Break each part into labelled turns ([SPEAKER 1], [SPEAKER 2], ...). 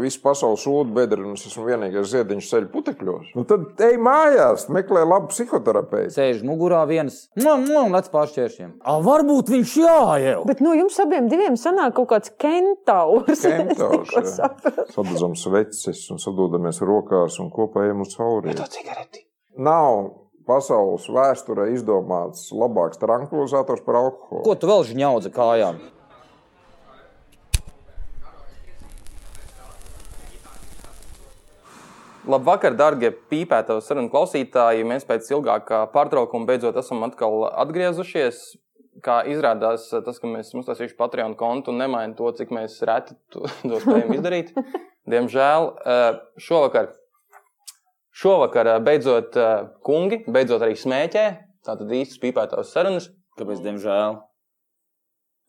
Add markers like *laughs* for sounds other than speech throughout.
[SPEAKER 1] visu pasauli sūdu bedri, un es esmu vienīgais ziediņš ceļu putekļos.
[SPEAKER 2] Nu, tad ej mājās, meklē labu
[SPEAKER 1] *laughs*
[SPEAKER 2] psihoterapeitu.
[SPEAKER 3] Sēž mugurā viens, no lec pāršķēršiem.
[SPEAKER 4] A, varbūt viņš jāiev.
[SPEAKER 5] Bet no jums abiem diviem sanāk kaut kāds kentaurs. *laughs*
[SPEAKER 1] Kentaurs, jā.
[SPEAKER 5] Es tikko sapratu.
[SPEAKER 1] Sadedzam sveces un sadodamies rokās un kopā ejam uz cauri. To cigareti. Nav pasaules vēsturē izdomāts labāks tranquilizators par alkoholu.
[SPEAKER 3] Ko tu vēl žņaudzi kājām?
[SPEAKER 6] Labvakar, darbie pīpēto sarunu klausītāji. Mēs pēc ilgākā pārtraukuma beidzot esam atkal atgriezušies. Kā izrādās, tas, ka mēs esam uztaisījuši Patreon kontu, nemaina to, cik mēs reti to to spējam izdarīt. Diemžēl eh, šovakar, šovakar eh, beidzot eh, kungi, beidzot arī smēķē. Tātad īstas pīpētās sarunas.
[SPEAKER 3] Kāpēc, diemžēl?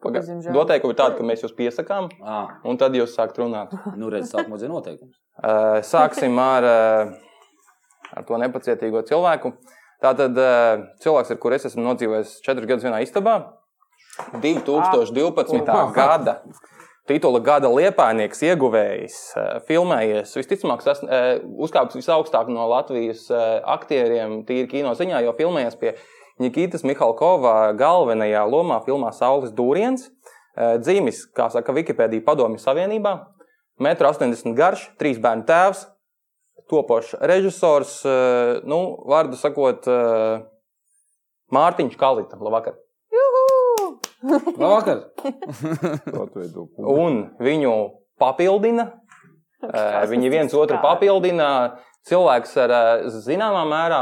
[SPEAKER 5] Kāpēc, diemžēl?
[SPEAKER 6] Noteikumi ir tādi, ka mēs jūs piesakām,
[SPEAKER 3] Ah,
[SPEAKER 6] un tad jūs sākat runāt.
[SPEAKER 3] nu redz, sākumā zina noteikums.
[SPEAKER 6] Uh, Sāksim ar, uh, ar to nepacietīgo cilvēku. Tā tad uh, cilvēks, ar kuru es esmu nodzīvojis četrus gadus vienā istabā, 2012. gada titula gada liepānieks, ieguvējis, uh, filmējies, visticamāk, sas- uh, uzkāpis visaugstāk no Latvijas uh, aktieriem, tīri kino ziņā, jo filmējies pie Nikitas Mihalkova galvenajā lomā filmā Saules Dūriens. Uh, Dzīmis, kā saka Wikipēdija, padomju savienībā, 1,80 m garš, trīs bērnu tēvs, topošs režisors, eh, nu, vārdu sakot, eh, Mārtiņš Kalita. Labvakar.
[SPEAKER 5] Juhu!
[SPEAKER 3] Labvakar!
[SPEAKER 1] To atveido publiku.
[SPEAKER 6] Un viņu papildina. eh, Viņi viens otru papildina. Cilvēks ar eh, zināmā mērā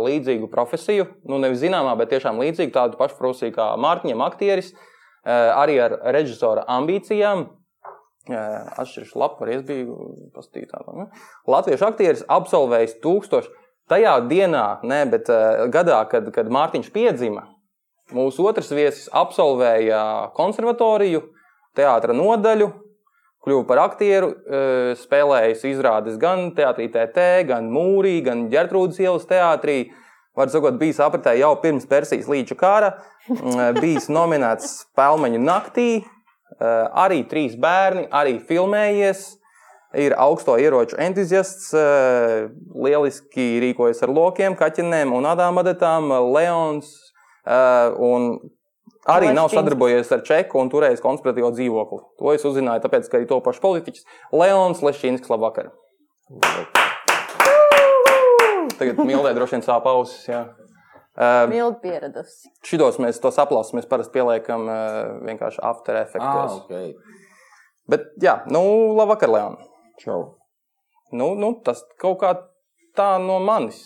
[SPEAKER 6] līdzīgu profesiju, nu nevis zināmā, bet tiešām līdzīgu tādu pašu profesiju kā Mārtiņš, aktieris, eh, arī ar režisora ambīcijām. Atšķirīgs lapa, arī es biju paskatījusies. Latviešu aktieris absolvējis 1000. Tajā dienā, ne, bet uh, gadā, kad, kad Mārtiņš piedzima, mūsu otrs viesis absolvēja konservatoriju, teātra nodaļu, kļuva par aktieru, uh, spēlējis izrādes gan teātrī TT, gan Mūrī, gan Gertrūdas ielas teātrī. Var sakot, bijis apritē jau pirms Persijas līča kara, mm, bijis nominēts Pelmeņu naktī, Eh, arī trīs bērni, arī filmējies. Ir augsto ieroču entuziasts, eh, lieliski rīkojas ar lokiem, kaķenēm unādām adetām. Leons eh, un arī nav
[SPEAKER 5] Leškins.
[SPEAKER 6] sadarbojies ar Čeku un turējis konspiratīvo dzīvokli. To es uzzināju, tāpēc, ka arī to pašu politiķis Leons Lešīnskis labvakar. Tagad mīlēt, droši vien sāp ausis. jā. Eh,
[SPEAKER 5] Mildi pieredus.
[SPEAKER 6] Šitos mēs tos aplausus mēs parasti pieliekam eh, vienkārši after effectos.
[SPEAKER 3] Ah, okay.
[SPEAKER 6] Bet, jā, nu, labi, vakar, Leon.
[SPEAKER 1] Čau.
[SPEAKER 6] Nu, nu, tas kaut kā tā no manis.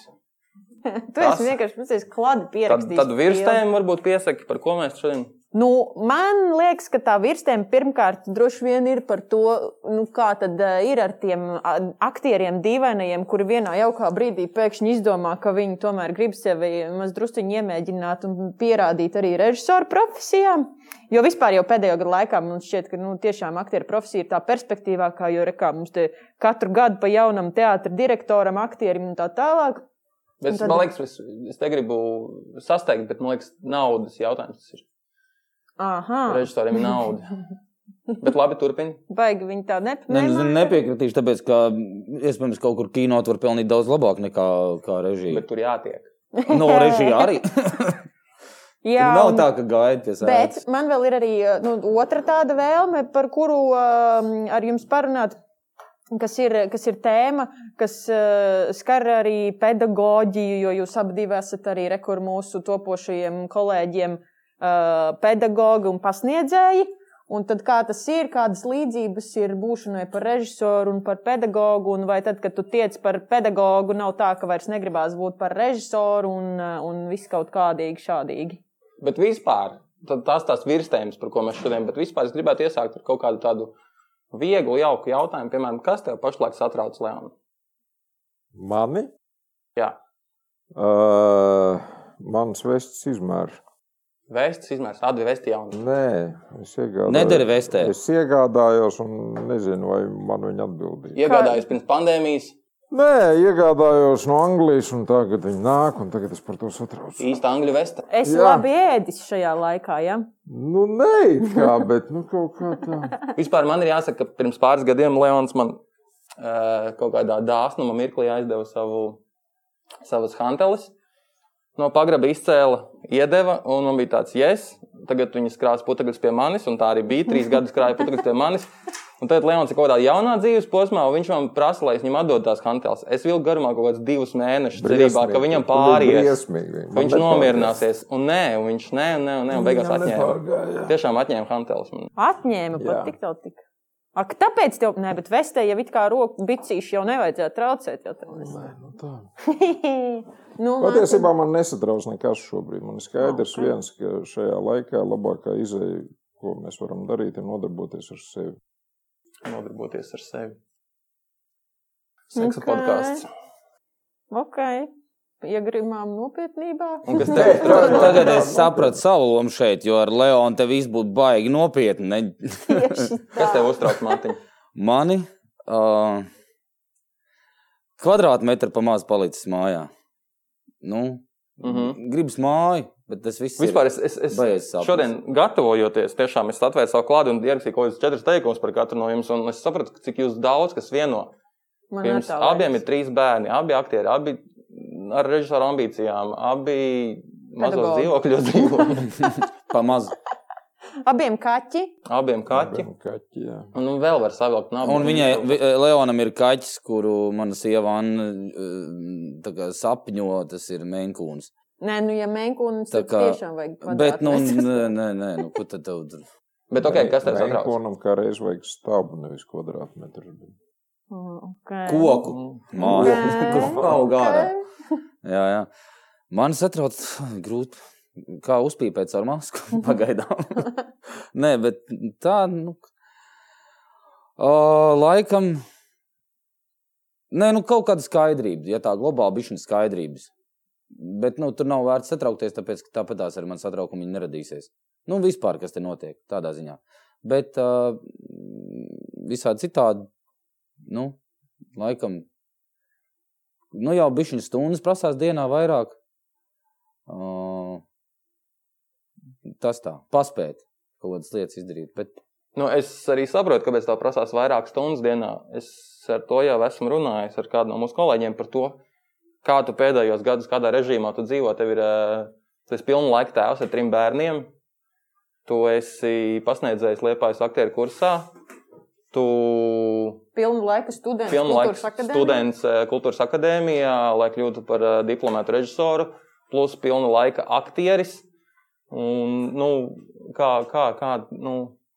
[SPEAKER 5] Tu esi
[SPEAKER 6] Tas-
[SPEAKER 5] vienkārši precīzi klāta
[SPEAKER 6] Tad,
[SPEAKER 5] pierakstījis.
[SPEAKER 6] tad
[SPEAKER 5] filmu.
[SPEAKER 6] virsēm varbūt piesaki, par ko mēs šodien
[SPEAKER 5] Nu, man liekas, ka tā virsēm pirmkārt droši vien ir par to, nu, kā tad ā, ir ar tiem ā, aktieriem, dīvainajiem, kuri vienā jaukā brīdī pēkšņi izdomā, ka viņi tomēr grib sevi mazliet iemēģināt un pierādīt arī režisoru profesijām. Jo vispār jau pēdējo gadu laikā mums šķiet, ka nu, tiešām aktieru profesija ir tā perspektīvākā, jo re, kā, mums te katru gadu pa jaunam teātrim, direktoram, aktierim un tā tālāk.
[SPEAKER 6] Bet,
[SPEAKER 5] Un tad-
[SPEAKER 6] man liekas, es, es te gribu sasteigt, bet man liekas, naudas jautājums tas ir.
[SPEAKER 5] Aha,
[SPEAKER 6] Režisoriem ir nauda. Bet labi, turpini.
[SPEAKER 5] baigi viņi tā nep
[SPEAKER 3] Ne, ne,
[SPEAKER 5] nemāca.
[SPEAKER 3] Nu, nepiekritīšu, tāpēc, ka mm, iespējams kaut kur kino tu vari pelnīt daudz labāk nekā kā režija.
[SPEAKER 6] Bet tur jātiek.
[SPEAKER 3] *laughs* No režija arī.
[SPEAKER 5] Jā,
[SPEAKER 3] Nav
[SPEAKER 5] un-
[SPEAKER 3] tā, ka gaidi pie
[SPEAKER 5] Bet
[SPEAKER 3] sēdes.
[SPEAKER 5] man vēl ir arī nu, otra tāda vēlme, par kuru um, ar jums parunāt. Kas ir, kas ir tēma, kas uh, skar arī pedagoģiju, jo jūs abi divi esat arī re, kur mūsu topošajiem kolēģiem, uh, pedagogi un pasniedzēji. Un tad kā tas ir, kādas līdzības ir būšanai par režisoru un par pedagogu, un vai tad, kad tu tiec par pedagogu, nav tā, ka vairs negribās būt par režisoru un, uh, un viss kaut kādīgi šādīgi.
[SPEAKER 6] Bet vispār tad tās tās virsmas, par ko mēs šodien, bet vispār es gribētu iesākt ar kaut kādu tādu vieglu, jauku jautājumu. Piemēram, kas tev pašlaik satrauc, Leon?
[SPEAKER 2] Mani?
[SPEAKER 6] Jā.
[SPEAKER 2] Uh, mans vests izmērs.
[SPEAKER 6] Vēsts, izmērs, atvi vēsti jaunu.
[SPEAKER 2] Nē, es iegādājos.
[SPEAKER 3] Nedara vestē.
[SPEAKER 2] Es iegādājos un nezinu, vai man viņa atbildīja.
[SPEAKER 6] Iegādājies pirms pandēmijas,
[SPEAKER 2] Nē, iegādājos no Anglijas, un tagad viņi nāk, un tagad es par to satraucos.
[SPEAKER 6] īsta angļu vesta.
[SPEAKER 5] Es
[SPEAKER 2] Jā.
[SPEAKER 5] Jā. labi ēdis šajā laikā, ja?
[SPEAKER 2] Nu,
[SPEAKER 6] *laughs*
[SPEAKER 2] nē, it kā, bet nu, kaut kā tā.
[SPEAKER 6] Vispār man ir jāsaka, ka pirms pāris gadiem Leons man eh, kaut kādā dāsnuma mirklī aizdeva savu, savas hanteles. No pagraba izcēla, iedeva, un man bija tāds jēs. Yes. Tagad viņas krāsa putekļus pie manis, un tā arī bija. Trīs gadus krāja putekļus pie manis. Un tad Leons ir kaut kādā jaunā dzīves posmā, un viņš man prasa, lai es viņam atdodu tās hanteles. Es vilku garumā kaut kādus divus mēnešus, cerībā, ka viņam pārējais.
[SPEAKER 1] Briesmīgi.
[SPEAKER 6] Viņš nomierināsies, un nē, un viņš nē, un nē, un nē, un beigās
[SPEAKER 1] Viņam
[SPEAKER 6] atņēma.
[SPEAKER 1] nepārgāja.
[SPEAKER 6] Tiešām atņēma Hantelis. man.
[SPEAKER 5] Atņēma
[SPEAKER 1] Jā.
[SPEAKER 5] pat tik tālu. Tik. Ak, tāpēc tev, nē, bet vestē jau it kā roku bicīši jau nevajadzētu traucēt. Jau tev,
[SPEAKER 1] Nē, nu tā.
[SPEAKER 5] *laughs* nu,
[SPEAKER 1] Patiesībā man nesatrauc nekas šobrīd. Man ir skaidrs, viens, ka šajā laikā labākā izēja, ko mēs varam darīt, ir nodarboties ar sevi.
[SPEAKER 6] Nodarboties ar sevi. Seksa
[SPEAKER 5] Ok.
[SPEAKER 6] okay. podkāsts.
[SPEAKER 5] Ok, iegrimām nopietnībā.
[SPEAKER 1] *laughs*
[SPEAKER 6] Un kas tev ir traucējis?
[SPEAKER 3] Tagad es sapratu savu lomu šeit, jo ar Leonu te viss būtu baigi nopietni. Ne?
[SPEAKER 5] Tieši tā.
[SPEAKER 6] Kas tev uztrauc, Mārtiņ?
[SPEAKER 3] Mani uh, kvadrātmetri pamāca palicis mājā. Nu,
[SPEAKER 6] *laughs* Mhm.
[SPEAKER 3] Gribas māju, bet tas viss ir- *laughs*
[SPEAKER 6] Vispār es, es, es
[SPEAKER 3] Baies saprast.
[SPEAKER 6] šodien gatavojoties, tiešām es atvēru savu klādu un ierakstīju kaut kādus četrus teikumus par katru no jums. un Es sapratu, ka cik jūs daudz kas vieno.
[SPEAKER 5] Man
[SPEAKER 6] Pirms
[SPEAKER 5] tā
[SPEAKER 6] abiem
[SPEAKER 5] liekas.
[SPEAKER 6] ir trīs bērni, abi aktieri, abi ar režisoru ambīcijām, abi mazos
[SPEAKER 5] Pedagogi. *laughs*
[SPEAKER 6] dzīvokļos dzīvo.
[SPEAKER 3] pamaz.
[SPEAKER 5] abiem kaķi.
[SPEAKER 6] Abiem kaķi.
[SPEAKER 1] Abiem Kaķi, jā.
[SPEAKER 6] Un nu, vēl var savilkt nabaga.
[SPEAKER 3] Un viņai, vi- Leonam, ir kaķis, kuru mana sieva Anna uh, tā kā sapņo, tas ir mēnkūns.
[SPEAKER 5] Nē, nu, ja mēnkūns
[SPEAKER 3] Tā
[SPEAKER 5] tad
[SPEAKER 3] kā-
[SPEAKER 5] tiešām vajag
[SPEAKER 3] Bet,
[SPEAKER 5] *laughs*
[SPEAKER 3] nu,
[SPEAKER 5] kvadrātmetrs.
[SPEAKER 3] nē, nē, nē nu, ko tad tev tur?
[SPEAKER 6] Bet, okay, kas tev
[SPEAKER 1] Mēn-
[SPEAKER 6] satrauc?
[SPEAKER 1] Mēnkonam kā reiz vajag stābu, nevis kvadrātmetru.
[SPEAKER 5] Okay.
[SPEAKER 3] Koku. Māja.
[SPEAKER 5] Ok.
[SPEAKER 3] *laughs* Kur augā?
[SPEAKER 5] Ok.
[SPEAKER 3] Jā, jā. Man satrauc, grūti. Kā uzpīpēt ar masku? Pagaidām. *laughs* Nē, bet tā, nu. Uh, laikam. Nē, nu kaut kāda skaidrība, ja tā globāla bišķiņa skaidrības. Bet nu, tur nav vērts satraukties, tāpēc ka tāpat tās ar mani satraukumi viņi neradīsies. Nu, vispār, kas te notiek tādā ziņā. Bet uh, visādi citādi, nu, laikam, nu, jau bišķiņa stundas prasās dienā vairāk. Uh, tas tā, paspēt kaut kādas lietas izdarīt. Bet
[SPEAKER 6] Nu, es arī saprotu, kāpēc tā prasās vairāk stundas dienā. Es ar to jau esmu runājis ar kādu no mūsu kolēģiem par to, kā tu pēdējos gados, kādā režīmā tu dzīvo. Tev ir eh, tas pilnlaika tēvs ar trim bērniem. Tu esi pasniedzējis Liepājas aktieru kursā. Tu
[SPEAKER 5] Pilnu laiku students.
[SPEAKER 6] pilnlaika
[SPEAKER 5] kultūras akadēmijā.
[SPEAKER 6] students eh, kultūras akadēmijā, lai kļūtu par eh, diplomātu režisoru, plus pilna laika aktieris. Un, nu, kā, kā, kā, nu,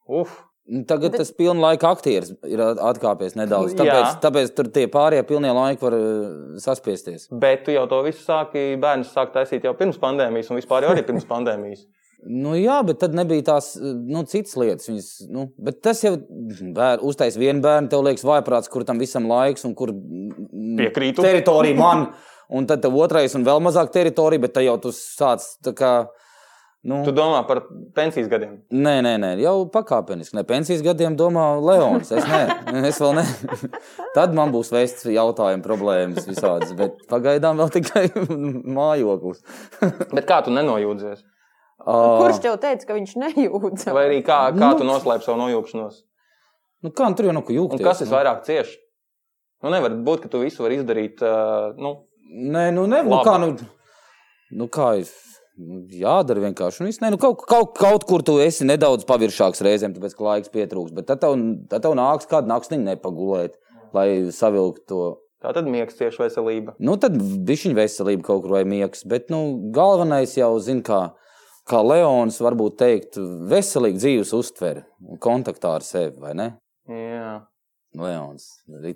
[SPEAKER 6] uf.
[SPEAKER 3] nu, tagad
[SPEAKER 5] Bet-
[SPEAKER 3] bet... tas pilnlaika aktieris ir at- atkāpies nedaudz.
[SPEAKER 6] Nu,
[SPEAKER 3] Tāpēc,
[SPEAKER 6] jā.
[SPEAKER 3] tāpēc tur tie pārējie pilnie laiki var eh, saspiesties.
[SPEAKER 6] Bet tu jau to visu sāki, bērns sāk taisīt jau pirms pandēmijas, un vispār jau arī pirms pandēmijas.
[SPEAKER 3] Nu, jā, bet tad nebija tās eh, nu, citas lietas. Viņas, nu, bet tas jau bēr, uztais vienu bērnu, tev liekas, vaiprāts, kur tam visam laiks un kur mm,
[SPEAKER 6] Piekrītu.
[SPEAKER 3] Teritorija man, un tad tev otrais un vēl mazāk teritorija, bet te jau tu sāc tā kā. Nu,
[SPEAKER 6] Tu domā par pensijas gadiem.
[SPEAKER 3] Nē, nē, nē, jau pakāpeniski. Ne pensijas gadiem domā Leons. Es, ne, es vēl ne. Tad man būs vēsts jautājumu problēmas visādas, bet pagaidām vēl tikai *laughs* mājoklis.
[SPEAKER 6] Bet kā tu nenojūdzies?
[SPEAKER 5] Kurš tev teica, ka viņš nejūtas?
[SPEAKER 6] Vai arī kā, kā tu noslēp savu nojūgšanos?
[SPEAKER 3] Nu, kā nu tur jau nav ko
[SPEAKER 6] Un
[SPEAKER 3] jūgties?
[SPEAKER 6] kas
[SPEAKER 3] nu?
[SPEAKER 6] visvairāk cieš? Nu, nevar būt, ka tu visu vari izdarīt. ā, Nu,
[SPEAKER 3] Nē, nu, ne, nu
[SPEAKER 6] Labi.
[SPEAKER 3] kā, nu, nu kā ir. nu, Jādara vienkārši. Nu, viss, nē, nu, kaut, kaut, kaut kur tu esi nedaudz paviršāks reizēm, tāpēc ka laiks pietrūks. Bet tad tev, tad tev nāks kādu nakti nepagulēt, lai savilktu to
[SPEAKER 6] tā tad miegs cieš veselība.
[SPEAKER 3] Nu, tad bija viņa veselība kaut kur vai miegs. Bet nu, galvenais jau zina, kā, kā Leons varbūt teikt, veselīga dzīves uztvere un kontaktā ar sevi. vai ne?
[SPEAKER 6] Jā.
[SPEAKER 3] Leons *laughs* arī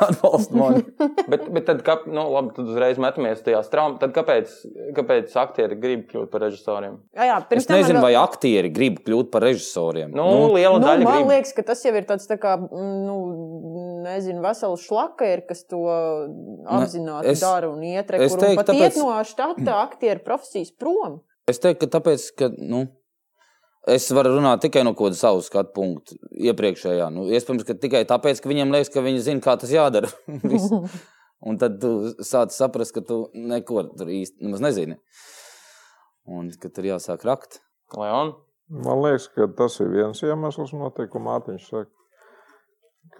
[SPEAKER 3] atbalsta mani.
[SPEAKER 6] Bet, bet tad, kā, nu, labi, tad uzreiz metamies tajā strāmā. Tad kāpēc, kāpēc aktieri grib kļūt par režisoriem?
[SPEAKER 5] Jā, jā, pirms
[SPEAKER 3] Es
[SPEAKER 5] tam man
[SPEAKER 3] nezinu,
[SPEAKER 5] vēl-
[SPEAKER 3] vai aktieri grib kļūt par režisoriem.
[SPEAKER 6] Nu, nu, liela
[SPEAKER 5] Nu,
[SPEAKER 6] daļa
[SPEAKER 5] man
[SPEAKER 6] grib.
[SPEAKER 5] liekas, ka tas jau ir tāds, tā kā, mm, nu, nezinu, vesels šlaka ir, kas to apzināti
[SPEAKER 3] Nu, es-
[SPEAKER 5] dara un ietrek,
[SPEAKER 3] es
[SPEAKER 5] kur un
[SPEAKER 3] teiktu,
[SPEAKER 5] pat
[SPEAKER 3] tāpēc-
[SPEAKER 5] iet no štata aktieru profesijas prom.
[SPEAKER 3] Es teiktu, ka tāpēc, ka nu, es varu runāt tikai no kāda savu skatu punktu iepriekšējā. Nu, iespējams, ka tikai tāpēc, ka viņiem liekas, ka viņi zina, kā tas jādara. *laughs* *laughs* Viss. Un tad tu sāc saprast, ka tu neko tur īsti nemaz nezini. Un ka tur jāsāk rakt.
[SPEAKER 6] Leon,
[SPEAKER 1] Man liekas, ka tas ir viens iemesls, noteikti, ko Mārtiņš saka.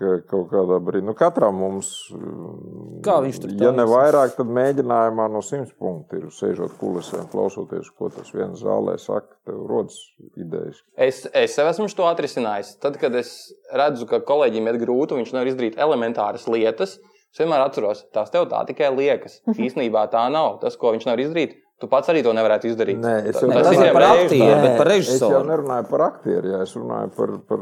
[SPEAKER 1] ka kaut kādā brīdī. Nu, katram mums, mm,
[SPEAKER 3] Kā viņš tur tā
[SPEAKER 1] ja ne
[SPEAKER 3] viss?
[SPEAKER 1] vairāk, tad mēģinājumā no simts punktu ir sēžot kulisēm, klausoties, ko tas viens zālē saka. Tev rodas idejas.
[SPEAKER 6] Es, es sev esmu to atrisinājis. Tad, kad es redzu, ka kolēģim ir grūti, viņš nevar izdarīt elementāras lietas, es vienmēr atceros, tās tev tā tikai liekas.
[SPEAKER 5] Mhm.
[SPEAKER 6] Īsnībā tā nav. Tas, ko viņš nevar izdarīt, tu pats arī to nevarētu izdarīt.
[SPEAKER 1] Nē, es
[SPEAKER 6] Tas-
[SPEAKER 1] jau
[SPEAKER 3] Nē,
[SPEAKER 6] tas
[SPEAKER 3] tas
[SPEAKER 6] ir
[SPEAKER 3] ir par
[SPEAKER 6] jau-
[SPEAKER 3] aktieru,
[SPEAKER 1] Nē,
[SPEAKER 3] bet par
[SPEAKER 1] Es jau
[SPEAKER 3] režisoru.
[SPEAKER 1] nerunāju par aktieriem, ja es runāju par, par,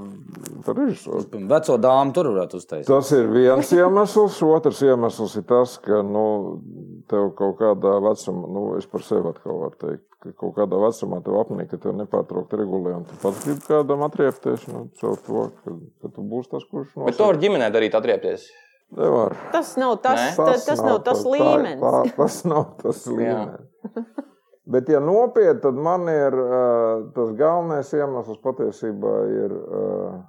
[SPEAKER 1] par režisoru.
[SPEAKER 3] Veco dāmu tur varētu uztaisīt.
[SPEAKER 1] Tas ir viens iemesls. Otrs iemesls ir tas, ka nu, tev kaut kādā vecumā, nu, es par sevi atkal varu teikt, ka kaut kādā vecumā tev apnika, ka tev nepārtraukti regulē, un tu pats gribi kādam atriepties no nu, caur to, ka, ka tu būsi tas, kurš no
[SPEAKER 6] Bet to var ģimenē darīt, atriepties.
[SPEAKER 1] nevar.
[SPEAKER 5] Tas nav tas,
[SPEAKER 6] Nē.
[SPEAKER 5] tas, tas, nav tas
[SPEAKER 1] tā-
[SPEAKER 5] līmenis.
[SPEAKER 1] Tā, tas nav tas līmenis. Bet, ja nopietni, tad man ir ā, tas galvenais iemesls patiesībā ir ā,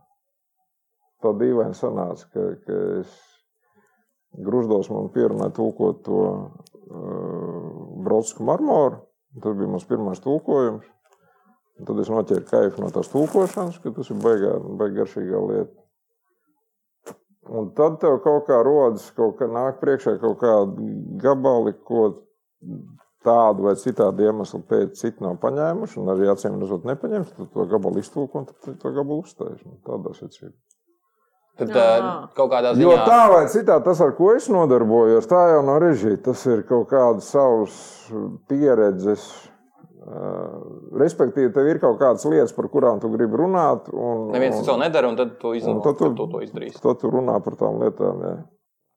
[SPEAKER 1] tā dīvaini sanāca, ka, ka es grūždos man pierunāju tulkot to ā, Brodsku marmoru. Tas bija mans pirmais tulkojums. Un Tad es noķēru kaifu no tās tulkošanas, ka tas ir baigā, baigā garšīgā lieta. Un tad tev kaut kā rodas, kaut kā nāk priekšā kaut kāda gabali, ko tādu vai citādu iemeslu pēc citu nav paņēmuši, un arī acīm redzot, nepaņemts. Tad to gabalu iztūko un tad tu to gabalu uztaisīs. Nu, Tādā secībā.
[SPEAKER 6] Tad
[SPEAKER 5] Jā.
[SPEAKER 6] uh, kaut kādā ziņā
[SPEAKER 1] Jo tā vai citādi tas, ar ko es nodarbojos, tā jau no režijas, tas ir kaut kādas savas pieredzes. eh, Respektīvi, tev ir kaut kādas lietas, par kurām tu gribi runāt. Un,
[SPEAKER 6] neviens
[SPEAKER 1] un-
[SPEAKER 6] to nedara, un tad tu
[SPEAKER 1] un
[SPEAKER 6] izdomā,
[SPEAKER 1] tad
[SPEAKER 6] ka
[SPEAKER 1] tu,
[SPEAKER 6] tu to izdarīsi.
[SPEAKER 1] Tad tu runā par tām lietām. Jā.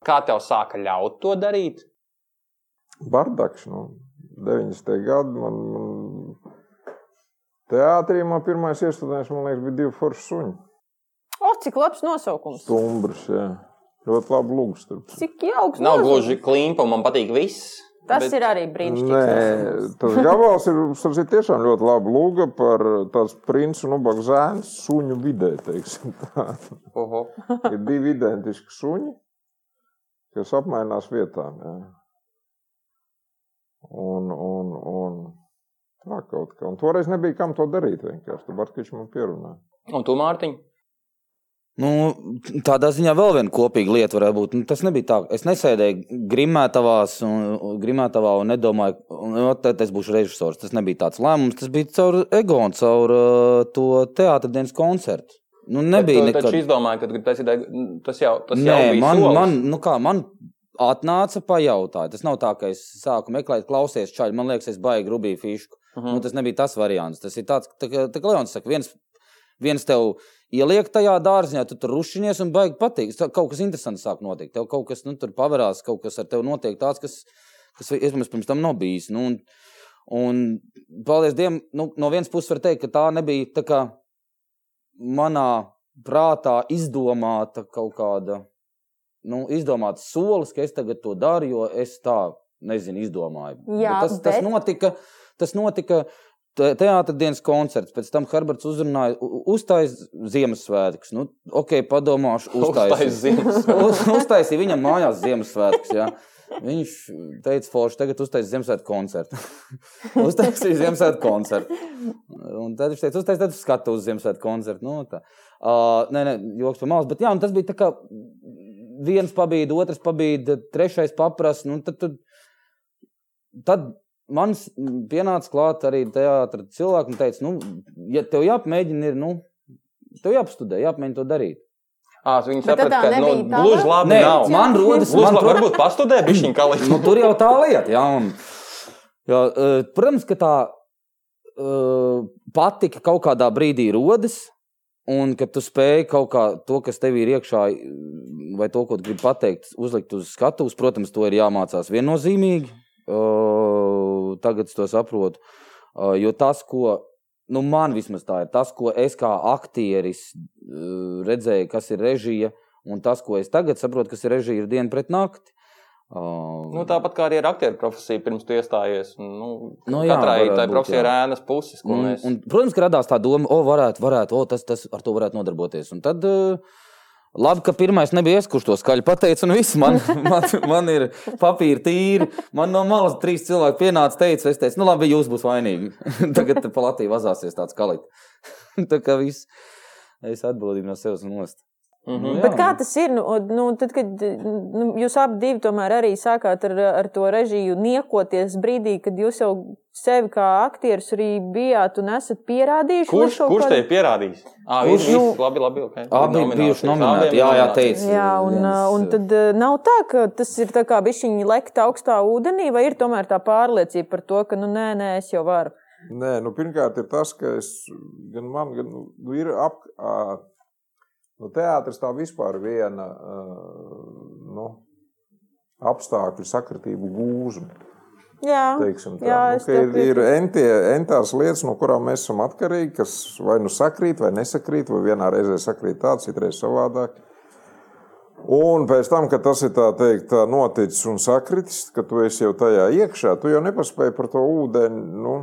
[SPEAKER 6] Kā tev sāka ļaut to darīt?
[SPEAKER 1] Bardaks, nu, 90. gadi. Man, man... Teātrī man pirmais iestudējums, man liekas, bija divi forši suņi.
[SPEAKER 5] O, cik labs nosaukums!
[SPEAKER 1] Stumbrs, jā. Ļoti labi lūgs.
[SPEAKER 5] Cik jauks!
[SPEAKER 6] Nav
[SPEAKER 5] nosaukums.
[SPEAKER 6] gluži klimpa, man patīk viss.
[SPEAKER 5] Tas
[SPEAKER 6] bet-
[SPEAKER 5] ir arī
[SPEAKER 1] Nē,
[SPEAKER 5] brīnišķīgi.
[SPEAKER 1] tas gabals ir starp citu, tiešām ļoti labi lūga par tās princu un ubagu zēnu suņu vidē, teiksim tā.
[SPEAKER 6] Oho.
[SPEAKER 1] *laughs* Ir divi identiski suņi, kas apmainās vietām. Jā. Un, un, un tā kaut kā. Un toreiz nebija kam to darīt. Vienkārši tur Bartkiņš man pierunāja.
[SPEAKER 6] Un tu, Mārtiņ,
[SPEAKER 3] Nu, tādā ziņā vēl viena kopīga lieta varētu būt. Nu, tas nebija tā, ka es nesēdēju grimētavās un, grimētavā un nu, nedomāju, ka tas būs režisors. Tas nebija tāds lēmums, tas bija caur ego un caur uh, to teātras dienas koncertu. Nu, nebija
[SPEAKER 6] bet tu
[SPEAKER 3] nekad.
[SPEAKER 6] taču izdomāji, ka tas, ir, tas jau, tas jau
[SPEAKER 3] Nē,
[SPEAKER 6] bija
[SPEAKER 3] man,
[SPEAKER 6] solis.
[SPEAKER 3] man, nu kā, man atnāca pajautāja. Tas nav tā, ka es sāku meklēt, klausies čaļi. Man liekas, es baigi grubīju fišku.
[SPEAKER 6] Mhm.
[SPEAKER 3] Nu, tas nebija tas variants. Tas ir tāds, tā, kā- tā kā Leons saka, viens, viens tev ieliek tajā dārziņā, tu tur rušinies un baigi patīk. Tā- Kaut kas interesants sāk notikt. Tev kaut kas nu, tur pavarās, kaut kas ar tevi notiek tāds, kas, kas iespējams pirms tam nav bijis. Nu, un, un, paldies Dievam, nu, no vienas puses var teikt, ka tā nebija tā kā manā prātā izdomāta kaut kāda. Nu, izdomāts solis, ka es tagad to daru, jo es tā nezinu, izdomāju.
[SPEAKER 5] Jā,
[SPEAKER 3] tas, tas
[SPEAKER 5] bet-
[SPEAKER 3] notika. Tas notika te- Teātris dienas koncerts, pēc tam Herberts uzrunāja, u- uztais Ziemassvētkus. Nu, ok, padomāšu,
[SPEAKER 6] Uztais
[SPEAKER 3] uztais.
[SPEAKER 6] zīmes.
[SPEAKER 3] Uztaisīja viņam mājās Ziemassvētkus. Jā. Viņš teica, Falks, tagad uztaisīs Ziemassvētku koncertu. *laughs* uztaisīja Ziemassvētku koncertu. Un tad viņš teica, uztaisīja tādu skatu uz Ziemassvētku koncertu. Nu, tā. uh, nē, nē, joks par malas. Bet jā, un tas bija tā kā viens pabīd, otrs pabīd, trešais paprasta. Nu, tad, tad, tad man pienāca klāt arī teātris cilvēks un teica, nu, ja tev jāpamēģina, ir, nu, tev jāapstudē, jāpamēģina to darīt.
[SPEAKER 6] Ah, viņi
[SPEAKER 5] Bet tad
[SPEAKER 6] saprata,
[SPEAKER 5] tā
[SPEAKER 6] ka nu,
[SPEAKER 5] nebija tā
[SPEAKER 6] gluži
[SPEAKER 5] laba?
[SPEAKER 6] labi
[SPEAKER 3] Nē,
[SPEAKER 6] nav.
[SPEAKER 3] man rodas,
[SPEAKER 6] Lūdzu,
[SPEAKER 3] man
[SPEAKER 6] labi,
[SPEAKER 3] tur,
[SPEAKER 6] varbūt pastudē
[SPEAKER 3] *clears throat*
[SPEAKER 6] bišķiņ
[SPEAKER 3] nu,
[SPEAKER 6] kalīšu.
[SPEAKER 3] tur jau tā lieta. Jā, un, jā, eh, protams, ka tā eh, patika kaut kādā brīdī rodas. Un ka tu spēj kaut kā to, kas tev ir iekšā, eh, vai to, ko tu gribi pateikt, uzlikt uz skatuves, protams, to ir jāmācās viennozīmīgi. Eh, Tagad es to saprotu. Eh, Jo tas, ko nu, man vismaz tā ir, tas, ko es kā aktieris eh, redzēju, kas ir režija, un tas, ko es tagad saprotu, kas ir režija, ir diena pret nakti. Uh,
[SPEAKER 6] Nu, tāpat kā arī ar aktieru profesiju, pirms tu iestājies. Nu,
[SPEAKER 3] Nu,
[SPEAKER 6] nu,
[SPEAKER 3] jā,
[SPEAKER 6] jā, katrai
[SPEAKER 3] varētu
[SPEAKER 6] tai
[SPEAKER 3] būt,
[SPEAKER 6] profesijai ir
[SPEAKER 3] jā.
[SPEAKER 6] ēnas puses, ko
[SPEAKER 3] Un,
[SPEAKER 6] mēs.
[SPEAKER 3] un, protams, ka radās tā doma, o, varētu, varētu, o, tas, tas ar to varētu nodarboties. Un tad, eh, labi, ka pirmais nebija es, kurš to skaļi pateica, un viss man, *laughs* man, man ir papīri tīri. Man no malas trīs cilvēki pienāca, teica, es teicu, nu labi, jūs būs vainīgi. *laughs* Tagad te pa *laughs* Latviju vazāsies tāds kalīt. tā kā viss, es atbildīju no sevis nost.
[SPEAKER 6] Mhm.
[SPEAKER 5] Bet kā tas ir? Nu, nu, tad, kad nu, jūs abi divi tomēr arī sākāt ar, ar to režiju niekoties brīdī, kad jūs jau sevi kā aktieris arī bijāt un esat pierādījuši.
[SPEAKER 6] Kurš,
[SPEAKER 5] nu, kaut
[SPEAKER 6] kurš
[SPEAKER 5] kādu-
[SPEAKER 6] te ir pierādījis? Ah, viņš
[SPEAKER 5] nu-
[SPEAKER 6] ir labi, labi. Okay.
[SPEAKER 3] Abi
[SPEAKER 6] Nominācijas.
[SPEAKER 3] bijuši
[SPEAKER 6] Abiem
[SPEAKER 3] nominēti. Jā, jā, teica.
[SPEAKER 5] Jā, un,
[SPEAKER 3] viens,
[SPEAKER 5] un
[SPEAKER 1] uh,
[SPEAKER 5] tad eh, nav tā, ka tas ir tā kā bišķiņi lekt augstā ūdenī, vai ir tomēr tā pārliecība par to, ka, nu, nē, nē, es jau varu.
[SPEAKER 1] Nē, nu, pirmkārt, ir tas, ka es, gan man, gan nu, ir ap, ā, nu, teātris tā vispār viena ā, nu, apstākļu sakritību gūzma.
[SPEAKER 5] Jā,
[SPEAKER 1] teiksim Tā,
[SPEAKER 5] Ah, jā,
[SPEAKER 1] nu,
[SPEAKER 5] es
[SPEAKER 1] ka
[SPEAKER 5] tev
[SPEAKER 1] ir ir entie, entās lietas, no kurām mēs esam atkarīgi, kas vai nu sakrīt, vai nesakrīt, vai vienā reizē sakrīt tā, citreiz savādāk. Un pēc tam, kad tas ir tā teikt, tā noticis un sakritis, ka tu esi jau tajā iekšā, tu jau nepaspēji par to ūdeni. Nu,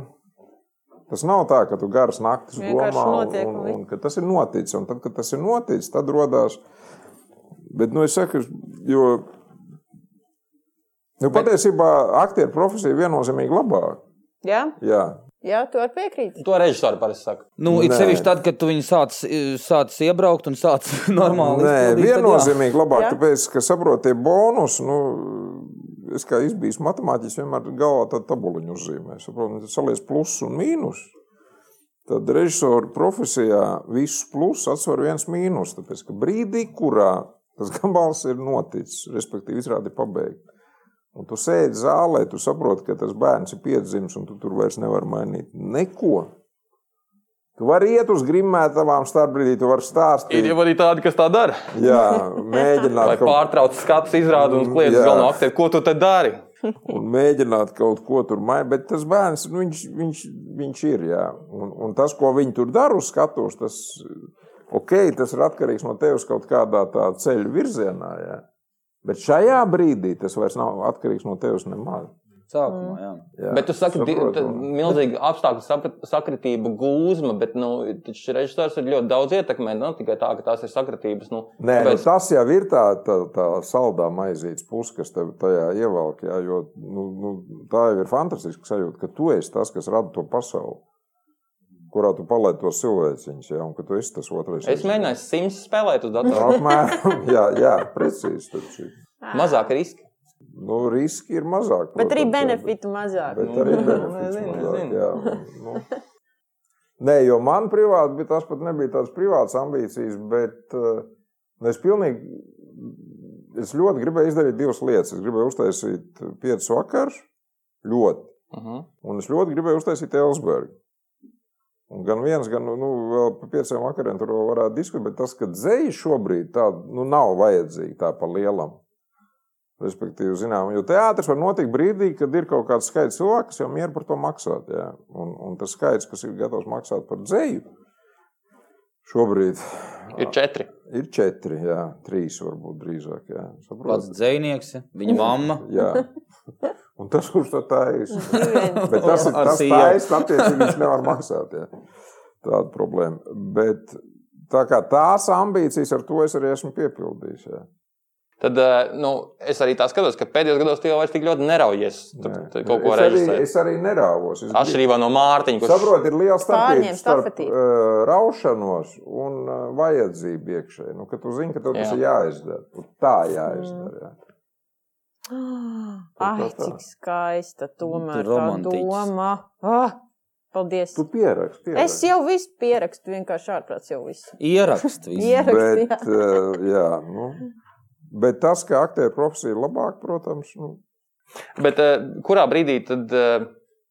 [SPEAKER 1] tas nav tā, ka tu garas naktis
[SPEAKER 5] Vienkārši
[SPEAKER 1] domā, un,
[SPEAKER 5] notiek,
[SPEAKER 1] un,
[SPEAKER 5] un viss.
[SPEAKER 1] un ka tas ir noticis. Un tad, kad tas ir noticis, tad radās. Bet, nu, es saku, jo nu, patiesībā aktieru profesija ir viennozīmīgi labāka.
[SPEAKER 5] jā,
[SPEAKER 1] Jā,
[SPEAKER 5] jā tu vari piekrīt.
[SPEAKER 6] Nu, To režisori parasti saka.
[SPEAKER 3] Nu, it
[SPEAKER 1] Nē.
[SPEAKER 3] sevišķi tad, kad tu viņu sāc, sāc iebraukt un sāc *laughs*
[SPEAKER 1] Nē,
[SPEAKER 3] normāli izpildīt, tad jā.
[SPEAKER 1] viennozīmīgi labāk,
[SPEAKER 5] Jā.
[SPEAKER 1] jā. tāpēc, ka saprotu, tie bonusi. Nu, es kā izbijis matemātiķis, vienmēr galvā tādu tabuliņu uzzīmēju. Saprotu, tad saliec plusus un mīnus. Tad režisora profesijā visus plusus atsver viens mīnus. Tāpēc, ka brīdī, kurā tas *laughs* gabals ir noticis, respektīvi, izrādi pabeigts. Un tu sēdi zālē, tu saproti, ka tas bērns ir piedzimis, un tu tur vairs nevari mainīt neko. Tu vari iet uz grimētavām, starp brīdī tu vari stāstīt.
[SPEAKER 6] Ir jau arī tādi, kas tā dara.
[SPEAKER 1] Jā,
[SPEAKER 6] Lai
[SPEAKER 1] mēģināt kaut,
[SPEAKER 6] pārtrauc skatu, izrāda un kliedz uz
[SPEAKER 1] Jā.
[SPEAKER 6] galveno aktieru, ko tu te dari.
[SPEAKER 1] un mēģināt kaut ko tur mainīt, bet tas bērns, nu, viņš, viņš, viņš ir. Jā. Un, un tas, ko viņi tur dara uz skatuves, tas, okay, tas ir atkarīgs no tevis kaut kādā tā ceļa virzienā. Jā. Bet šajā brīdī tas vairs nav atkarīgs no tevis nemaz.
[SPEAKER 3] Sākumā, jā.
[SPEAKER 1] Jā,
[SPEAKER 6] Bet tu saki, ka
[SPEAKER 1] saprotu.
[SPEAKER 6] tā ir milzīga apstākļu sap- sakritība, gūzma, bet nu, taču režisors ir ļoti daudz ietekmē. Ne tikai tā, ka tās ir sakritības. Nu,
[SPEAKER 1] Nē, nu,
[SPEAKER 6] tāpēc-
[SPEAKER 1] tas jau ir tā, tā, tā saldā maizītes puse, kas tev tajā ievelk. Jā, jo, nu, nu, tā jau ir fantastiska sajūta, ka tu esi tas, kas rada to pasauli, kurā tu palaidi tos cilvēciņus, jā, un ka tu esi tas otrais.
[SPEAKER 6] Es mēģināju simts spēlēt
[SPEAKER 1] Nu,
[SPEAKER 6] uz
[SPEAKER 5] *laughs*
[SPEAKER 6] datoru.
[SPEAKER 1] Apmēram, *laughs* jā, jā, precīzi. Taču.
[SPEAKER 6] Mazāk riski.
[SPEAKER 1] Nu, riski ir mazāk.
[SPEAKER 5] Bet arī
[SPEAKER 1] protams, jā, bet-
[SPEAKER 5] benefitu *laughs* mazāk.
[SPEAKER 1] Bet arī
[SPEAKER 6] Nu,
[SPEAKER 1] benefits
[SPEAKER 6] nezinu,
[SPEAKER 1] mazāk,
[SPEAKER 6] nezinu.
[SPEAKER 1] jā, un, nu. Nē, jo man privāti bija tas pat nebija tāds privāts ambīcijas, bet eh, nu, es pilnīgi. Es ļoti gribēju izdarīt divas lietas. Es gribēju uztaisīt piecus vakarus, ļoti.
[SPEAKER 6] Mhm.
[SPEAKER 1] Un es ļoti gribēju uztaisīt Elsbergu. Un gan viens, gan nu, vēl par pieciem vakariem tur vēl varētu diskutēt, bet tas, ka dzēja šobrīd tā, nu, nav vajadzīga tā pa lielam. Respektīvi, zinām, jo teātris var notikt brīdī, kad ir kaut kāds skaits cilvēku, kas jau mieru par to maksāt. Jā. Un, un tas skaits, kas ir gatavs maksāt par dzēju, šobrīd
[SPEAKER 6] Ir četri.
[SPEAKER 1] ir četri, jā, trīs varbūt drīzāk. Jā. Saprot?
[SPEAKER 3] Pats dzinieks, viņa mamma.
[SPEAKER 1] Jā. Un tas, kurš to taisīs,
[SPEAKER 6] *laughs*
[SPEAKER 1] Bet tas ir
[SPEAKER 3] Ar
[SPEAKER 1] tas,
[SPEAKER 3] sievu.
[SPEAKER 1] kas attiecīgi viņš nevar maksāt. Jā. Tāda problēma. Bet tā kā tās ambīcijas ar to es arī esmu piepildījis. Jā.
[SPEAKER 6] Tad eh, nu, es arī tā skatos, ka pēdējos gados tu jau vairs tik ļoti neraujies tur,
[SPEAKER 1] Nē.
[SPEAKER 6] tur kaut
[SPEAKER 1] es,
[SPEAKER 6] ko
[SPEAKER 1] arī,
[SPEAKER 6] režisēt.
[SPEAKER 1] es arī nerāvos. Es
[SPEAKER 6] Atšķirībā no Mārtiņa, kurš
[SPEAKER 1] Saprotiet, ir liela starpība
[SPEAKER 5] Pārņem
[SPEAKER 1] starp
[SPEAKER 5] stafetī.
[SPEAKER 1] uh, raušanos un uh, vajadzību iekšēji. Nu, kad tu zini, ka tev tas
[SPEAKER 6] Jā.
[SPEAKER 1] ir jāizdara, tu tā jāizdara. Jā.
[SPEAKER 5] *gasps* Ai,
[SPEAKER 1] tā.
[SPEAKER 5] cik skaista
[SPEAKER 3] Tu
[SPEAKER 5] tomēr tā
[SPEAKER 3] romantiķis.
[SPEAKER 5] doma. Ah, paldies.
[SPEAKER 1] Tu pierakst,
[SPEAKER 5] Es
[SPEAKER 1] pierakst.
[SPEAKER 5] jau visu pierakstu, vienkārši ārprāts jau visu.
[SPEAKER 3] Ierakstu. visu.
[SPEAKER 5] Ierakstu. pierakstu,
[SPEAKER 1] Bet, uh, jā, nu, bet tas, ka aktieru profesija ir labāka, protams, nu,
[SPEAKER 6] Bet eh, kurā brīdī tad, eh,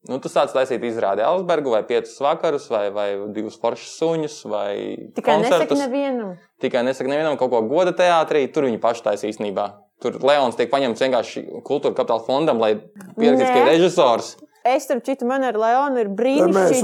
[SPEAKER 6] nu, tu sāc taisīt izrādi Elsbergu vai piecus vakarus, vai, vai divus foršus suņus, vai
[SPEAKER 5] Tikai nesaki
[SPEAKER 6] koncertus?
[SPEAKER 5] nevienam.
[SPEAKER 6] Tikai nesaka nevienam kaut ko goda teātrī, tur viņi paši taisa īstenībā. Tur Leons tiek paņemts vienkārši kultūra kapitāla fondam, lai pierakstītu, ka
[SPEAKER 5] Nē.
[SPEAKER 6] ir režisors.
[SPEAKER 5] Es tam citu, man ar Leonu ir
[SPEAKER 1] Te
[SPEAKER 5] brīnišķīgi.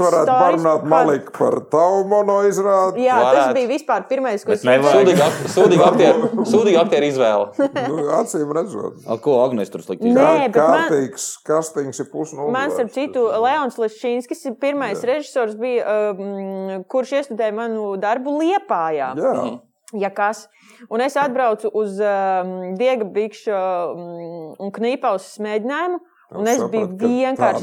[SPEAKER 1] mēs varētu parunāt Maliku par tavu mono izrādi.
[SPEAKER 5] Jā, tas
[SPEAKER 6] Varētu.
[SPEAKER 5] bija vispār pirmais, ko
[SPEAKER 4] Bet
[SPEAKER 5] es
[SPEAKER 4] nevajag.
[SPEAKER 5] redzēju.
[SPEAKER 6] Sūdīga ak-
[SPEAKER 4] *laughs*
[SPEAKER 6] sūdīga aktieru, sūdīga aktieru izvēle.
[SPEAKER 1] Nu, acīm redzot.
[SPEAKER 3] Ar ko Agnēs tur slikti?
[SPEAKER 5] Nē,
[SPEAKER 3] izdarīja?
[SPEAKER 1] Kā-
[SPEAKER 5] bet man-
[SPEAKER 1] Kārtīgs kastings ir pusnulles.
[SPEAKER 5] Man starp citu, Leons Leščīnskis ir pirmais režisors, bija, um, kurš iestudēja manu darbu Liepājā.
[SPEAKER 1] Jā,
[SPEAKER 5] Ja kas. un es atbraucu uz um, Diega Bikša um, un Knīpausas mēģinājumu. Un es biju
[SPEAKER 1] sapratu, ka
[SPEAKER 5] vienkārši.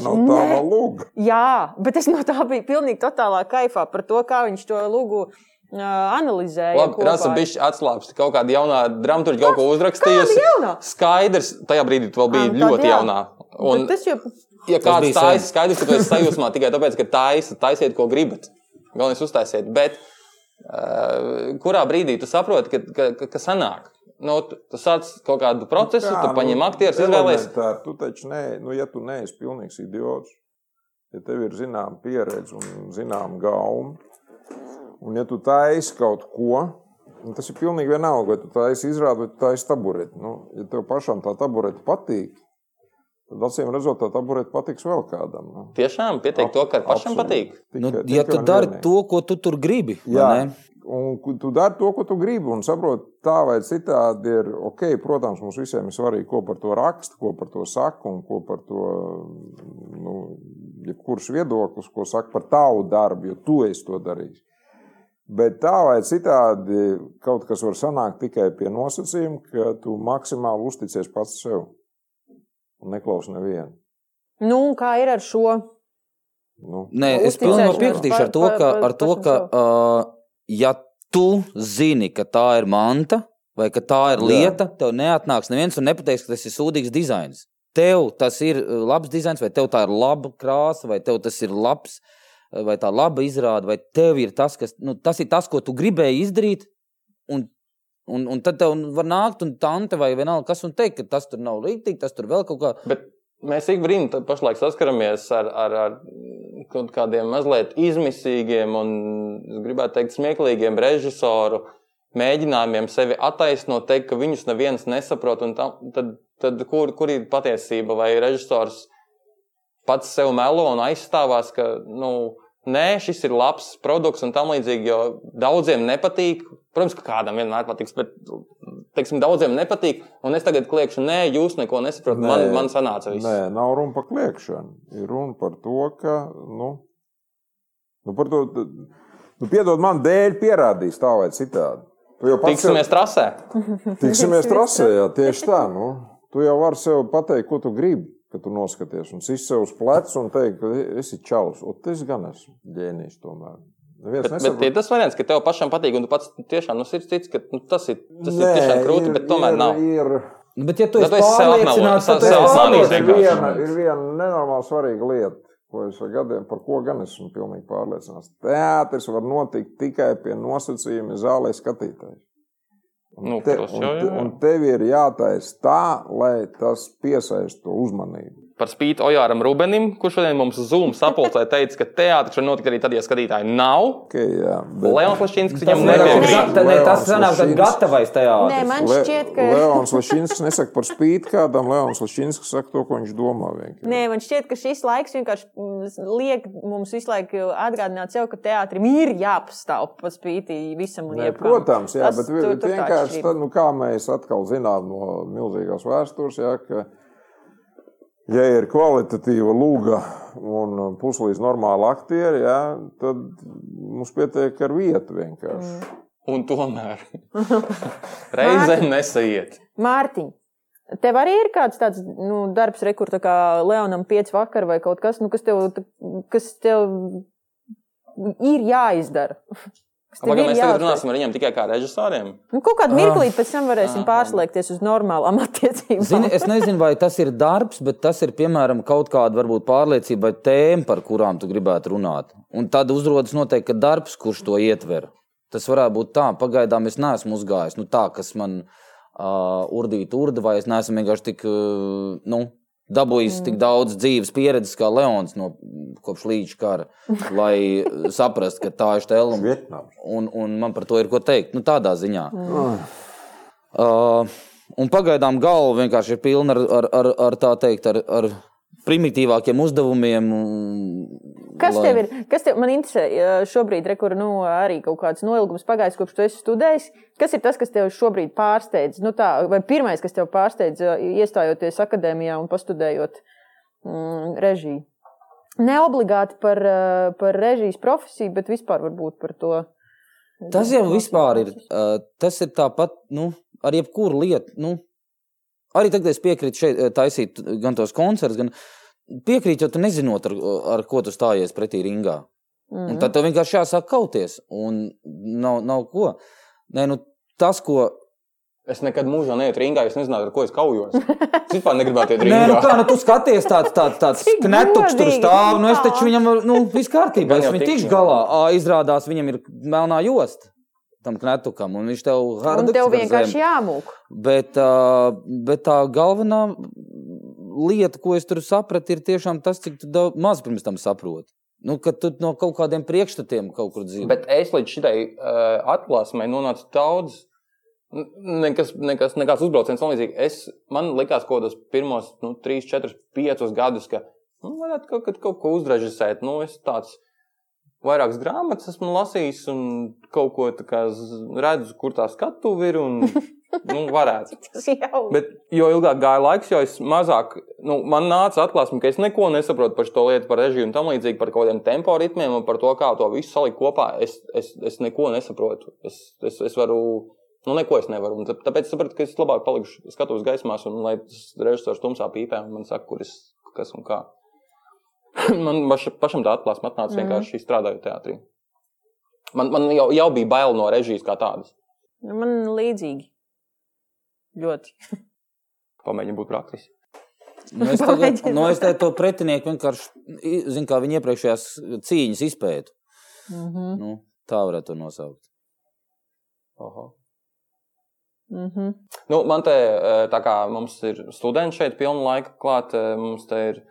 [SPEAKER 1] Tā nav tā
[SPEAKER 5] Nē,
[SPEAKER 1] valūga.
[SPEAKER 5] Jā, bet es no tā biju pilnīgi totālā kaifā par to, kā viņš to lūgu uh, analizēja.
[SPEAKER 6] Labi, Rasa bišķi atslābsti. Kaut kāda jaunā dramaturģija kaut ko uzrakstījusi.
[SPEAKER 5] kāda jaunā?
[SPEAKER 6] Skaidrs, tajā brīdī tu vēl
[SPEAKER 5] Ā,
[SPEAKER 6] biji
[SPEAKER 5] nu tad jā.
[SPEAKER 6] ļoti jaunā. Un,
[SPEAKER 5] Un... Tas jau
[SPEAKER 6] ja
[SPEAKER 3] Tas
[SPEAKER 6] kāds
[SPEAKER 3] bija
[SPEAKER 6] taisa, skaidrs, ka tu esi sajūsmā tikai tāpēc, ka taisa, taisiet, ko gribat. Galvenais uztaisiet. Bet uh, kurā brīdī tu saproti, ka, ka, ka, ka sanāk? Nu, tu, tu sāc kaut kādu procesu,
[SPEAKER 1] Jā,
[SPEAKER 6] tu
[SPEAKER 1] nu,
[SPEAKER 6] paņem aktierus, izvēlējies.
[SPEAKER 1] elementāri, Tu taču ne, nu, ja tu neesi pilnīgs idiots, ja tev ir zināma pieredze un zināma gauma, un ja tu taisi kaut ko, nu, tas ir pilnīgi vienalga, vai tu taisi izrādi, vai tu taisi tabureti. Nu, ja tev pašam tā tabureti patīk, tad acīm redzot, tā tabureti patiks vēl kādam. Nu.
[SPEAKER 6] Tiešām pieteikt to, ka pašam
[SPEAKER 1] Absolūti.
[SPEAKER 6] patīk.
[SPEAKER 1] Tikai-
[SPEAKER 3] Nu,
[SPEAKER 1] tikai
[SPEAKER 3] ja
[SPEAKER 1] un
[SPEAKER 3] tu dari
[SPEAKER 1] vienīgi.
[SPEAKER 3] to, ko tu tur gribi,
[SPEAKER 1] Jā,
[SPEAKER 3] vai ne?
[SPEAKER 1] un ku- tu dari to, ko tu gribi. Un saproti, tā vai citādi ir ok. Protams, mums visiem ir svarīgi, ko par to raksta, ko par to saka un ko par to nu, jebkurš viedoklis, ko saka par tavu darbu, jo tu esi to darījis. Bet tā vai citādi kaut kas var sanākt tikai pie nosacījuma, ka tu maksimāli uzticies pats sev un neklausi nevienu.
[SPEAKER 5] nu, un kā ir ar šo.
[SPEAKER 1] Nu,
[SPEAKER 3] Nē, es
[SPEAKER 5] Uzticēšanos
[SPEAKER 3] pilnībā piekritīšu ar to,
[SPEAKER 5] par-
[SPEAKER 3] ka,
[SPEAKER 5] par-
[SPEAKER 3] ar to, ka
[SPEAKER 5] pašam
[SPEAKER 3] uh, ja tu zini, ka tā ir manta vai ka tā ir
[SPEAKER 1] Jā.
[SPEAKER 3] lieta, tev neatnāks neviens un nepateiks, ka tas ir sūdīgs dizains. Tev tas ir uh, labs dizains, vai tev tā ir laba krāsa, vai tev tas ir labs, uh, vai tā laba izrāde, vai tev ir tas, kas, nu, tas ir tas, ko tu gribēji izdarīt. Un, un, un tad tev var nākt un tante vai vienalga kas un teikt, ka tas tur nav līdzīgi, tas tur vēl kaut kā.
[SPEAKER 6] Bet mēs ik brīdi tad pašlaik saskaramies ar, ar, ar kaut kādiem mazliet izmisīgiem un, es gribētu teikt, smieklīgiem režisoru mēģinājumiem sevi attaisnot, teikt, ka viņus neviens nesaprot. un tam- Tad, tad kur, kur ir patiesība? Vai režisors pats sev melo un aizstāvās, ka nu, nē, šis ir labs produkts un tam līdzīgi, jo daudziem nepatīk. Protams, ka kādam vienmēr patiks, bet teiksim, daudziem nepatīk. Un es tagad kliekšu, nē, jūs neko nesaprotat.
[SPEAKER 1] Nē.
[SPEAKER 6] Man, man sanāca viss.
[SPEAKER 1] Nē, nav runa par kliēkšanu. Ir runa par to, ka. Nu, nu par to nu, piedod man, dēļ pierādīs tā vai citādi. Tu jau pats
[SPEAKER 6] Tiksimies trasē.
[SPEAKER 1] sev, tiksimies trasē, jā, tieši tā. Nu. Tu jau vari sev pateikt, ko tu gribi, kad tu noskaties. Un es sev uz pleca un teiktu, ka e, esi čalis. Un tas gan esmu ģēnijs tomēr. Neviens
[SPEAKER 6] Bet, bet ir
[SPEAKER 1] nesaprot.
[SPEAKER 6] tas variants, ka tev pašam patīk, un tu pats tiešām no sirds tici, ka nu, tas ir, tas ir tiešām grūti, bet tomēr
[SPEAKER 1] ir,
[SPEAKER 6] nav.
[SPEAKER 1] Ir,
[SPEAKER 3] Nu, bet, ja tu
[SPEAKER 6] Nu,
[SPEAKER 3] esi
[SPEAKER 6] tu esi sev apmelojis,
[SPEAKER 3] pārliecināts, tad
[SPEAKER 6] sev-
[SPEAKER 3] tu esi
[SPEAKER 6] sev apmelojis
[SPEAKER 1] ir,
[SPEAKER 6] vienkārši.
[SPEAKER 1] viena, ir viena nenormāli svarīga lieta, ko es ar gadiem, par ko gan esmu pilnīgi pārliecināts. Teātris var notikt tikai pie nosacījuma zālē skatītājiem.
[SPEAKER 6] Nu,
[SPEAKER 1] Te,
[SPEAKER 6] tas
[SPEAKER 1] un,
[SPEAKER 6] jau
[SPEAKER 1] te,
[SPEAKER 6] ir.
[SPEAKER 1] un tev ir jātaisa tā, lai tas piesaista uzmanību.
[SPEAKER 6] Par spīti Ojāram Rubenim, kurš šodien mums
[SPEAKER 1] *laughs*
[SPEAKER 6] Zoom sapulcē teica, ka teātris var notikt arī tad, ja skatītāji nav.
[SPEAKER 1] Okay, jā,
[SPEAKER 6] Leons Lašīnskis viņam
[SPEAKER 1] Leons
[SPEAKER 6] nepiekrīt.
[SPEAKER 1] Lašīnskis.
[SPEAKER 3] Nē, tas
[SPEAKER 1] Leons
[SPEAKER 3] sanāk, ka
[SPEAKER 1] Lašīns.
[SPEAKER 3] gatavais tajā.
[SPEAKER 5] Nē, man
[SPEAKER 1] Le-
[SPEAKER 5] šķiet, ka.
[SPEAKER 1] Leons Lašinskis nesaka par spīti kādam. Leons Lašinskis saka to, ko viņš domā. vienkārši.
[SPEAKER 5] Nē, man šķiet, ka šis laiks vienkārši mm, liek mums visu laiku atgādināt sev, ka teātrim ir jāpastāv par spīti visam. un
[SPEAKER 1] Nē,
[SPEAKER 5] jebkam.
[SPEAKER 1] protams, jā,
[SPEAKER 5] Tas
[SPEAKER 1] bet
[SPEAKER 5] tur-
[SPEAKER 1] tur,
[SPEAKER 5] tur tā
[SPEAKER 1] vienkārši tā,
[SPEAKER 5] atšķirība.
[SPEAKER 1] nu, kā mēs atkal zinām no milzīgās vēstures, jā, ka, ja ir kvalitatīva lūga un puslīdz normāla aktieri, jā, tad mums pietiek ar vietu vienkārši. Mm.
[SPEAKER 6] Un
[SPEAKER 1] *laughs*
[SPEAKER 6] tomēr reizēm nesaiet.
[SPEAKER 5] Mārtiņ, tev arī ir kāds tāds nu, darbs, re, kur tā kā Leonam 5 vakar vai kaut kas, nu, kas, tev, kas tev ir jāizdara. Kas tev
[SPEAKER 6] Pagaidām
[SPEAKER 5] ir
[SPEAKER 6] mēs tagad
[SPEAKER 5] jāatver?
[SPEAKER 6] runāsim ar viņiem tikai kā režisoriem.
[SPEAKER 5] Nu, kaut kādu mirklī pēc tam varēsim
[SPEAKER 6] Ah.
[SPEAKER 5] pārslēgties uz normālām attiecībām.
[SPEAKER 3] Zini, es nezinu, vai tas ir darbs, bet tas ir piemēram kaut kāda varbūt pārliecība vai tēma, par kurām tu gribētu runāt. Un tad uzrodas noteikti ka darbs, kurš to ietver. Tas varētu būt tā, pagaidām es neesmu uzgājis nu, tā, kas man uh, urdītu urdu, vai es neesmu vienkārši tik. Uh, nu, Dabūjis mm. tik daudz dzīves pieredzes, kā Leons no kopš līdz kara, lai uh, saprastu, ka tā ir stela un,
[SPEAKER 1] Vietnams.
[SPEAKER 3] un, un man par to ir ko teikt. Nu, tādā ziņā. Mm. Uh, un pagaidām galva vienkārši ir pilna ar, ar, ar, ar tā teikt, ar, ar primitīvākiem uzdevumiem. un-
[SPEAKER 5] Kas
[SPEAKER 3] lai-
[SPEAKER 5] tev ir? Kas tev man interesē eh, šobrīd, re, kur nu, arī kaut kāds noilgums pagājis, kopš tu esi studējis? Kas ir tas, kas tev šobrīd pārsteidz? Nu, tā, vai pirmais, kas tev pārsteidz, eh, iestājoties akadēmijā un pastudējot mm, režiju? Ne obligāti par, eh, par režijas profesiju, bet vispār varbūt par to. eh,
[SPEAKER 3] Tas jau vispār ir. uh, Tas ir tāpat nu, ar jebkuru lietu. Nu, arī tagad es piekrītu šeit uh, taisīt gan tos koncertus, gan piekrītu, jo tu nezinot, ar, ar ko tu stājies pretī ringā. Mm.
[SPEAKER 5] Mhm.
[SPEAKER 3] Un tad tev vienkārši jāsāk kauties. Un nav, nav ko. Nē, nu, tas, ko.
[SPEAKER 6] Es nekad mūžā neietu rīngā, es nezināju, ar ko es kaujos. Es vispār negribētu iet
[SPEAKER 3] Nē,
[SPEAKER 6] rīngā.
[SPEAKER 3] nu kā nu, tu skaties, tāds, tāds, tāds
[SPEAKER 5] Cik
[SPEAKER 3] knetuks tur
[SPEAKER 5] godīgi,
[SPEAKER 3] stāv. Nu, es
[SPEAKER 5] tā.
[SPEAKER 3] taču viņam, nu, viss kārtībā,
[SPEAKER 6] Gan
[SPEAKER 3] es
[SPEAKER 6] jau
[SPEAKER 3] viņu
[SPEAKER 6] tikšu,
[SPEAKER 3] tikšu
[SPEAKER 6] jā.
[SPEAKER 3] galā. Ā, izrādās, viņam ir melnā josta tam knetukam, un viņš tev
[SPEAKER 5] Un
[SPEAKER 3] hardiks
[SPEAKER 5] tev
[SPEAKER 3] gar
[SPEAKER 5] vienkārši
[SPEAKER 3] zemi.
[SPEAKER 5] jāmūk.
[SPEAKER 3] Bet, ā, bet tā galvenā lieta, ko es tur sapratu, ir tiešām tas, cik tu daudz, maz pirms tam saproti. Nu, ka tu no kaut kādiem priekšstatiem kaut kur dzīvo.
[SPEAKER 6] Bet es līdz šitai uh, atklāsmei nonācu daudz. n- Nekas, nekas, nekāds uzbrauciens nav līdzīgs. Es, man liekas, kaut kādos pirmos, nu, 3, 4, 5 gadus, ka nu, varētu kaut, kad kaut ko uzrežisēt. Nu, es tāds vairākas grāmatas esmu lasījis un kaut ko tā kā z- redzu, kur tā skatuve ir. Un, nu, varētu.
[SPEAKER 5] Tas jau ir.
[SPEAKER 6] Bet jo ilgāk gāja laiks, jo es mazāk, nu, man nāca atklāsme, ka es neko nesaprotu par šo lietu, par režiju un tam līdzīgi, par kaut kādiem tempo ritmiem un par to, kā to visu salikt kopā. Es, es, es neko nesaprotu. Es, es, es varu, nu, neko es nevaru. Un tā- Tāpēc es sapratu, ka es labāk palikšu skatos gaismās un lai tas režisors tumsā pīpē un man saka, kur es, kas un kā. *laughs* man paša- pašam tā atklāsme atnāca
[SPEAKER 5] Mhm.
[SPEAKER 6] vienkārši strādājot teātrī. Man, man jau, jau bija bail no režijas kā tādas.
[SPEAKER 5] Man līdzīgi. Ļoti.
[SPEAKER 6] Pamēģini būt praktiski.
[SPEAKER 3] Nu, es tagad,
[SPEAKER 5] Pamēģināt.
[SPEAKER 3] nu, es tagad to pretinieku vienkārši, i- zinu, kā viņi iepriekšējās cīņas izpētu.
[SPEAKER 5] Mhm.
[SPEAKER 3] Nu, tā varētu to nosaukt.
[SPEAKER 6] Aha.
[SPEAKER 5] Mhm.
[SPEAKER 6] Nu, man te eh, tā kā mums ir studenti šeit pilnu laiku klāt, eh, mums te ir.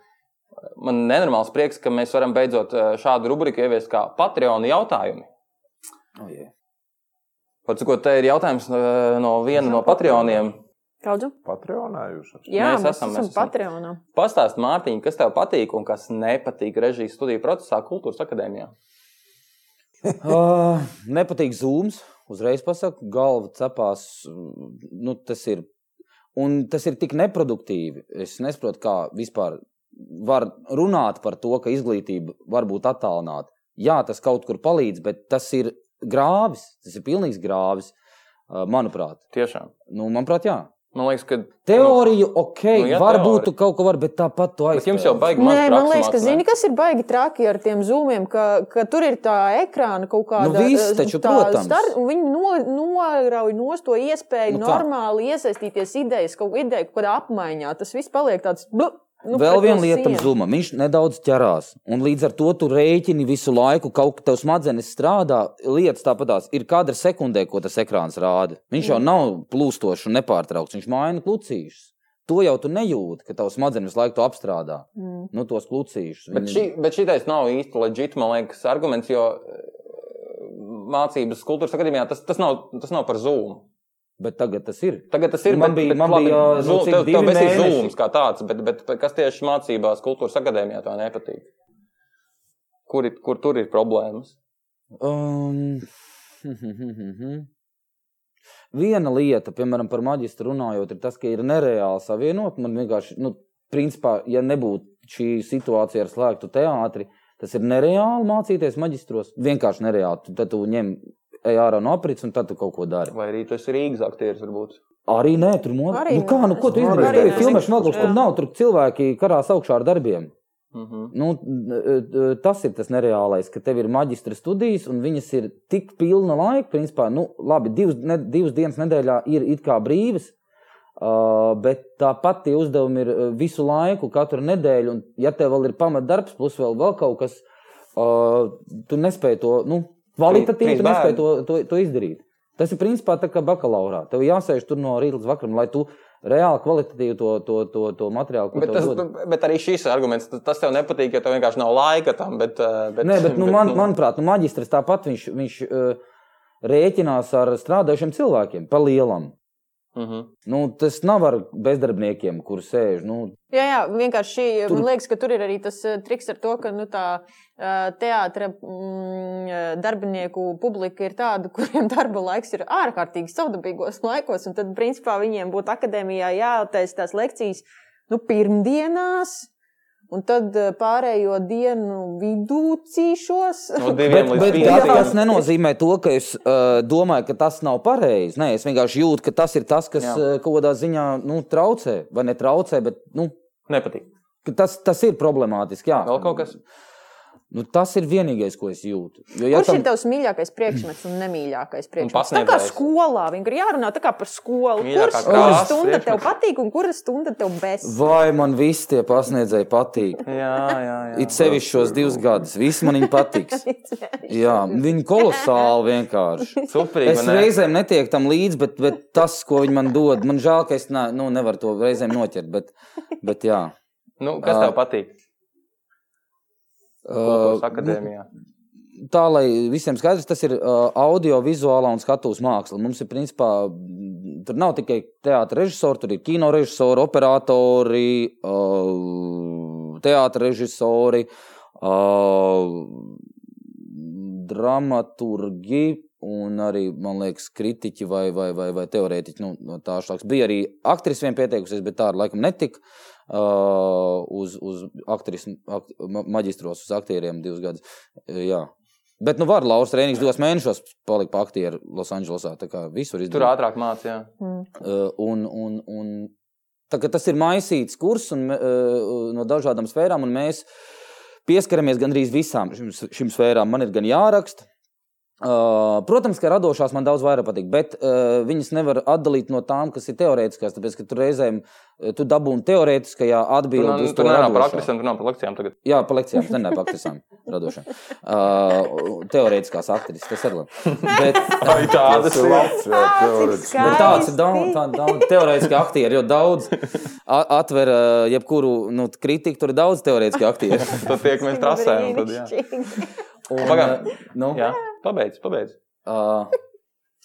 [SPEAKER 6] Man ir nenormāls prieks, ka mēs varam beidzot eh, šādu rubriku ieviest kā Patreon jautājumi.
[SPEAKER 3] Oh, yeah.
[SPEAKER 6] Par cik te ir jautājums eh, no viena no Patreoniem.
[SPEAKER 5] Kādu?
[SPEAKER 1] Patreonējuši.
[SPEAKER 5] Jā, mēs,
[SPEAKER 6] Mēs
[SPEAKER 5] mēs
[SPEAKER 6] esam,
[SPEAKER 5] esam,
[SPEAKER 6] mēs
[SPEAKER 5] esam
[SPEAKER 6] esam.
[SPEAKER 5] Patreonā.
[SPEAKER 6] Pastāst, Mārtiņ, kas tev patīk un kas nepatīk režijas studiju procesā, kultūras akadēmijā?
[SPEAKER 3] uh, nepatīk zūms. Uzreiz pasaku, galva cepās. mm, Nu, tas ir. Un tas ir tik neproduktīvi. Es nesaprotu, kā vispār var runāt par to, ka izglītība var būt attālināta. Jā, tas kaut kur palīdz, bet tas ir grāvis. Tas ir pilnīgs grāvis, uh, manuprāt.
[SPEAKER 6] Tiešām.
[SPEAKER 3] Nu, manuprāt, jā.
[SPEAKER 6] Man liekas, ka.
[SPEAKER 3] Teoriju, ok,
[SPEAKER 6] nu,
[SPEAKER 3] nu,
[SPEAKER 6] jā,
[SPEAKER 3] jā, varbūt
[SPEAKER 6] teorija.
[SPEAKER 3] tu kaut ko vari, bet tāpat to
[SPEAKER 6] Bet eh,
[SPEAKER 3] aizsākt.
[SPEAKER 6] jums jau baigi
[SPEAKER 5] Nē, man
[SPEAKER 6] maz prakses
[SPEAKER 5] liekas, ka
[SPEAKER 6] mācīt,
[SPEAKER 5] zini,
[SPEAKER 6] ne?
[SPEAKER 5] kas ir baigi traki ar tiem zūmiem, ka, ka tur ir tā ekrāna kaut kāda eh,
[SPEAKER 3] Nu, viss taču, protams.
[SPEAKER 5] un viņi no, norauj no to iespēju
[SPEAKER 3] Nu,
[SPEAKER 5] nu,
[SPEAKER 3] kā?
[SPEAKER 5] normāli iesaistīties idejas, kaut kāda ideja, kaut kādā apmaiņā. Tas viss paliek tāds. blu, Nu,
[SPEAKER 3] Nu, Vēl
[SPEAKER 5] pret to
[SPEAKER 3] viena lieta,
[SPEAKER 5] sienu.
[SPEAKER 3] zuma. Viņš nedaudz ķerās. Un līdz ar to tu rēķini visu laiku, kaut kā tev smadzenes strādā. Lietas tāpatās ir kadra sekundē, ko tas ekrāns rāda. Viņš jau nav plūstošs un nepārtraukts. Viņš maina klucīšus. To jau tu nejūti, ka tavs smadzenes visu laiku to apstrādā.
[SPEAKER 5] Mm.
[SPEAKER 3] Nu, tos klucīšus.
[SPEAKER 6] Bet, šī, bet šitais nav īsti leģitīvs, man liekas, arguments, jo eh, mācības kultūras akadēmijā tas, tas, nav, tas nav par zūmu.
[SPEAKER 3] bet tagad tas ir.
[SPEAKER 6] Tagad tas ir.
[SPEAKER 3] Man bija- man bija, nu,
[SPEAKER 6] zūms,
[SPEAKER 3] cik
[SPEAKER 6] tev, tev
[SPEAKER 3] divi
[SPEAKER 6] bija
[SPEAKER 3] mēneši?
[SPEAKER 6] zūms kā tāds, bet, bet kas tieši mācībās, kultūras akadēmijā tā nepatīk? Kur, ir- kur tur ir problēmas?
[SPEAKER 3] Um, *laughs* Viena lieta, piemēram, par maģistru runājot, ir tas, ka ir nereāli savienot. Man vienkārši, nu, principā, ja nebūtu šī situācija ar slēgtu teātri, tas ir nereāli mācīties maģistros. Vienkārši nereāli. Tu- Tad tu ņem ej ārā no aprits un tad tu kaut ko dari.
[SPEAKER 6] Vai arī tas ir Rīgas aktieris, varbūt?
[SPEAKER 3] Arī nē, tur monēta.
[SPEAKER 5] Arī
[SPEAKER 3] Nu, kā, nu, ko tu
[SPEAKER 1] Arī nē.
[SPEAKER 3] izdarīji? Tur ir filmēšana, vēl kaut kas
[SPEAKER 5] Jā.
[SPEAKER 3] tur nav. Tur cilvēki karās augšā ar darbiem.
[SPEAKER 6] Mhm.
[SPEAKER 3] Nu, n- e, tas ir tas nereālais, ka tev ir maģistra studijas, un viņas ir tik pilna laika. Principā, nu, labi, divas, ne, divas dienas nedēļā ir it kā brīvas, uh, bet tāpat tie uzdevumi ir e, visu laiku, katru nedēļu. Un, ja tev vēl ir pamatdarbs, plus vēl, vēl kaut kas, uh, tu nespēji to nu,
[SPEAKER 6] Trīs
[SPEAKER 3] kvalitatīvi tu
[SPEAKER 6] bērni.
[SPEAKER 3] nespēji to, to, to izdarīt. Tas ir principā tā kā bakalaurā. Tev jāsēž tur no rīta līdz vakaram, lai tu reāli kvalitatīvi to, to, to, to materiālu ko
[SPEAKER 6] Bet,
[SPEAKER 3] tev
[SPEAKER 6] tas,
[SPEAKER 3] dod.
[SPEAKER 6] bet arī šis arguments, tas- tas tev nepatīk, ja tev vienkārši nav laika tam. Bet, eh, bet,
[SPEAKER 3] Nē, bet, nu, man, manuprāt, nu, maģistrs tāpat viņš, viņš uh, rēķinās ar strādājušiem cilvēkiem, pa lielam.
[SPEAKER 6] Mhm.
[SPEAKER 3] Nu, tas nav ar bezdarbniekiem, kur sēž. Nu,
[SPEAKER 5] Jā, jā, vienkārši šī,
[SPEAKER 3] Tur-
[SPEAKER 5] man liekas, ka tur ir arī tas eh, triks ar to, ka nu, tā teātris eh, darbinieku publika ir tāda, *laughs* kuriem darba laiks ir ārkārtīgi savdabīgos laikos. un Tad, principā, viņiem būtu akadēmijā jātaisa tās lekcijas nu, pirmdienās. Un tad eh, pārējo dienu vidū cīšos.
[SPEAKER 6] No diviem
[SPEAKER 3] bet
[SPEAKER 6] līdz
[SPEAKER 3] bet
[SPEAKER 6] trim
[SPEAKER 3] jā,
[SPEAKER 6] gadiem.
[SPEAKER 3] tas nenozīmē to, ka es uh, domāju, ka tas nav pareizi. Nē, es vienkārši jūtu, ka tas ir tas, kas
[SPEAKER 6] Jā.
[SPEAKER 3] uh, kaut kādā ziņā nu, traucē. Vai ne traucē, bet nu,
[SPEAKER 6] nepatīk.
[SPEAKER 3] ka tas, tas ir problemātiski. Jā.
[SPEAKER 6] Vēl kaut kas?
[SPEAKER 3] Nu, tas ir vienīgais, ko es jūtu. Jo,
[SPEAKER 5] *laughs* Kurš ir tavs mīļākais priekšmets un nemīļākais priekšmets? Nu, Tā kā
[SPEAKER 6] pasniedzējs.
[SPEAKER 5] skolā, vienkārši jārunā tā kā par skolu.
[SPEAKER 6] Mīļākā
[SPEAKER 5] Kuras kura
[SPEAKER 6] krāsa,
[SPEAKER 5] stunda tev
[SPEAKER 6] priekšmets.
[SPEAKER 5] patīk un kura stunda tev bēs?
[SPEAKER 3] Vai man visi tie pasniedzēji patīk?
[SPEAKER 6] Jā, jā, jā.
[SPEAKER 3] It sevišķi šos divus gadus. Visi
[SPEAKER 5] *laughs*
[SPEAKER 3] man viņa patiks. Jā, viņi kolosāli vienkārši.
[SPEAKER 6] Superīgi.
[SPEAKER 3] Es
[SPEAKER 6] vai ne?
[SPEAKER 3] reizēm netiek tam līdzi, bet, bet tas, ko viņi man dod, man žēl, ka es ne, nu, nevaru to reizēm noķert. Bet, bet jā,
[SPEAKER 6] Nu, kas tev patīk?
[SPEAKER 3] Uh,
[SPEAKER 6] Kultūras akadēmijā.
[SPEAKER 3] tā lai visiem skaidrs, tas ir uh, audio-vizuālā un skatuves māksla. Mums ir principā, mm, tur nav tikai teātris režisori, tur ir kino režisori, operatori, uh, teātris režisori, uh, dramaturgi. Un arī, man liekas, kritiķi vai, vai, vai, vai teorētiķi. Nu, no tā šlāks. bija arī aktris vien pieteikusies, bet tā ar laikam netika. Uh, uz uz aktris, akt, ma- maģistros, uz aktieriem divus gadus. Jā. Bet, nu, var Lauris Rēnīgs divos mēnešos palikt par aktieru Losandželosā. Tā kā visur
[SPEAKER 6] Tur
[SPEAKER 3] izdarīt.
[SPEAKER 6] ātrāk mācījās.
[SPEAKER 3] Uh, un, un, un, tā, kā tas ir maisīts kurs un, uh, no dažādām sfērām, un mēs pieskaramies gandrīz visām šim, šim sfērām. Man ir gan jāraksta. Uh, protams, ka radošās man daudz vairāk patīk, bet uh, viņas nevar atdalīt no tām, kas ir teorētiskās. Tāpēc, ka tur reizēm uh, tu dabūji teorētiskajā
[SPEAKER 6] Tur nav
[SPEAKER 3] atbildē.
[SPEAKER 6] tur nav par aktrisiem, tur nav par lekcijām. Tagad
[SPEAKER 3] Jā, par lekcijām, ne par aktrisām, radošām. Uh, teorētiskās aktrises, tas
[SPEAKER 6] *laughs*
[SPEAKER 3] ir labi. Bet,
[SPEAKER 6] Ai, tādas ir.
[SPEAKER 1] labs jā, teorētiski.
[SPEAKER 3] Bet Nu, tāds ir daudz, tā, daudz teorētiski aktieri, jo daudz a- atver ā, jebkuru nu, kritiku. Tur ir daudz teorētiski aktieri.
[SPEAKER 6] Tad tiekamies trasē. un Tad, jā.
[SPEAKER 3] Un,
[SPEAKER 6] Pagaid.
[SPEAKER 3] ā, nu,
[SPEAKER 6] jā, pabeidz, pabeidz.
[SPEAKER 3] ā,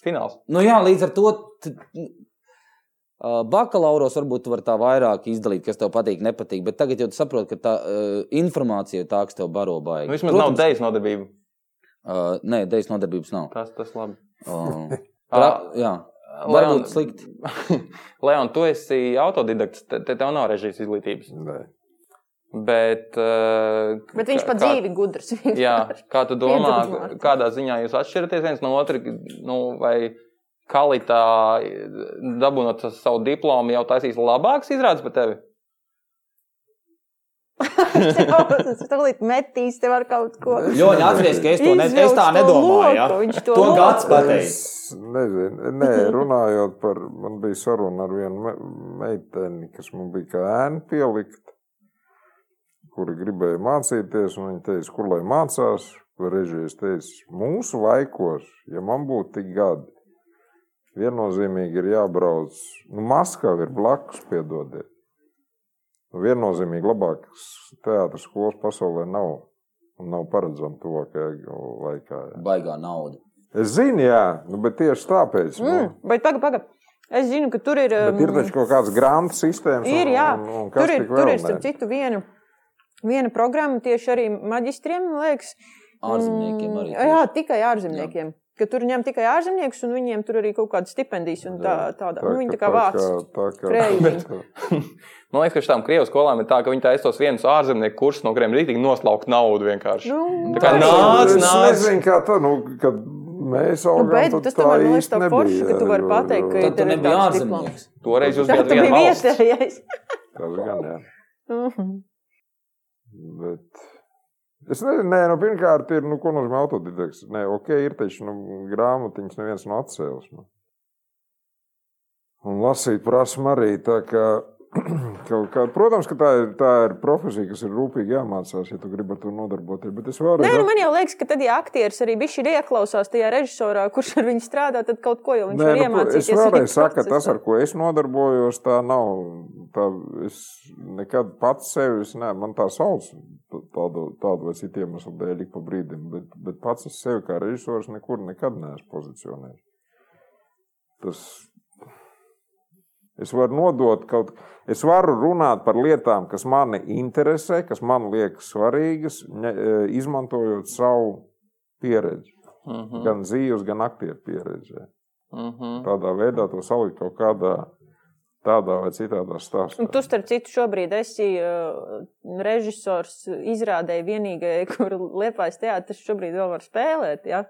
[SPEAKER 6] Fināls.
[SPEAKER 3] nu, jā, līdz ar to. t- ā, Bakalauros varbūt tu vari tā vairāk izdalīt, kas tev patīk, nepatīk. Bet tagad jau tu saproti, ka tā uh, informācija ir tā, kas tev baro baigi.
[SPEAKER 6] Nu, vismaz Protams. nav dejas nodarbība.
[SPEAKER 3] Uh, nē, dejas nodarbības nav.
[SPEAKER 6] Tas tas labi.
[SPEAKER 3] Uh,
[SPEAKER 6] Ā,
[SPEAKER 3] jā,
[SPEAKER 6] Leon-
[SPEAKER 3] varbūt slikti.
[SPEAKER 6] *laughs* Leon, tu esi autodidakts, te, te tev nav režijas izglītības.
[SPEAKER 1] Nē.
[SPEAKER 6] Bet, uh,
[SPEAKER 5] Bet viņš pa dzīvi gudrs.
[SPEAKER 6] *laughs* Jā,
[SPEAKER 5] *laughs*
[SPEAKER 6] kā tu domā,
[SPEAKER 5] Piedzīvot.
[SPEAKER 6] kādā ziņā jūs atšķiraties viens no otra? Nu, vai Kalitā dabūjot savu diplomu, jau taisīs labāks izrādes par tevi?
[SPEAKER 5] Tālāk metīs tev ar kaut ko.
[SPEAKER 1] Ļoti atceries,
[SPEAKER 3] ka
[SPEAKER 5] Izvilks to loku, Viņš to loku.
[SPEAKER 1] Es nezinu, nē, runājot par, man bija saruna ar vienu me- meiteni, kas man bija kā ēna pielikt, kuri gribēja mācīties, un viņa teica, kur lai mācās, režīs teica, mūsu laikos, ja man būtu tik gadi, viennozīmīgi ir jābrauc, nu, Maskava ir blakus, piedodiet. Nu, Viennozīmīgi labākas teātras skolas pasaulē nav, un nav paredzama tuvākajā laikā. Jā.
[SPEAKER 3] Baigā nauda.
[SPEAKER 1] Es zinu, jā, nu, bet tieši tāpēc.
[SPEAKER 5] Mm,
[SPEAKER 1] Mm.
[SPEAKER 5] Bet pagaidi, pagaidi. Es zinu, ka tur ir.
[SPEAKER 1] Nu, bet ir
[SPEAKER 5] um,
[SPEAKER 1] taču kaut kāds grāmatu sistēmas.
[SPEAKER 5] Ir, jā.
[SPEAKER 1] un, un, un kas
[SPEAKER 5] Tur ir,
[SPEAKER 1] tik vēl
[SPEAKER 5] tur ir
[SPEAKER 1] nē?
[SPEAKER 5] starp citu, viena, viena programma tieši arī maģistriem, man liekas. Un-
[SPEAKER 3] Ārzemniekiem arī.
[SPEAKER 5] Mm, Jā, tikai ārzemniekiem. Ka tur ņem tikai ārzemniekus, un viņiem tur arī kaut kādas stipendijas. un Tā, tāda, nu, viņi tā kā vāc.
[SPEAKER 1] Tā kā *laughs*
[SPEAKER 5] krējumu.
[SPEAKER 6] Man liekas, ka šīm krievu skolām ir tā, ka viņi taisītos viens ārzemnieku kursus, no kuriem rītīgi noslaukt naudu vienkārši.
[SPEAKER 5] Nu,
[SPEAKER 6] Tā kā nāc,
[SPEAKER 1] Es
[SPEAKER 6] nāc!
[SPEAKER 1] nezinu, kā tā, nu, kad mēs
[SPEAKER 5] Nu,
[SPEAKER 1] augām,
[SPEAKER 5] bet
[SPEAKER 1] tad
[SPEAKER 5] tas
[SPEAKER 1] tā
[SPEAKER 5] tomēr man liekas
[SPEAKER 1] īsti
[SPEAKER 5] tā forši,
[SPEAKER 1] nebija,
[SPEAKER 5] ka tu vari
[SPEAKER 1] jo-
[SPEAKER 5] pateikt, ka
[SPEAKER 1] jo-
[SPEAKER 5] ir-
[SPEAKER 3] Tad tu nebija
[SPEAKER 5] Tāds
[SPEAKER 3] ārzemnieks.
[SPEAKER 6] Toreiz jūs
[SPEAKER 5] Tā
[SPEAKER 6] bijat
[SPEAKER 5] tu biji
[SPEAKER 6] viena valsts.
[SPEAKER 5] vietējais.
[SPEAKER 1] Tas gan, jā.
[SPEAKER 5] Mhm.
[SPEAKER 1] Bet... Es nezinu, nē, nu, pirmkārt, ir, nu, ko nozīmē autodidakts. Nē, ok, ir taču nu, grāmatiņas, neviens nav atcēlis. Nu. Un lasīt prasmu arī. Tā kā, *clears throat* kaut kā, protams, ka tā ir, tā ir profesija, kas ir rūpīgi jāmācās, ja tu gribi ar to nodarboties. Bet es
[SPEAKER 5] Nē, nu
[SPEAKER 1] vēlreiz
[SPEAKER 5] man jau liekas, ka tad, ja aktieris arī bija šī ieklausās tajā režisorā, kurš ar viņu strādā, tad kaut ko jau viņš var
[SPEAKER 1] nu, ko-
[SPEAKER 5] iemācīties.
[SPEAKER 1] es vēlreiz
[SPEAKER 5] arī
[SPEAKER 1] saku, ka
[SPEAKER 5] procesā.
[SPEAKER 1] tas, ar ko es nodarbojos, tā nav. Tā es nekad pats sevi, es ne, man tā sauc, t- tādu, tādu vai citu iemeslu dēļ, ik pa brīdim, bet, bet pats es sevi kā režisors nekur nekad neesmu pozicionējis. Tas Es varu nodot kaut ko. Es varu runāt par lietām, kas mani interesē, kas man liekas svarīgas, ne, e, izmantojot savu pieredzi.
[SPEAKER 6] Mhm,
[SPEAKER 1] Gan dzīves, gan aktieru pieredzi.
[SPEAKER 6] mhm.
[SPEAKER 1] Tādā veidā to salikt kaut kādā tādā vai citā stāstā.
[SPEAKER 5] Un tu, starp citu, šobrīd esi uh, *laughs* režisors, izrādēji vienīgais, kur Liepais teātris šobrīd vēl var spēlēt. Ja?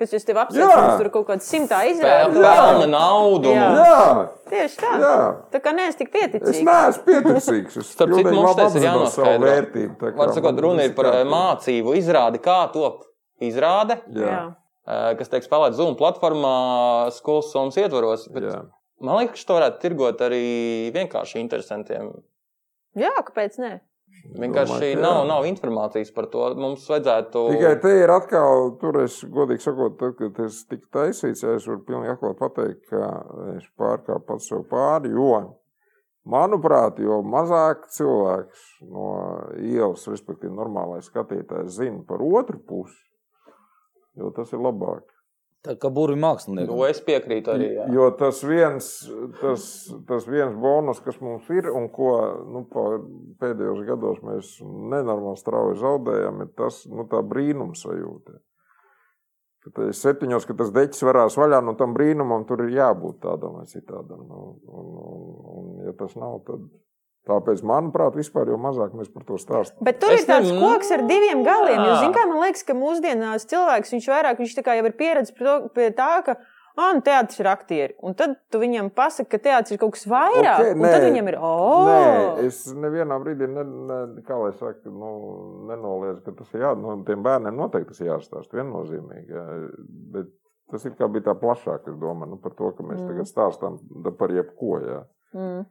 [SPEAKER 5] Kas jūs tev apsveic,
[SPEAKER 1] Jā.
[SPEAKER 5] jums tur kaut kāda simtā izrāda?
[SPEAKER 6] Pelna naudu.
[SPEAKER 5] Jā.
[SPEAKER 6] un-
[SPEAKER 1] Nu, Jā,
[SPEAKER 5] Tieši tā.
[SPEAKER 1] jā.
[SPEAKER 5] Tā kā neesmu tik
[SPEAKER 1] Es
[SPEAKER 5] pieticīgs.
[SPEAKER 1] neesmu pieticīgs. Es
[SPEAKER 6] Starp citu,
[SPEAKER 1] pilnīgi
[SPEAKER 6] mums
[SPEAKER 1] labi
[SPEAKER 6] tas ir
[SPEAKER 1] apzinos savu
[SPEAKER 6] jānoskaidro.
[SPEAKER 1] vērtību, tā kā
[SPEAKER 6] Var sakot,
[SPEAKER 1] man
[SPEAKER 6] runa
[SPEAKER 1] viss
[SPEAKER 6] ir par eh,
[SPEAKER 1] kārtībā.
[SPEAKER 6] mācību izrādi, kā top izrāde,
[SPEAKER 1] Jā,
[SPEAKER 6] eh, kas tiek spēlēta Zoom platformā, skolas somas ietvaros. Bet
[SPEAKER 1] jā.
[SPEAKER 6] Man liekas, ka to varētu tirgot arī vienkārši interesantiem.
[SPEAKER 5] Jā, kāpēc ne?
[SPEAKER 6] Vienkārši
[SPEAKER 1] Domāju, ka
[SPEAKER 6] nav,
[SPEAKER 1] jā.
[SPEAKER 6] nav informācijas par to. Mums vajadzētu.
[SPEAKER 1] Tikai te ir atkal, tur es godīgi sakot, tad, kad es tiku taisīts, es varu pilnīgi atklāti pateikt, ka es pārkāpu pats sev pāri, jo, manuprāt, jo mazāk cilvēks no ielas, respektīvi, normālais skatītājs zina par otru pusi, jo tas ir labāk.
[SPEAKER 3] Tā kā burvīgi mākslinieki.
[SPEAKER 6] To es piekrītu arī. Jā.
[SPEAKER 1] Jo tas viens, tas, tas viens bonus, kas mums ir un ko nu, pa- pēdējos gados mēs nenormāli strauji zaudējām, ir tas nu, tā brīnumsajūta. Kad es septiņos, kad tas deķis varās vaļā, nu tam brīnumam tur ir jābūt tādam vai citādam. nu, Un, un, un, un ja tas nav, tad tāpēc, manuprāt, vispār jau mazāk mēs par to stāstām.
[SPEAKER 5] Bet tur es
[SPEAKER 6] Es
[SPEAKER 5] ir tāds
[SPEAKER 6] nezinu.
[SPEAKER 5] koks ar diviem galiem.
[SPEAKER 6] Jā.
[SPEAKER 5] Jo, zin, kā, man liekas, ka mūsdienās cilvēks viņš vairāk viņš tā kā jau ir pieredzējis pie, to- pie tā, ka ah, nu, teātris ir aktieri. Un tad tu viņam pasaki, ka teātris ir kaut kas vairāk.
[SPEAKER 1] Ok,
[SPEAKER 5] Okay, un
[SPEAKER 1] nē.
[SPEAKER 5] tad viņam ir, oh,
[SPEAKER 1] Nē, es nevienā brīdī, ne, ne, kā lai saka, nu, nenoliedzu, ka tas ir jā, nu, tiem bērniem noteikti tas ir jāstāsta viennozīmīgi. Jā. Bet tas ir kā bija tā plašāka doma nu, par to, ka mēs
[SPEAKER 5] Mm.
[SPEAKER 1] mm. tagad stāstām da- par jebko. Jā.
[SPEAKER 5] mm.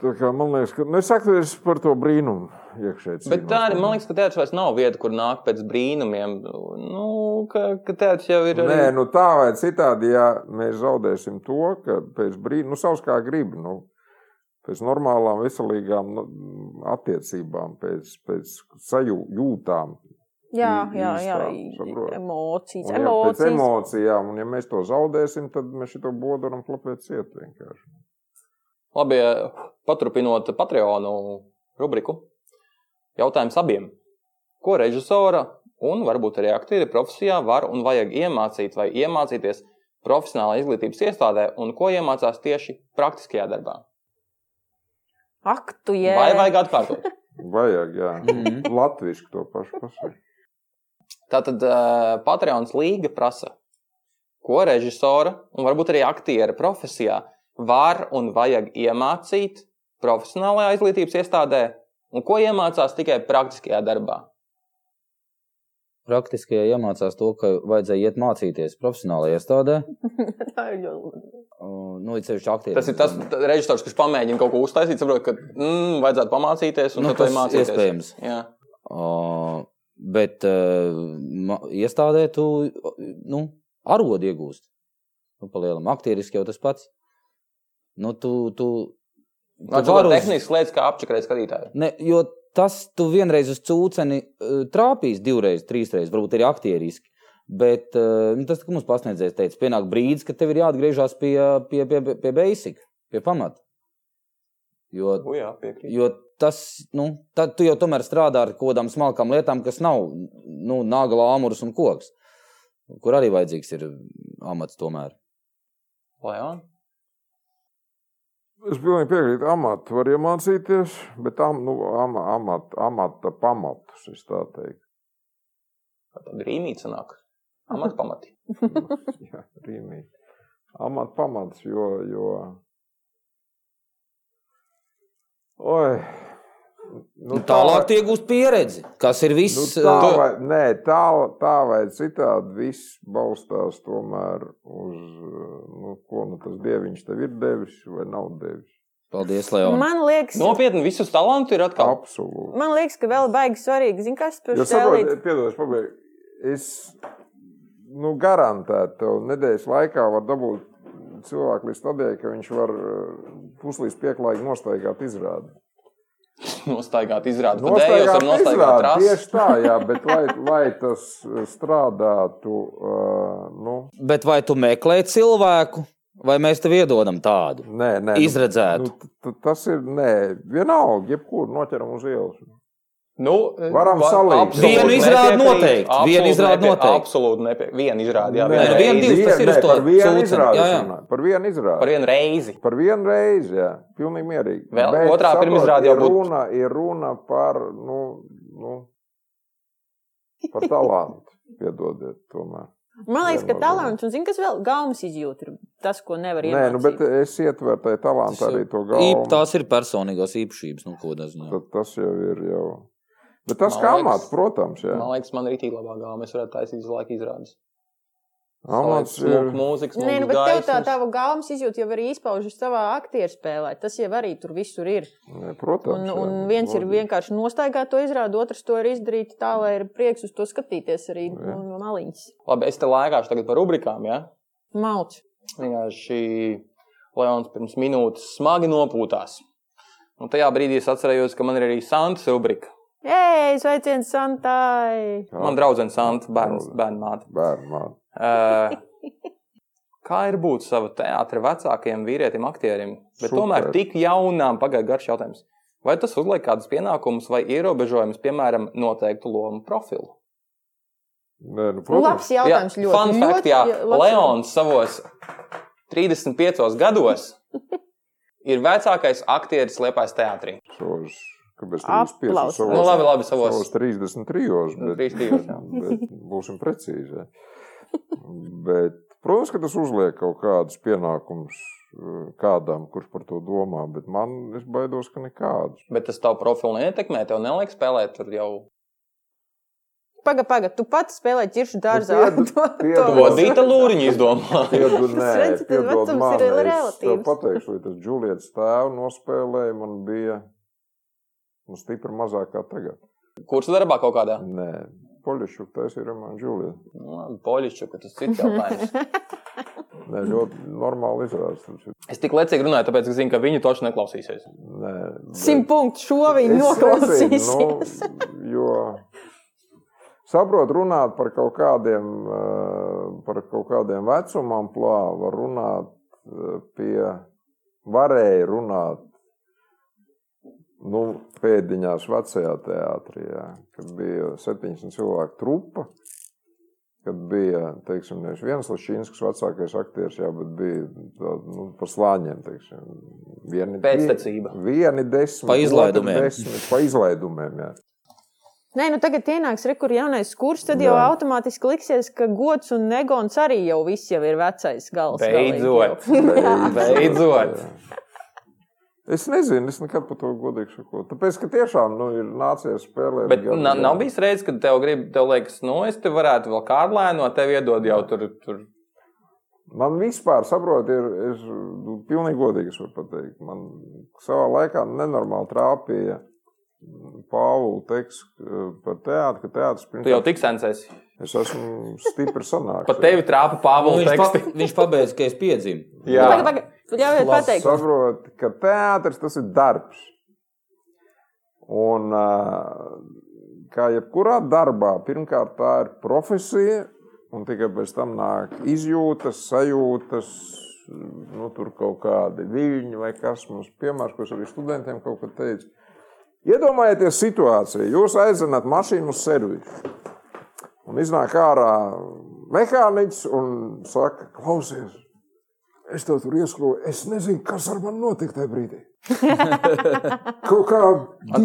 [SPEAKER 1] Tā kā man liekas, ka nu, es saku, es par to brīnumu iekšēji.
[SPEAKER 6] Bet tā ir. Man liekas, ka teātris vairs nav vieta, kur nākt pēc brīnumiem. Nu, ka, ka teātris jau ir.
[SPEAKER 1] Nē, nu tā vai citādi, ja mēs zaudēsim to, ka pēc brīža, nu, savs kā gribi, nu, pēc normālām, veselīgām nu, attiecībām, pēc, pēc sajūtām.
[SPEAKER 5] jā,
[SPEAKER 1] I-
[SPEAKER 5] jā,
[SPEAKER 1] īstā,
[SPEAKER 5] jā,
[SPEAKER 1] Mm, saprotu.
[SPEAKER 5] emocijas,
[SPEAKER 1] Un, ja pēc
[SPEAKER 5] emocijas.
[SPEAKER 1] emocijām, un ja mēs to zaudēsim, tad mēs šo bodu varam klapēt ciet vienkārši.
[SPEAKER 6] Labi, paturpinot Patreonu rubriku. Jautājums abiem. Ko režisora un varbūt arī aktieri profesijā var un vajag iemācīt vai iemācīties profesionālā izglītības iestādē un ko iemācās tieši praktiskajā darbā?
[SPEAKER 5] Ak, tu
[SPEAKER 6] Yeah.
[SPEAKER 5] jē.
[SPEAKER 6] Vai vajag atkārtot?
[SPEAKER 1] Vajag, jā.
[SPEAKER 3] Mhm.
[SPEAKER 1] Latvijas to pašu pasaka.
[SPEAKER 6] Tātad uh, Patreons līga prasa, ko režisora un varbūt arī aktiera profesijā var un vajag iemācīt profesionālajā izglītības iestādē un ko iemācās tikai praktiskajā darbā.
[SPEAKER 3] Praktiski iemācās to, ka vajadzēja iet mācīties profesionālajā iestādē.
[SPEAKER 5] Tā ir ļoti labi.
[SPEAKER 3] Uh, Nu, it sevišķi aktīvi.
[SPEAKER 6] Tas ir tas t- režisors, kurš pamēģina kaut ko uztaisīt, saprot, ka mm, vajadzētu pamācīties un
[SPEAKER 3] Nu,
[SPEAKER 6] nu, tad
[SPEAKER 3] tas
[SPEAKER 6] mācīties.
[SPEAKER 3] iespējams.
[SPEAKER 6] Jā.
[SPEAKER 3] Uh, bet uh, ma- iestādē tu uh, nu, arodu iegūst. Nu, Palielam, aktieriski jau tas pats. Nu, tu, tu, tu
[SPEAKER 6] Tas
[SPEAKER 3] vari
[SPEAKER 6] ir
[SPEAKER 3] uz-
[SPEAKER 6] tehnisks lietas, kā apčakarēt skatītāju.
[SPEAKER 3] Ne, jo tas tu vienreiz uz cūceni uh, trāpīs, divreiz, trīsreiz, varbūt arī aktieriski. Bet uh, nu, tas, kā mums pasniedzējs teica, pienāk brīdis, kad tev ir jāatgriežas pie, pie, pie, pie- pie basic, pie pamata. Jo
[SPEAKER 6] U, jā, piekrīt.
[SPEAKER 3] Jo tas, nu, tad tu jau tomēr strādā ar kaut kādām smalkām lietām, kas nav nu, nāga, āmurs un koks, kur arī vajadzīgs ir amats tomēr.
[SPEAKER 6] Leon?
[SPEAKER 1] Es pilnīgi piekrītu, amatu var iemācīties, bet am, nu, ama, amat, amata pamatus, es tā teiktu.
[SPEAKER 6] Tad rīmīts nāk. Amat
[SPEAKER 3] *laughs*
[SPEAKER 6] pamati.
[SPEAKER 1] Jā, rīmīgi. Amata pamats, jo. jo... Oi.
[SPEAKER 3] Nu, tālāk tu iegūsi pieredzi, kas ir
[SPEAKER 1] Nu,
[SPEAKER 3] viss.
[SPEAKER 1] tā,
[SPEAKER 3] uh,
[SPEAKER 1] vai, nē, tā, tā vai citādi viss balstās tomēr uz nu, ko nu tas dieviņš tev ir devis vai nav devis.
[SPEAKER 3] Paldies, Leon.
[SPEAKER 5] Man liekas,
[SPEAKER 1] Nu?
[SPEAKER 6] Nopietni, visus talantus ir atkal.
[SPEAKER 1] Absolūti.
[SPEAKER 5] man liekas, ka vēl baigi svarīgi. Zini, kas par
[SPEAKER 1] Jo
[SPEAKER 5] šķēlīt?
[SPEAKER 1] saprotiet, piedodas, pabeigšu. Es nu, garantēju, tev nedēļas laikā var dabūt cilvēku līdz tādai, ka viņš var eh, puslīdz pieklājīgi nostaigāt izrādi.
[SPEAKER 6] Nostaigāt, izrādīt.
[SPEAKER 1] Nostaigāt
[SPEAKER 6] Pēdējos ar nostaigāt
[SPEAKER 1] izrādi,
[SPEAKER 6] rasu.
[SPEAKER 1] tieši tā, jā, bet lai, lai tas eh, strādātu, eh, nu,
[SPEAKER 3] Bet vai tu meklē cilvēku, vai mēs tev iedodam tādu?
[SPEAKER 1] nē, nē. nu,
[SPEAKER 3] Izredzētu.
[SPEAKER 1] Nu, t- t- tas ir nē, vienalga, jebkurā noķeram uz ielas.
[SPEAKER 6] Nu,
[SPEAKER 1] Varam
[SPEAKER 6] va-
[SPEAKER 1] salīdzināt.
[SPEAKER 6] absolūti
[SPEAKER 1] Vienu
[SPEAKER 3] izrādi
[SPEAKER 6] nepiekrīt,
[SPEAKER 3] noteikti,
[SPEAKER 6] absolūti
[SPEAKER 3] vienu izrādi
[SPEAKER 6] nepie-
[SPEAKER 3] noteikti.
[SPEAKER 6] Absolūti nepiekrīt. Vienu izrādi, jā.
[SPEAKER 1] Nē,
[SPEAKER 6] vienu
[SPEAKER 3] nu, vienu
[SPEAKER 6] reizi.
[SPEAKER 3] divu. divas tas ir uz
[SPEAKER 1] nē,
[SPEAKER 3] to
[SPEAKER 1] par vienu
[SPEAKER 3] cūceni,
[SPEAKER 1] izrādi.
[SPEAKER 3] jā, jā.
[SPEAKER 1] runāju, Par vienu
[SPEAKER 6] Par
[SPEAKER 1] izrādi.
[SPEAKER 6] vienu reizi.
[SPEAKER 1] Par vienu reizi, jā, pilnīgi mierīgi.
[SPEAKER 6] Vēl otrā
[SPEAKER 1] saprot,
[SPEAKER 6] pirmizrāde jau
[SPEAKER 1] ir
[SPEAKER 6] būtu.
[SPEAKER 1] runa, ir runa par, nu, nu, par talantu. Piedodiet, tomēr.
[SPEAKER 5] Man liekas, ka
[SPEAKER 1] Vienmēr.
[SPEAKER 5] talants un zina, kas vēl gaumas izjūta. ir Tas, ko nevar
[SPEAKER 1] Nē,
[SPEAKER 5] iemācīt.
[SPEAKER 1] nu, bet es ietveru tajā talantā arī to galvu.
[SPEAKER 3] Īp, tās ir personīgās īpašības, nu, ko nezinu.
[SPEAKER 1] Tad tas jau ir jau. Bet tas
[SPEAKER 6] Man
[SPEAKER 1] kā
[SPEAKER 6] liekas-
[SPEAKER 1] amats, protams, jā.
[SPEAKER 6] Man liekas, man ir īstenībā labāk, kā mēs varētu taisīt uz laika izrādes.
[SPEAKER 1] Amats
[SPEAKER 6] ir
[SPEAKER 1] ir.
[SPEAKER 6] mūzikas
[SPEAKER 5] Nē, nu, bet tev tā
[SPEAKER 6] mākslinieks.
[SPEAKER 5] tava gaumas izjūta jau ir izpaužas savā aktieru spēlē. Tas jau arī tur visur ir.
[SPEAKER 1] Nē, Protams.
[SPEAKER 5] Un,
[SPEAKER 1] jā,
[SPEAKER 5] un viens ir
[SPEAKER 1] loģiski.
[SPEAKER 5] vienkārši nostaigāt to izrādi, otrs to ir izdarīt tā, lai ir prieks uz to skatīties arī
[SPEAKER 1] Jā.
[SPEAKER 5] no no maliņas.
[SPEAKER 6] Labi, es te laikāšu tagad par rubrikām. Ja?
[SPEAKER 5] Malts.
[SPEAKER 6] Vienkārši Leons pirms minūtes smagi nopūtās. Un tajā brīdī es atcerējos, ka man ir arī Santa rubrika.
[SPEAKER 5] Ei, sveiciens Santai!
[SPEAKER 1] Jā,
[SPEAKER 6] Man draudzene Santa, bērns,
[SPEAKER 1] Draudzene.
[SPEAKER 6] bērnu māte.
[SPEAKER 1] Bērnu māte.
[SPEAKER 6] Ē, Kā ir būt savam teātrim, vecākiem vīrietim, aktierim, bet
[SPEAKER 1] Super.
[SPEAKER 6] tomēr tik jaunām, pagaidu garš jautājums. Vai tas uzliek kādus pienākumus vai ierobežojumus, piemēram, noteiktu lomu profilu?
[SPEAKER 1] Nē, nu,
[SPEAKER 5] Labs
[SPEAKER 1] protams.
[SPEAKER 5] jautājums.
[SPEAKER 6] jā,
[SPEAKER 5] ļoti,
[SPEAKER 6] fun
[SPEAKER 5] ļoti,
[SPEAKER 6] fact, jā,
[SPEAKER 5] labs-
[SPEAKER 6] Leons savos 35 gados ir vecākais aktieris Liepais teātrī.
[SPEAKER 1] Savos, kāpēc
[SPEAKER 5] Aplausos.
[SPEAKER 1] 35?
[SPEAKER 6] Nu,
[SPEAKER 1] Savos,
[SPEAKER 6] labi, labi, savos.
[SPEAKER 1] savos 33.
[SPEAKER 6] Nu,
[SPEAKER 1] Bet,
[SPEAKER 6] 32, jā.
[SPEAKER 1] *laughs* bet būsim precīzi. jā. Bet, protams, ka tas uzliek kaut kādus pienākumus eh, kādam, kurš par to domā, bet man es baidos, ka nekādus.
[SPEAKER 6] Bet tas tavu profilu neietekmē, tev neliek spēlēt tur jau
[SPEAKER 5] Paga, paga, tu pats spēlē ķiršu dārzā.
[SPEAKER 1] Nu, piedu-
[SPEAKER 5] *laughs* To- to-
[SPEAKER 1] piedu.
[SPEAKER 6] vodīta lūriņa izdomā.
[SPEAKER 1] Piedu, nē,
[SPEAKER 5] redzi, tas
[SPEAKER 1] piedod
[SPEAKER 5] vecums
[SPEAKER 1] man, es
[SPEAKER 5] ir
[SPEAKER 1] tev
[SPEAKER 5] relatīvs.
[SPEAKER 1] pateikšu, vai tas Julietas tēvu nospēlēja, man bija nu, stipri mazāk kā tagad.
[SPEAKER 6] Kursu darbā kaut kādā?
[SPEAKER 1] Nē, Poļušu, tas ir man Julieta.
[SPEAKER 6] Nu, labi, Poļišķu, ka tas
[SPEAKER 5] *laughs*
[SPEAKER 6] cits jautājums.
[SPEAKER 1] Nē, ļoti normāli izrādās.
[SPEAKER 6] Es tik lecīgi runāju, tāpēc, ka zinu, ka viņi toši neklausīsies.
[SPEAKER 1] Nē, bet-
[SPEAKER 5] Simt punktu šo viņi
[SPEAKER 1] Es nu, nezinu,
[SPEAKER 5] noklausīsies.
[SPEAKER 1] Nu, jo saprotu, runāt par kaut kādiem, eh, par kaut kādiem vecumam, plā, var runāt eh, pie, varēja runāt. Nu, pēdiņās vecajā teātrī, jā, kad bija 70 cilvēku trupa, kad bija, teiksim, nevis viens Lašīnskis vecākais aktieris, jā, bet bija tā, nu, par slāņiem, teiksim, vieni
[SPEAKER 6] Pēctecība.
[SPEAKER 1] Vieni desmit,
[SPEAKER 3] Pa
[SPEAKER 1] otri
[SPEAKER 3] izlaidumiem.
[SPEAKER 1] Desmit, pa izlaidumiem jā.
[SPEAKER 5] Nē, nu tagad ienāks rekur jaunais kurs, tad jau
[SPEAKER 1] Jā.
[SPEAKER 5] automātiski liksies, ka gods un negons arī jau viss jau ir vecais gals. galīgi.
[SPEAKER 6] Beidzot! Beidzot.
[SPEAKER 1] Es nezinu, es nekad par to godīgi saku. Tāpēc, ka tiešām nu, ir nācies spēlēt.
[SPEAKER 6] *laughs* Bet
[SPEAKER 1] gadu
[SPEAKER 6] na, nav
[SPEAKER 1] garumā.
[SPEAKER 6] bijis reizes, kad tev, grib, tev liekas, no es te varētu vēl kādu lēnu, tev iedod jau tur. tur.
[SPEAKER 1] Man vispār, saprotiet, ir, ir nu, pilnīgi godīgi. Es varu pateikt, man savā laikā nenormāli trāpīja Pāvila teksts eh, par teātri, ka teātris
[SPEAKER 6] Tu jau
[SPEAKER 1] pirmkārt.
[SPEAKER 6] tik sensēsi.
[SPEAKER 1] Es esmu
[SPEAKER 6] *laughs*
[SPEAKER 1] stipri sanāks.
[SPEAKER 6] Pat tevi trāpa
[SPEAKER 3] Nu,
[SPEAKER 6] Pāvils
[SPEAKER 3] viņš,
[SPEAKER 6] teksti.
[SPEAKER 3] pa, *laughs* viņš pabeidz, ka es piedzimu.
[SPEAKER 6] Jā,
[SPEAKER 5] Paga, paga, ļaujiet pateikt.
[SPEAKER 1] Saprotu, ka teātris tas ir darbs. Un, ā, kā jebkurā darbā, pirmkārt, tā ir profesija, un tikai pēc tam nāk izjūtas, sajūtas, nu, tur kaut kādi viļņi vai kas mums piemērs, ko es arī studentiem kaut ko teicu. Iedomājieties situāciju, jūs aizvenat mašīnu uz servisu. Un iznāk ārā mehāniķis un saka, klausies, Es tev tur ieskrūvēju, es nezinu, kas ar mani notika tajā brīdī. Kaut kā
[SPEAKER 6] Man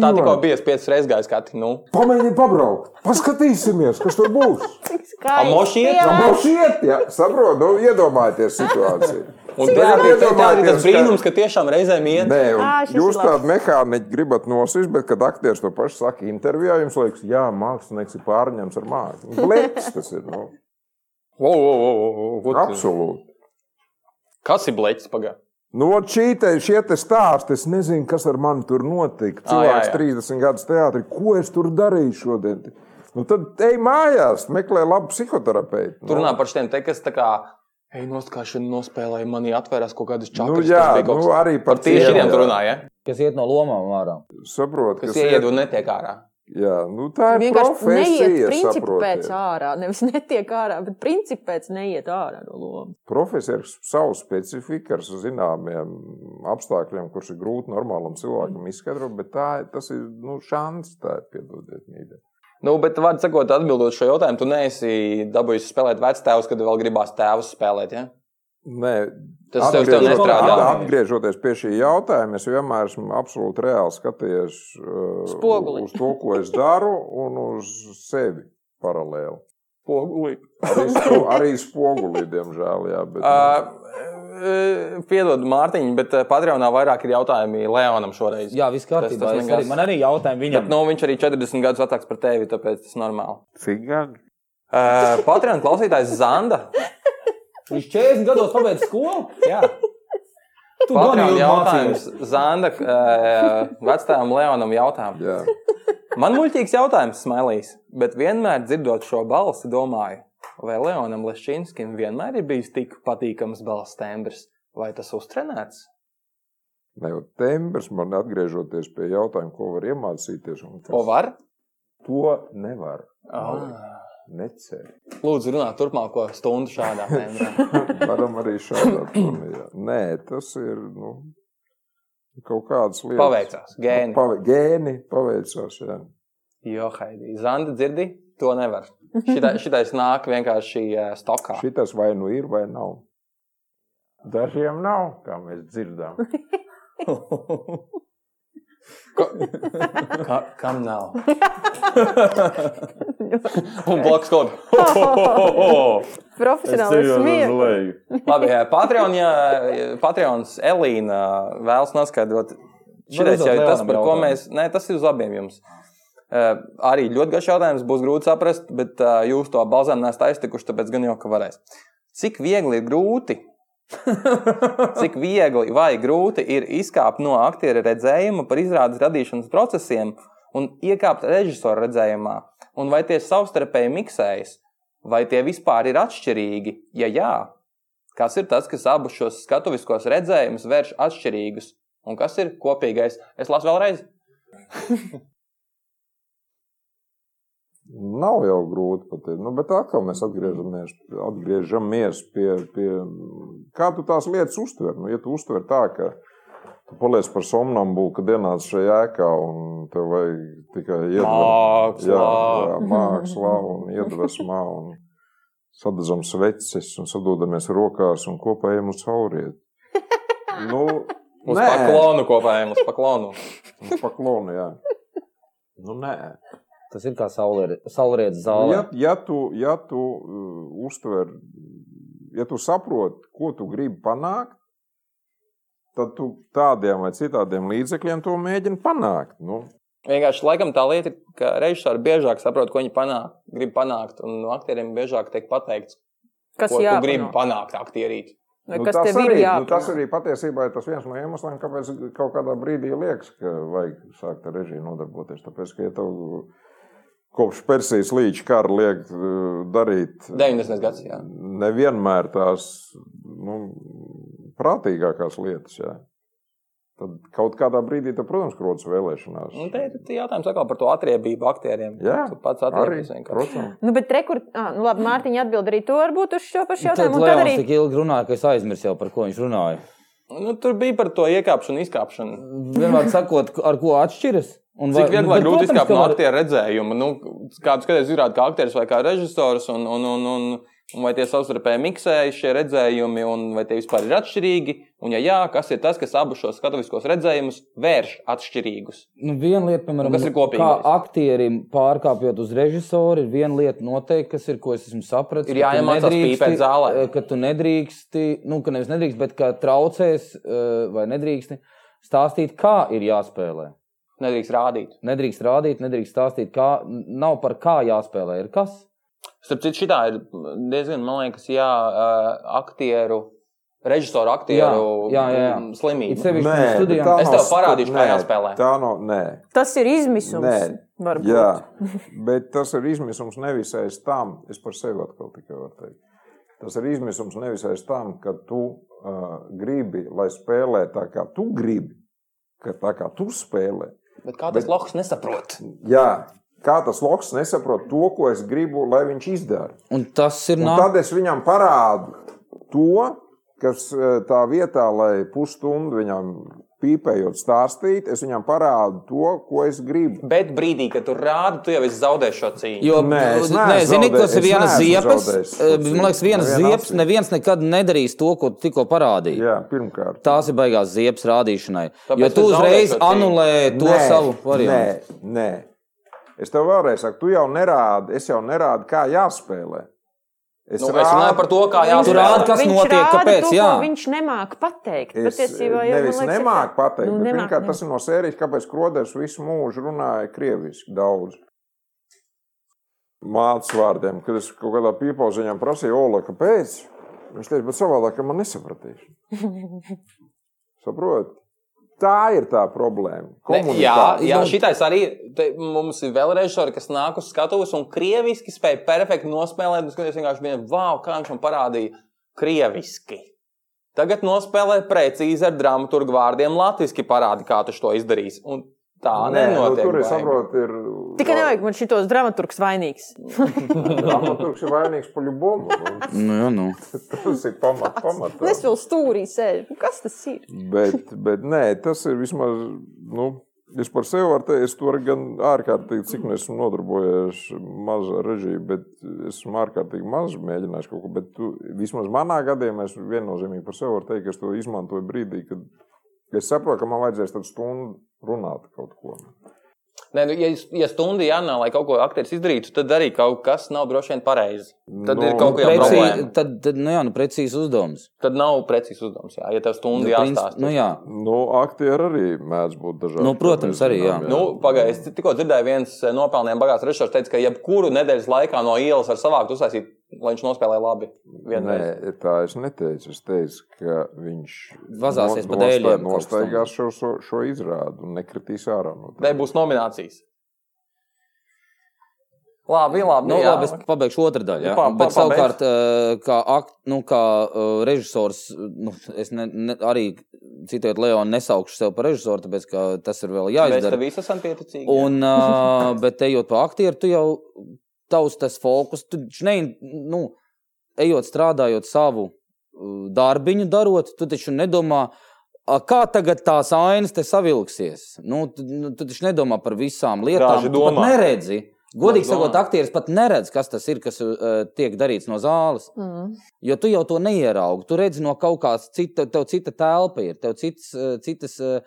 [SPEAKER 3] Nu,
[SPEAKER 6] tā tikko
[SPEAKER 1] dīvaini.
[SPEAKER 6] bija piecas reizes gājis, kā tik nu.
[SPEAKER 1] Pamēģini pabraukt, paskatīsimies, kas tur būs.
[SPEAKER 5] Kā
[SPEAKER 6] A, moši iet?
[SPEAKER 1] Nu, šiet, ja, saprot, nu, iedomājieties situāciju.
[SPEAKER 6] Un
[SPEAKER 1] Tagad
[SPEAKER 6] tas bija
[SPEAKER 1] iedomājieties,
[SPEAKER 6] tas brīnums, ka tiešām reizēm
[SPEAKER 1] ka-
[SPEAKER 6] iet.
[SPEAKER 1] Nē, un
[SPEAKER 5] Ā, Ah, šis
[SPEAKER 1] jūs
[SPEAKER 5] ir labs.
[SPEAKER 1] tādu mehāniķi gribat nosist, bet, kad aktieris to pašu saka intervijā, jums liekas, jā, mākslinieks ir pārņemts ar mākslu. Blēķis tas ir,
[SPEAKER 6] *laughs*
[SPEAKER 1] nu,
[SPEAKER 6] Wow, wow, wow, wow, ko tu-
[SPEAKER 1] absolūti.
[SPEAKER 6] Kas ir bleķis pagā?
[SPEAKER 1] Nu, ot, šī te, šie te stāsti, es nezinu, kas ar mani tur notika.
[SPEAKER 6] Ā, Ah, jā,
[SPEAKER 1] Cilvēks
[SPEAKER 6] jā.
[SPEAKER 1] 30 gadus teātrī, ko es tur darīju šodien? Nu, tad ej mājās, meklē labu psihoterapeitu.
[SPEAKER 6] Tur runā
[SPEAKER 1] nu,
[SPEAKER 6] par šiem te, kas tā kā. Ej, noskāšana nospēlēja, manī atvērās kaut kādas čakas.
[SPEAKER 1] nu, jā, nu, arī par
[SPEAKER 6] Par tieši
[SPEAKER 1] tiem,
[SPEAKER 6] šiem
[SPEAKER 1] jā.
[SPEAKER 6] tur runāja,
[SPEAKER 3] Kas iet no lomām ārā.
[SPEAKER 1] Saprot,
[SPEAKER 6] kas
[SPEAKER 1] kas ir-
[SPEAKER 6] ieiet un netiek ārā.
[SPEAKER 1] Jā, nu, tā ir
[SPEAKER 5] Vienkārši neiet
[SPEAKER 1] profesija.
[SPEAKER 5] principu
[SPEAKER 1] saprotiet.
[SPEAKER 5] pēc ārā. Nevis netiek ārā, bet principu pēc neiet ārā no
[SPEAKER 1] *laughs*
[SPEAKER 5] lomas.
[SPEAKER 1] Profesija ir savu specifiku, ar zināmiem apstākļiem, kurus ir grūti normālam
[SPEAKER 6] Mm.
[SPEAKER 1] cilvēkam izskaidrot, bet tā, tas ir nu, šāds, tā ir piedodiet mīļa.
[SPEAKER 6] Nu, bet, vārdu sakot, atbildot šo jautājumu, tu neesi dabūjis spēlēt vectēvus, kad vēl gribās tēvus spēlēt. Ja?
[SPEAKER 1] Nē,
[SPEAKER 6] Tas tev, tev
[SPEAKER 1] Atgriežoties-
[SPEAKER 6] nestrādā.
[SPEAKER 1] at- Atgriežoties pie šī jautājuma, es vienmēr esmu absolūti reāli skatījies uh,
[SPEAKER 5] Spoguli.
[SPEAKER 6] *laughs*
[SPEAKER 1] uz to, ko es daru, un uz sevi paralēli.
[SPEAKER 6] Pogulī.
[SPEAKER 1] Arī, spo, arī spoguli, diemžēl. Jā, bet, uh,
[SPEAKER 6] Piedod, Mārtiņ, bet eh, Patreonā vairāk ir jautājumi Leonam šoreiz.
[SPEAKER 3] Jā, viss
[SPEAKER 6] Tas- tas
[SPEAKER 3] kārtībā. Es
[SPEAKER 6] nekas.
[SPEAKER 3] Arī, man arī jautājumi
[SPEAKER 6] Bet,
[SPEAKER 3] viņam.
[SPEAKER 6] nu, viņš arī 40 gadus vecāks par tevi, tāpēc tas ir normāli.
[SPEAKER 1] cik gan?
[SPEAKER 6] Uh, Patreon klausītājs Zanda.
[SPEAKER 3] Viņš 40 gados pabeidz skolu.
[SPEAKER 6] Jā,
[SPEAKER 3] Tu
[SPEAKER 6] Patreon
[SPEAKER 3] gan jau
[SPEAKER 6] jautājums Zanda. Uh, vecajam Leonam jautājumu.
[SPEAKER 1] Jā,
[SPEAKER 6] Man muļķīgs jautājums, Smilīs, bet vienmēr dzirdot šo balsi, domāju, vai Leonam Lešķinskim vienmēr ir bijis tik patīkams balss tembrs, vai tas uztrenēts?
[SPEAKER 1] ne jau tembrs, man atgriežoties pie jautājuma, ko var iemācīties. un kas-
[SPEAKER 6] O var?
[SPEAKER 1] To nevar.
[SPEAKER 6] Ah.
[SPEAKER 1] Necer.
[SPEAKER 6] Lūdzu, runā turpmāko stundu šādā
[SPEAKER 1] *laughs*
[SPEAKER 6] veidā.
[SPEAKER 1] Varam arī šādā tonā. Nē, tas ir nu, kaut kādas lietas. Nu,
[SPEAKER 6] Paveicās, gēni.
[SPEAKER 1] Pave, gēni paveicās. Jā.
[SPEAKER 6] Jo, Haidī, Zanda, dzirdi, to nevar. Šitā- Šitais nāk vienkārši eh, stokā.
[SPEAKER 1] Šitas vai nu ir, vai nav. Dažiem nav, kā mēs dzirdam.
[SPEAKER 6] Ka, kam nav?
[SPEAKER 5] Ļoti
[SPEAKER 6] Un blakus kaut kā.
[SPEAKER 5] Profesionāli smieklīgi.
[SPEAKER 6] Labi, eh, Patreon, ja eh, Patreons Elīna vēlas noskaidrot, šitais
[SPEAKER 3] uzdot
[SPEAKER 6] jau ir tas,
[SPEAKER 3] Leonam
[SPEAKER 6] par ko
[SPEAKER 3] jautājumu.
[SPEAKER 6] mēs. Nē, tas ir uz abiem jums. Eh, Arī ļoti garš jautājums, būs grūti saprast, bet eh, jūs to balzām nesat aiztikuši, tāpēc gan jau ka varēs. Cik viegli ir grūti? Cik viegli vai grūti ir izkāpt no aktiera redzējuma par izrādes radīšanas procesiem un iekāpt režisora redzējumā? Un vai tie savstarpēji miksējas, vai tie vispār ir atšķirīgi? Ja jā, kas ir tas, kas abus šos skatuviskos redzējumus vērš atšķirīgus, un kas ir kopīgais? Es lasu vēlreiz.
[SPEAKER 1] Nav jau grūti pat. Nu, bet atkal mēs atgriežamies, atgriežamies pie, pie kā tu tās lietas uztver. Nu, ja tu uztver tā, ka tu paliec par somnambulu, kad ienāc šajā ēkā un tev vajag tikai iedvesmu.
[SPEAKER 6] Mākslā.
[SPEAKER 1] Jā, jā, mākslā un iedvesmā. Un sadedzam sveces un sadodamies rokās un kopā ejam uz sauriet.
[SPEAKER 6] *laughs*
[SPEAKER 1] Nu,
[SPEAKER 6] Uz
[SPEAKER 1] nē.
[SPEAKER 6] paklonu kopējiem, uz paklonu.
[SPEAKER 1] Uz paklonu, jā. Nu, nē.
[SPEAKER 3] Tas ir kā saulrietas
[SPEAKER 1] Nu,
[SPEAKER 3] zāle.
[SPEAKER 1] Ja, ja tu, ja tu uh, uztver, ja tu saproti, ko tu gribi panākt, tad tu tādiem vai citādiem līdzekļiem to mēģini panākt. Nu,
[SPEAKER 6] Vienkārši laikam tā lieta, ir, ka režisori biežāk saprot, ko viņi panāk, grib panākt, un no aktieriem biežāk tiek pateikts,
[SPEAKER 5] Kas
[SPEAKER 6] ko tu
[SPEAKER 5] jāpanāk?
[SPEAKER 6] gribi panākt, aktierīt.
[SPEAKER 5] Vai
[SPEAKER 1] nu,
[SPEAKER 5] Kas
[SPEAKER 1] tas,
[SPEAKER 5] tev ir
[SPEAKER 1] arī, nu,
[SPEAKER 5] jāpanāk?
[SPEAKER 1] tas arī patiesībā ir tas viens no iemesliem, kāpēc kaut kādā brīdī liekas, ka vajag sākt ar režiju nodarboties. Tāpēc, ka ja tev kopš Persijas līča kara liek uh, darīt
[SPEAKER 6] 90. gads, jā.
[SPEAKER 1] nevienmēr tās nu, prātīgākās lietas. Jā. Tad kaut kādā brīdī, tad, protams, rodas vēlēšanās.
[SPEAKER 6] Un Nu, te ir tie jautājums atkal par to atriebību aktieriem.
[SPEAKER 1] Jā,
[SPEAKER 6] tu pats
[SPEAKER 1] arī,
[SPEAKER 6] atriebies vienkārši.
[SPEAKER 1] protams.
[SPEAKER 5] Nu, bet rekur... ah, nu, labi, Mārtiņa atbild arī to varbūt uz šo pašu
[SPEAKER 3] Nu, Tad
[SPEAKER 5] jautājumu. un Tad
[SPEAKER 3] Leons
[SPEAKER 5] arī
[SPEAKER 3] tik ilgi runāja, ka es aizmirsu jau par ko viņš runāja.
[SPEAKER 6] Nu, tur bija par to iekāpšanu, izkāpšanu.
[SPEAKER 3] Vienmēr sakot, ar ko atšķiras. un vai- nu,
[SPEAKER 6] Cik viegli
[SPEAKER 3] bet
[SPEAKER 6] ir grūti
[SPEAKER 3] protams,
[SPEAKER 6] izkāpt
[SPEAKER 3] ka
[SPEAKER 6] no
[SPEAKER 3] var-
[SPEAKER 6] aktiera redzējuma? Nu, kāds skatās, izrādās, kā aktieris vai kā režisors, un, un, un, un, un vai tie savstarpēji miksējas šie redzējumi, un vai tie vispār ir atšķirīgi? Un, ja jā, kas ir tas, kas abus šos skatuviskos redzējumus vērš atšķirīgus?
[SPEAKER 3] Nu, viena lieta, piemēram,
[SPEAKER 6] Un kas ir kopīgais?
[SPEAKER 3] kā aktierim pārkāpjot uz režisoru, ir viena lieta noteikti, kas ir, ko es esmu sapratis.
[SPEAKER 6] Ir
[SPEAKER 3] ka tu
[SPEAKER 6] jāiemācās
[SPEAKER 3] nedrīksti,
[SPEAKER 6] pīpēt zālē.
[SPEAKER 3] eh, Ka tu nedrīksti, nu, ka nevis nedrīkst, bet ka traucēs eh, vai nedrīksti stāstīt, kā ir jāspēlē.
[SPEAKER 6] Nedrīkst rādīt.
[SPEAKER 3] Nedrīkst rādīt, nedrīkst stāstīt, kā nav par kā jāspēlē. Ir kas?
[SPEAKER 6] Starp citu, šī ir diezgan, man liekas, jā, ā, aktieru, režisoru aktieru
[SPEAKER 3] Jā, jā, jā, jā.
[SPEAKER 6] mm,
[SPEAKER 3] It
[SPEAKER 6] slimība.
[SPEAKER 3] sevišķi
[SPEAKER 1] Nē,
[SPEAKER 3] mums
[SPEAKER 1] bet
[SPEAKER 3] studijām.
[SPEAKER 1] tā
[SPEAKER 6] Es
[SPEAKER 1] nav
[SPEAKER 6] tev parādīšu,
[SPEAKER 1] stu-
[SPEAKER 6] kā
[SPEAKER 1] nē,
[SPEAKER 6] jāspēlē.
[SPEAKER 1] Tā nav. Nē.
[SPEAKER 5] tas ir izmisums.
[SPEAKER 1] Nē.
[SPEAKER 5] varbūt.
[SPEAKER 1] Jā, *laughs* bet tas ir izmisums nevis aiz tam, es par sevi atkal tikai varu teikt. Tas ir izmisums nevis aiz tam, ka tu uh, gribi, lai spēlē tā, kā tu gribi, ka tā kā tu spēlē.
[SPEAKER 6] Bet kā tas
[SPEAKER 1] Bet-
[SPEAKER 6] loks nesaprot?
[SPEAKER 1] Jā, kā tas loks nesaprot to, ko es gribu, lai viņš izdara.
[SPEAKER 3] Un tas ir
[SPEAKER 1] Un
[SPEAKER 6] Nu.
[SPEAKER 3] nākamais.
[SPEAKER 1] tad es viņam parādu to, kas eh, tā vietā, lai pusstundu viņam pīpējot stāstīt, es viņam parādu to, ko es gribu.
[SPEAKER 6] Bet brīdī, kad tu rādi, tu jau esi zaudējis šo cīņu.
[SPEAKER 3] Jo,
[SPEAKER 1] Nē, es
[SPEAKER 3] nē,
[SPEAKER 1] neesmu
[SPEAKER 3] zini,
[SPEAKER 1] zaudējis-
[SPEAKER 3] tas ir
[SPEAKER 1] es
[SPEAKER 3] viena
[SPEAKER 1] neesmu
[SPEAKER 3] ziepes.
[SPEAKER 1] zaudējis
[SPEAKER 3] eh,
[SPEAKER 1] to
[SPEAKER 3] Man liekas,
[SPEAKER 1] cīņu.
[SPEAKER 3] viena
[SPEAKER 1] Nevienā
[SPEAKER 3] ziepas,
[SPEAKER 1] acī.
[SPEAKER 3] neviens nekad nedarīs to, ko tu tikko parādīji.
[SPEAKER 1] Jā, pirmkārt.
[SPEAKER 3] Tās ir baigās ziepes rādīšanai.
[SPEAKER 6] Tāpēc
[SPEAKER 3] jo tu
[SPEAKER 6] tu zaudē
[SPEAKER 3] uzreiz
[SPEAKER 6] šo cīņu.
[SPEAKER 3] anulē to savu variantu.
[SPEAKER 1] Nē, nē. Es tev vēlreiz saku, tu jau nerādi, es jau nerādu, kā jāspēlē.
[SPEAKER 6] Nu, es runāju par to, kā
[SPEAKER 3] Tur
[SPEAKER 6] jāspēlē.
[SPEAKER 3] rāda, kas
[SPEAKER 5] Viņš
[SPEAKER 3] notiek,
[SPEAKER 5] rāda
[SPEAKER 3] kāpēc.
[SPEAKER 5] To, ko
[SPEAKER 3] jā.
[SPEAKER 5] viņš nemāķi pateikt.
[SPEAKER 1] Es eh,
[SPEAKER 5] Patiesībā jau
[SPEAKER 1] nevis
[SPEAKER 5] man liekas, ir
[SPEAKER 1] nemāku
[SPEAKER 5] tā-
[SPEAKER 1] pateikt,
[SPEAKER 5] Nu,
[SPEAKER 1] nu, bet
[SPEAKER 5] nemāk,
[SPEAKER 1] vienkārši tas ir no sērijas, kāpēc Kroders visu mūžu runāja krieviski daudz. Mācis vārdiem, kad es kaut kādā pīpauziņā prasīju, Ola, kāpēc? Viņš teica, bet savādāk ka man nesapratīšu.
[SPEAKER 5] *laughs*
[SPEAKER 1] Saprotiet? Tā ir tā problēma. Nu,
[SPEAKER 6] Ne, jā,
[SPEAKER 1] Komunikācija.
[SPEAKER 6] jā šitais arī te, mums ir vēl režisori, kas nāk uz skatuves un krieviski spēja perfekti nospēlēt. Un skaties, vienkārši bija, wow, kā viņš man parādīja krieviski. Tagad nospēlē precīzi ar dramaturgu vārdiem latviešu parādi, kā tu to izdarīsi. Un tā
[SPEAKER 1] Nē, nu,
[SPEAKER 6] nenotiek.
[SPEAKER 1] tur ir
[SPEAKER 6] baigi.
[SPEAKER 1] saprotami, ir.
[SPEAKER 5] Tikai
[SPEAKER 1] *laughs*
[SPEAKER 5] nevajag man šitos dramaturgus vainīgs.
[SPEAKER 1] Dramaturgs ir vainīgs par ļubumu. *laughs*
[SPEAKER 3] Nu, jā, nu.
[SPEAKER 1] Tas ir pamat, pamatā.
[SPEAKER 5] Un Es vēl stūrī sēžu. Nu, Kas tas ir?
[SPEAKER 1] Bet, bet nē, tas ir vismaz. Nu, es par sevi varu teikt, es tur gan ārkārtīgi, cik nu esmu nodarbojies mazā režijā, bet esmu ārkārtīgi maz mēģinājis kaut ko. Bet tu, vismaz manā gadījumā es viennozīmīgi par sevi varu teikt, ka es to izmantoju brīdī, kad es saprotu, ka man vajadzēs tādu stundu runāt kaut ko.
[SPEAKER 6] Nē, nu, ja, ja stundu jānāk, lai kaut ko aktieris izdarītu, tad arī kaut kas nav droši vien pareizi. Tad
[SPEAKER 1] Nu,
[SPEAKER 6] ir kaut kas
[SPEAKER 1] precīzi-
[SPEAKER 6] tāds,
[SPEAKER 3] Precīzi, tad, tad, nu, jā, nu, precīzi uzdevums.
[SPEAKER 6] tad nav precīzs uzdevums. Jā, ja tev
[SPEAKER 3] Nu,
[SPEAKER 6] stundu
[SPEAKER 3] princi-
[SPEAKER 6] jāstāsta.
[SPEAKER 3] nu, jā.
[SPEAKER 1] Nu, aktieri arī mēdz būt dažādi.
[SPEAKER 3] Nu,
[SPEAKER 1] kā
[SPEAKER 3] protams,
[SPEAKER 1] mēs
[SPEAKER 3] arī, jā.
[SPEAKER 1] zinām,
[SPEAKER 6] Nu, Pagaidiet, es tikko dzirdēju, viens eh, nopelnījis bagāts režisors teica, ka jebkuru nedēļas laikā no ielas var savākt, uzsākt, lai viņš nospēlē labi. Vienreiz.
[SPEAKER 1] Nē, tā es neteicu. Es teicu, ka viņš
[SPEAKER 3] Vazāsies
[SPEAKER 1] no-
[SPEAKER 3] pa
[SPEAKER 1] nostai-
[SPEAKER 3] dēļiem kaut
[SPEAKER 1] Nostaigās šo, šo, šo izrādi un nekritīs ārā no tā.
[SPEAKER 6] Nē, būs nominācijas. Labi, labi.
[SPEAKER 3] Nu,
[SPEAKER 6] Nu,
[SPEAKER 3] labi, es pabeigšu otru daļu. Ja?
[SPEAKER 6] Pa-
[SPEAKER 3] Pa,
[SPEAKER 6] pa-
[SPEAKER 3] pa, bet,
[SPEAKER 6] pabeidz.
[SPEAKER 3] savukārt, eh, kā, akt, nu, kā eh, režisors, nu, es ne, ne, arī citēju Leonu, nesaukšu sev par režisoru, tāpēc ka tas ir vēl
[SPEAKER 6] Mēs te
[SPEAKER 3] jāizdara.
[SPEAKER 6] visi esam pieticīgi.
[SPEAKER 3] Un, uh, *laughs* bet ejot pa aktieru, tu jau tavs tas fokus, tu taču ne, nu, ejot strādājot savu uh, darbiņu, darot, tu taču nedomā. "A, Kā tagad tās ainas te savilksies? Nu, tu, nu, tu taču nedomā par visām lietām.
[SPEAKER 6] Daži
[SPEAKER 3] Tu pat
[SPEAKER 6] domā.
[SPEAKER 3] neredzi. Godīgi
[SPEAKER 6] Daži domā.
[SPEAKER 3] sakot, aktieris pat neredz, kas tas ir, kas uh, tiek darīts no zāles.
[SPEAKER 5] Mm.
[SPEAKER 3] Jo tu jau to neieraugi. Tu redzi no kaut kādas citas, tev cita telpa ir, tev cits, eh, citas, eh,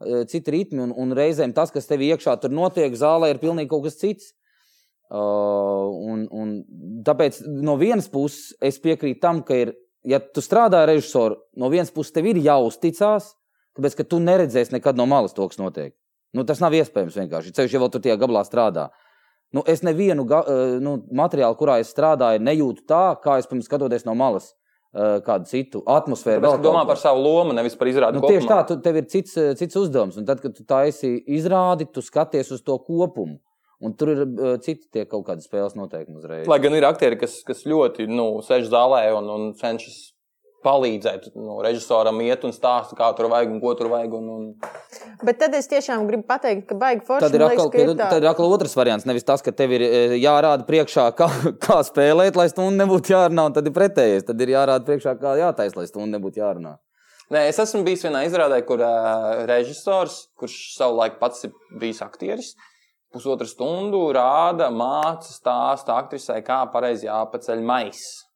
[SPEAKER 3] eh, citi ritmi, un, un reizēm tas, kas tev iekšā tur notiek, zālē, ir pilnīgi kaut kas cits. Uh, un, un tāpēc no vienas puses es piekrītu tam, ka, ir, ja tu strādā ar režisoru, no vienas puses tev ir jāuzticas, tāpēc ka tu neredzēsi nekad no malas to, kas notiek. Nu, tas nav iespējams vienkārši. Ceļš jau tur tajā gabalā strādā. Nu, es nevienu ga- eh, nu, materiālu, kurā es strādāju, nejūtu tā, kā es pirms skatoties no malas eh, kādu citu atmosfēru.
[SPEAKER 6] Tāpēc,
[SPEAKER 3] vēl
[SPEAKER 6] ka domā
[SPEAKER 3] kaut ko.
[SPEAKER 6] par savu lomu, nevis par izrādi.
[SPEAKER 3] Nu, tieši tā,
[SPEAKER 6] kopumā.
[SPEAKER 3] tu, tev ir cits, eh, cits uzdevums. Un tad, kad tu taisi izrādi, tu skaties uz to kopumu. Un tur ir eh, citi tie kaut kādi spēles noteikumi uzreiz.
[SPEAKER 6] Lai gan ir aktieri, kas, kas ļoti nu, sēž zālē un, un cenšas palīdzēt nu, režisoram, iet un stāstīt, kā tur vajag un ko tur vajag. Un, un...
[SPEAKER 5] Bet tad es tiešām gribu pateikt, ka baigi forši.
[SPEAKER 3] Tad ir,
[SPEAKER 5] man liekas,
[SPEAKER 3] atkal,
[SPEAKER 5] ka ir tā-
[SPEAKER 3] tad ir atkal otrs variants. Nevis tas, ka tev ir eh, jārāda priekšā, kā, *laughs* kā spēlēt, lai stundu nebūtu jārunā, un tad ir pretējais. Tad ir jārāda priekšā, kā jātaisa, lai stundu nebūtu jārunā.
[SPEAKER 6] Nē, es esmu bijis vienā izrādē, kur uh, režisors, kurš savulaik pats ir bijis aktieris, pusotru stundu rāda, māca stāstu aktrisai, kā pareizi jāpaceļ maisis.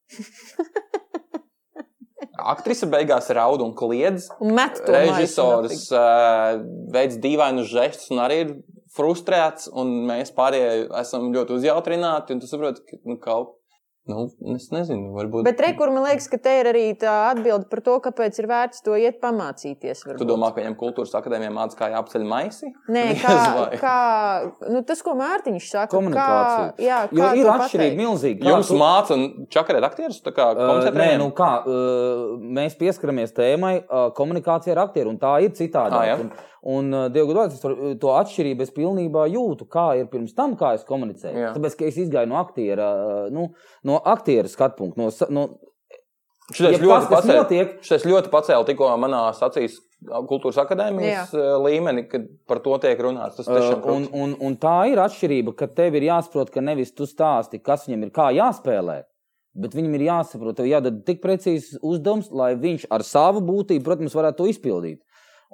[SPEAKER 6] Aktrise beigās raud un kliedz.
[SPEAKER 5] Un met to
[SPEAKER 6] Režisors uh, veids dīvainus žestus un arī ir frustrēts, un mēs pārējie esam ļoti uzjautrināti. un Tu saproti, ka nu, kaut nu, es nezinu, varbūt.
[SPEAKER 5] Bet rekur man liekas, ka te ir arī tā atbilde par to, kāpēc ir vērts to iet pamācīties. varbūt.
[SPEAKER 6] Tu domā, ka viņam kultūras akadēmijā mācās, kā jāapceļ maisi?
[SPEAKER 5] Nē,
[SPEAKER 3] *laughs*
[SPEAKER 6] *laughs* Diez
[SPEAKER 5] kā,
[SPEAKER 6] vai.
[SPEAKER 5] kā nu, tas, ko Mārtiņš saka,
[SPEAKER 3] Komunikācija.
[SPEAKER 5] Kā, jā,
[SPEAKER 3] Jo
[SPEAKER 5] kā
[SPEAKER 3] ir
[SPEAKER 5] to
[SPEAKER 3] atšķirība
[SPEAKER 5] pateikt?
[SPEAKER 3] milzīga. Kā
[SPEAKER 6] Jums
[SPEAKER 3] tu-
[SPEAKER 6] māca čakarēt aktierus, tā kā
[SPEAKER 3] Uh, Nē,
[SPEAKER 6] konceptiem?
[SPEAKER 3] nu kā, uh, mēs pieskaramies tēmai uh, komunikācija ar aktieriem, un tā ir citādi.
[SPEAKER 6] Ah, jā.
[SPEAKER 3] un, un uh, Dievu godā, es to, to atšķirību es pilnībā jūtu, kā ir pirms tam, kā es komunicēju.
[SPEAKER 6] Jā.
[SPEAKER 3] Tāpēc, ka es izgāju no aktiera, uh, nu, no aktiera skatu punkta. No, sa- no,
[SPEAKER 6] Šis
[SPEAKER 3] Ja
[SPEAKER 6] ļoti
[SPEAKER 3] tas, kas
[SPEAKER 6] pacēla,
[SPEAKER 3] notiek-
[SPEAKER 6] šis ļoti pacēla tikko manā acīs kultūras akadēmijas Jā. līmeni, kad par to tiek runāts. Tas
[SPEAKER 3] uh,
[SPEAKER 6] tiešām
[SPEAKER 3] un,
[SPEAKER 6] krūts.
[SPEAKER 3] un, un tā ir atšķirība, ka tev ir jāsaprot, ka nevis tu stāsti, kas viņam ir kā jāspēlē. Bet viņam ir jāsaprot, tev jādod tik precīzs uzdevums, lai viņš ar savu būtību, protams, varētu to izpildīt.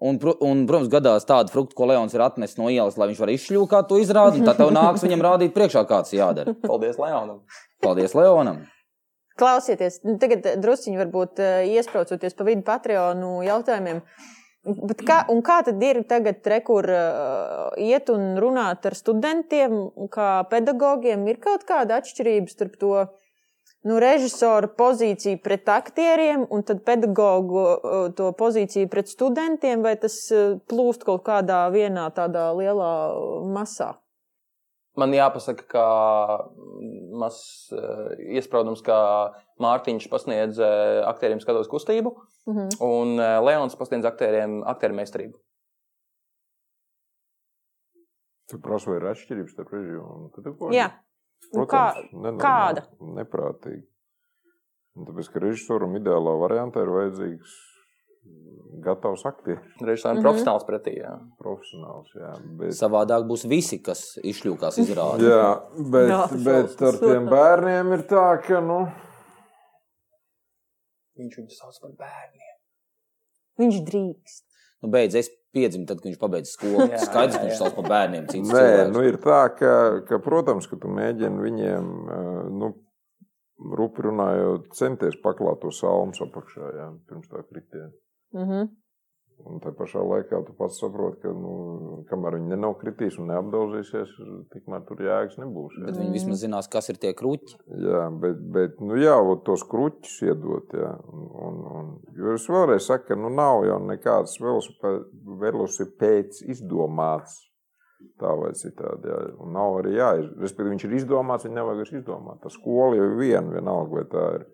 [SPEAKER 3] Un, pro- un, protams, gadās tāda frukta, ko Leons ir atnesis no ielas, lai viņš varētu izšļūt, kā to izrādīt. Tad tev nāks viņam rādīt priekšā, kāds jādara.
[SPEAKER 6] Paldies Leonam.
[SPEAKER 3] Paldies Leonam!
[SPEAKER 5] eh, Klausieties, nu, tagad drusciņi varbūt eh, iesprūcoties pa vidu Patreonu jautājumiem. Bet kā, un kā tad ir tagad, re, kur uh, iet un runāt ar studentiem, kā pedagogiem? Ir kaut kāda atšķirība starp to nu, režisora pozīciju pret aktieriem un tad pedagogu uh, to pozīciju pret studentiem, vai tas uh, plūst kaut kādā vienā tādā lielā eh, masā?
[SPEAKER 6] Man jāpasaka, ka mazs eh, iespraudums, ka Mārtiņš pasniedz eh, aktieriem skatos kustību,
[SPEAKER 5] Mhm.
[SPEAKER 6] un eh, Leons pasniedz aktieriem aktieru meistarību.
[SPEAKER 1] Tu prasu, vai ir atšķirības starp režiju un pedagoģiju?
[SPEAKER 5] Jā, Un kā-
[SPEAKER 1] nenormāli,
[SPEAKER 5] kāda?
[SPEAKER 1] Neprātīgi. Un tāpēc, ka režisoram ideālā variantā ir vajadzīgs gatavs aktieris,
[SPEAKER 6] Režisoram mm
[SPEAKER 5] Mhm.
[SPEAKER 6] -hmm. profesionāls pretī. Jā.
[SPEAKER 1] profesionāls. Jā, bet,
[SPEAKER 3] Savādāk būs visi, kas izšļūkās izrādi.
[SPEAKER 1] jā, bet,
[SPEAKER 5] Jā,
[SPEAKER 1] bet ar tiem bērniem ir tā, ka, nu,
[SPEAKER 6] Viņš viņu sauc par bērnu.
[SPEAKER 5] viņš drīkst.
[SPEAKER 3] Nu, beidz, es piedzimu, tad, kad viņš pabeidz skolu.
[SPEAKER 6] Jā,
[SPEAKER 3] Skaidrs,
[SPEAKER 6] jā,
[SPEAKER 3] ka viņš
[SPEAKER 6] jā.
[SPEAKER 3] sauc par bērniem. citus
[SPEAKER 1] Nē,
[SPEAKER 3] cilvēkus.
[SPEAKER 1] nu ir tā, ka, ka, protams, ka tu mēģini viņiem, eh, nu, rupi runājot, centies paklāt to salmu apakšā, jā, pirms tā kritiena.
[SPEAKER 5] Mhm.
[SPEAKER 1] Un tā pašā laikā tu pats saproti, ka, nu, kamēr viņi nav kritīs un neapdauzīsies, tikmēr tur jēgas nebūs. Jā,
[SPEAKER 3] Bet viņi vismaz zinās, kas ir tie kruķi.
[SPEAKER 1] jā bet, bet, nu, jā, vot tos kruķus iedot, jā. Un, un, un, jo es vēlreiz saku, ka, nu, nav jau nekāds velosipē- velosipēds izdomāts. Tā vai citādi. Jā. Un Nav arī jāiz... Respektīvi, viņš ir izdomāts, viņa nevajag vairs izdomāt. Tā skola jau ir viena, vienalga, vai tā ir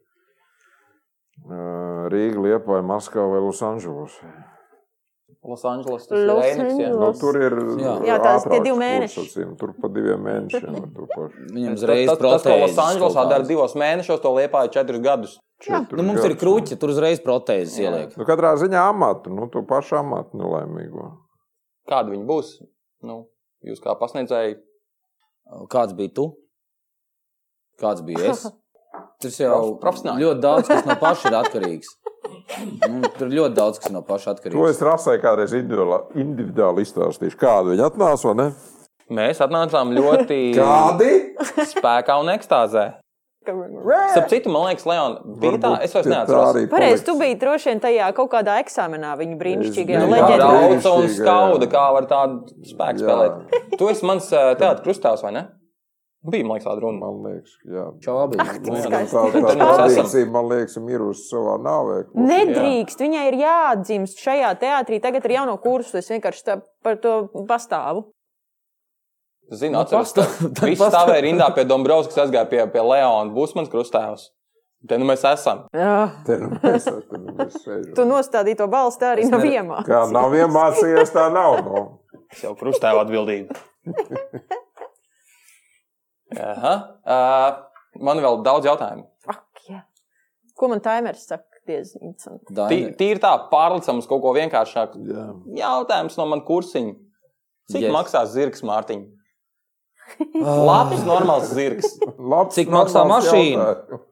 [SPEAKER 1] ā, Rīga, Lietuva, Maskava vai Losandželos.
[SPEAKER 6] Losandželos tas ir
[SPEAKER 5] Los
[SPEAKER 6] Lēniks. jā.
[SPEAKER 5] Angeles.
[SPEAKER 1] Nu, tur ir
[SPEAKER 3] Jā.
[SPEAKER 5] Jā, tās tie
[SPEAKER 1] ātrāks
[SPEAKER 5] divi
[SPEAKER 1] kurs,
[SPEAKER 5] mēneši.
[SPEAKER 1] acīm, Tur pa diviem mēnešiem ar to pašu.
[SPEAKER 3] Viņam
[SPEAKER 6] Tas-
[SPEAKER 3] uzreiz
[SPEAKER 6] tas- Tas, ko
[SPEAKER 3] protēzes
[SPEAKER 6] Losandželosā
[SPEAKER 3] kaut
[SPEAKER 6] dara
[SPEAKER 3] kādas.
[SPEAKER 6] divos mēnešos, to liepāja četrus gadus.
[SPEAKER 1] Četrus
[SPEAKER 3] Nu, mums ir
[SPEAKER 1] gadus.
[SPEAKER 3] kruķi, tur uzreiz protēzes
[SPEAKER 6] Jā.
[SPEAKER 3] ieliek.
[SPEAKER 1] Nu, katrā ziņā amatu, nu, to pašu amatu nelaimīgo.
[SPEAKER 6] Kāda viņa būs? Nu, jūs kā pasniedzēji,
[SPEAKER 3] Kāds bija tu? Kāds bija
[SPEAKER 6] *laughs*
[SPEAKER 3] es? Tas jau
[SPEAKER 6] Prof- profesionāli.
[SPEAKER 3] ļoti daudz kas no paša ir atkarīgs. Nu, tur ļoti daudz kas no paša
[SPEAKER 1] To
[SPEAKER 3] atkarīgs.
[SPEAKER 1] es rasēju kādreiz individuāli, individuāli izstāstīšu. Kādu viņi atnāca, vai ne?
[SPEAKER 6] mēs atnācām ļoti *laughs* spēkā un ekstāzē. Starp citu, man liekas, Leon, bija tā, es vairs neatceros.
[SPEAKER 5] Pareizi, tu biji droši vien tajā kaut kādā eksāmenā, viņa brīnišķīgajā
[SPEAKER 1] biju.
[SPEAKER 6] Jā,
[SPEAKER 5] leģendā.
[SPEAKER 1] Brau-
[SPEAKER 6] Rauca Nu, un
[SPEAKER 1] Brīnišķīgā,
[SPEAKER 6] skauda,
[SPEAKER 1] jā.
[SPEAKER 6] kā var tādu spēku
[SPEAKER 1] Jā.
[SPEAKER 6] spēlēt. Tu esi mans eh, teātris krustās, vai ne? Bija, man liekas, tāda runa.
[SPEAKER 1] Man liekas, jā.
[SPEAKER 3] Čābi.
[SPEAKER 1] Nu, jā,
[SPEAKER 6] skaisti.
[SPEAKER 1] nu, tā tā
[SPEAKER 6] Tad mēs esam.
[SPEAKER 1] tradīcija, man liekas, ir mirusi savā nāvē. kur-
[SPEAKER 5] Nedrīkst, viņai ir jāatdzimst šajā teātrī. Tagad ir jauno kursu, es vienkārši tā, par to pastāvu.
[SPEAKER 6] Zinu,
[SPEAKER 3] Nu,
[SPEAKER 6] atceros.
[SPEAKER 3] pastāv-
[SPEAKER 6] ka
[SPEAKER 3] tad
[SPEAKER 6] Viņš
[SPEAKER 3] pastāv.
[SPEAKER 6] stāvēja rindā pie Dombrovskis, kas aizgāja pie, pie Leona. Būs mans krustēvs. Te nu mēs esam.
[SPEAKER 5] Jā.
[SPEAKER 1] Te nu mēs- te nu mēs sēžam.
[SPEAKER 5] Tu nostādīji to balstu arī
[SPEAKER 3] Es
[SPEAKER 5] no
[SPEAKER 3] ne-
[SPEAKER 5] viemā.
[SPEAKER 1] Kā nav iemācījies, tā nav. Nu.
[SPEAKER 6] Es jau krustēvu atbildību. *laughs* Aha. Uh, man vēl daudz jautājumu.
[SPEAKER 5] Ak, jā. Ko man taimers saka? Diezins.
[SPEAKER 6] Tī, tīri tā, pārlicam uz kaut ko vienkāršāku.
[SPEAKER 1] Jā.
[SPEAKER 6] Jautājums no man kursiņa. Cik yes.
[SPEAKER 3] Yes.
[SPEAKER 6] maksā zirgs, Mārtiņ?
[SPEAKER 3] Ah.
[SPEAKER 6] Labs, normāls zirgs.
[SPEAKER 1] Labs,
[SPEAKER 3] Cik maksā
[SPEAKER 1] normāls
[SPEAKER 3] mašīna?
[SPEAKER 1] jautājums.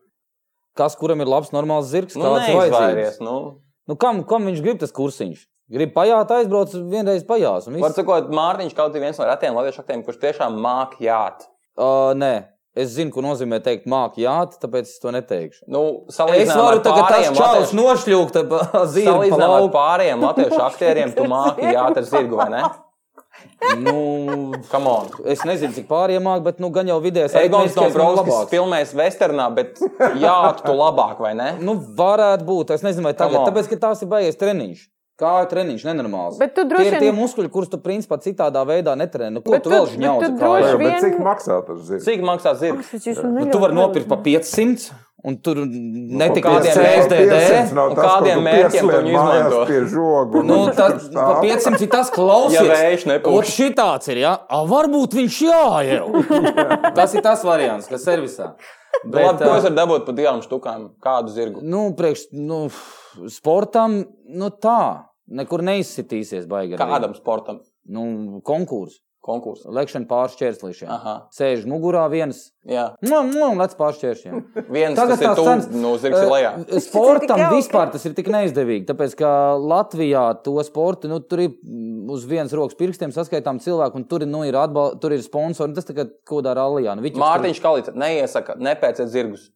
[SPEAKER 3] Kas kuram ir labs, normāls zirgs?
[SPEAKER 6] Nu,
[SPEAKER 3] Kāds ir vajadzīgs?
[SPEAKER 6] neizvairies. Nu.
[SPEAKER 3] Nu, kam, kam viņš grib tas kursiņš? Grib pajāt, aizbrauc vienreiz pajās. un viss.
[SPEAKER 6] Var teikt, Mārtiņš kaut kā viens no retiem latviešu aktiem, kurš tiešām māk jāt.
[SPEAKER 3] Uh, nē, es zinu, ko nozīmē teikt māki jāt, tāpēc es to neteikšu.
[SPEAKER 6] Nu,
[SPEAKER 3] Es varu tagad tas čalis
[SPEAKER 6] no
[SPEAKER 3] nošļūkt, zīmēt pa
[SPEAKER 6] Salīdzinājumā ar
[SPEAKER 3] lauku.
[SPEAKER 6] pārējiem latviešu aktieriem, tu māki jāt ar zirgu, vai ne?
[SPEAKER 3] Nu,
[SPEAKER 6] Come on.
[SPEAKER 3] es nezinu, cik pārējiem māk, bet nu gan jau vidējais
[SPEAKER 6] Egons
[SPEAKER 3] aritmētiskais man
[SPEAKER 6] Dombrovskis filmēs Westernā, bet jāt tu labāk, vai ne?
[SPEAKER 3] Nu, varētu būt, es nezinu, vai
[SPEAKER 6] Come
[SPEAKER 3] tagad,
[SPEAKER 6] on.
[SPEAKER 3] tāpēc, ka tās ir baigies treniņš. Kā ir treniņš, nenormāls.
[SPEAKER 5] Bet tu
[SPEAKER 3] Tie
[SPEAKER 5] droši
[SPEAKER 3] ir
[SPEAKER 5] vien- nu,
[SPEAKER 3] tie muskuļi, kurus tu principā citādā veidā netreni. Nu, ko
[SPEAKER 5] Bet
[SPEAKER 3] tu
[SPEAKER 5] tu-
[SPEAKER 3] vēl
[SPEAKER 5] bet
[SPEAKER 3] žņauzi?
[SPEAKER 5] tu
[SPEAKER 3] kājā?
[SPEAKER 5] droši
[SPEAKER 1] Jā, bet
[SPEAKER 5] vien-
[SPEAKER 1] cik maksā tas zirgs?
[SPEAKER 6] Cik maksā zirgs?
[SPEAKER 3] Nu, tu vari nopirkt par 500, un tur
[SPEAKER 6] Nu,
[SPEAKER 3] netika
[SPEAKER 6] kādiem
[SPEAKER 3] kādiem
[SPEAKER 6] mērķiem-
[SPEAKER 3] SDD.
[SPEAKER 6] un kādiem mērķiem tu viņu izmanto?
[SPEAKER 1] Pie žogu, un
[SPEAKER 3] Nu,
[SPEAKER 1] viņš tur
[SPEAKER 3] tas
[SPEAKER 1] stāv.
[SPEAKER 3] par 500 ir tas klausies.
[SPEAKER 6] Ja vējš nepūš.
[SPEAKER 3] Ot, šitāds ir, ja? A, varbūt viņš jāēl. *laughs* tas ir tas variants, kas servisā.
[SPEAKER 6] Nu, Labi, ko es varu dabūt par divām štukām? Kādu zirgu?
[SPEAKER 3] Nu, priekš, nu, f- sportam, nu tā, nekur neizsitīsies baigi. arī.
[SPEAKER 6] Kādam sportam?
[SPEAKER 3] Nu, konkurss.
[SPEAKER 6] Konkursam.
[SPEAKER 3] Lekšana pāršķērslīšana.
[SPEAKER 6] Aha.
[SPEAKER 3] Sēž mugurā viens.
[SPEAKER 6] Jā.
[SPEAKER 3] Nu, nu, un lec pāršķēršiem.
[SPEAKER 6] Viens
[SPEAKER 3] Tagad
[SPEAKER 6] tas ir
[SPEAKER 3] tās
[SPEAKER 6] tūns,
[SPEAKER 3] cenas-
[SPEAKER 6] nu, zirgs ir lejā.
[SPEAKER 3] Eh, Sportam
[SPEAKER 5] Tik jauki.
[SPEAKER 3] vispār tas ir tik neizdevīgi, tāpēc ka Latvijā to sportu nu, tur ir mm, uz vienas rokas pirkstiem saskaitām cilvēku, un tur, ir, nu, ir, atbal, tur ir sponsori. Tas tagad kaut kādā rallija. Nu, Viķis tur-
[SPEAKER 6] Mārtiņš Kalīts neiesaka, nepēciet zirgus.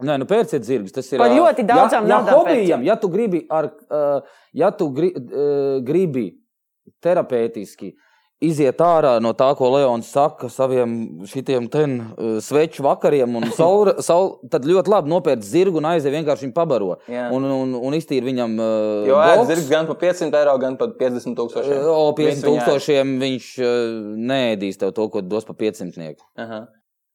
[SPEAKER 3] Nē, nu pērciet zirgus. Tas ir
[SPEAKER 5] Par
[SPEAKER 3] ā,
[SPEAKER 5] ļoti
[SPEAKER 3] ja,
[SPEAKER 5] daudzām
[SPEAKER 3] ja
[SPEAKER 5] naudām
[SPEAKER 3] hobijam. Ja tu gribi, ar, ā, ja tu gri, ā, gribi terapeitiski iziet ārā no tā, ko Leons saka saviem šitiem ten ā, sveču vakariem, un saul, *laughs* saul, tad ļoti labi nopērc zirgu un aizie vienkārši viņu pabaro.
[SPEAKER 6] Jā.
[SPEAKER 3] Un, un, un iztīri viņam. ā,
[SPEAKER 6] Jo
[SPEAKER 3] boks.
[SPEAKER 6] ēdas zirgs gan par 500 eiro, gan par 50 tūkstošiem.
[SPEAKER 3] O, 50
[SPEAKER 6] Visu viņu ēd.
[SPEAKER 3] tūkstošiem viņš ā, neēdīs tev to, ko dos par 500 nieku.
[SPEAKER 6] Aha.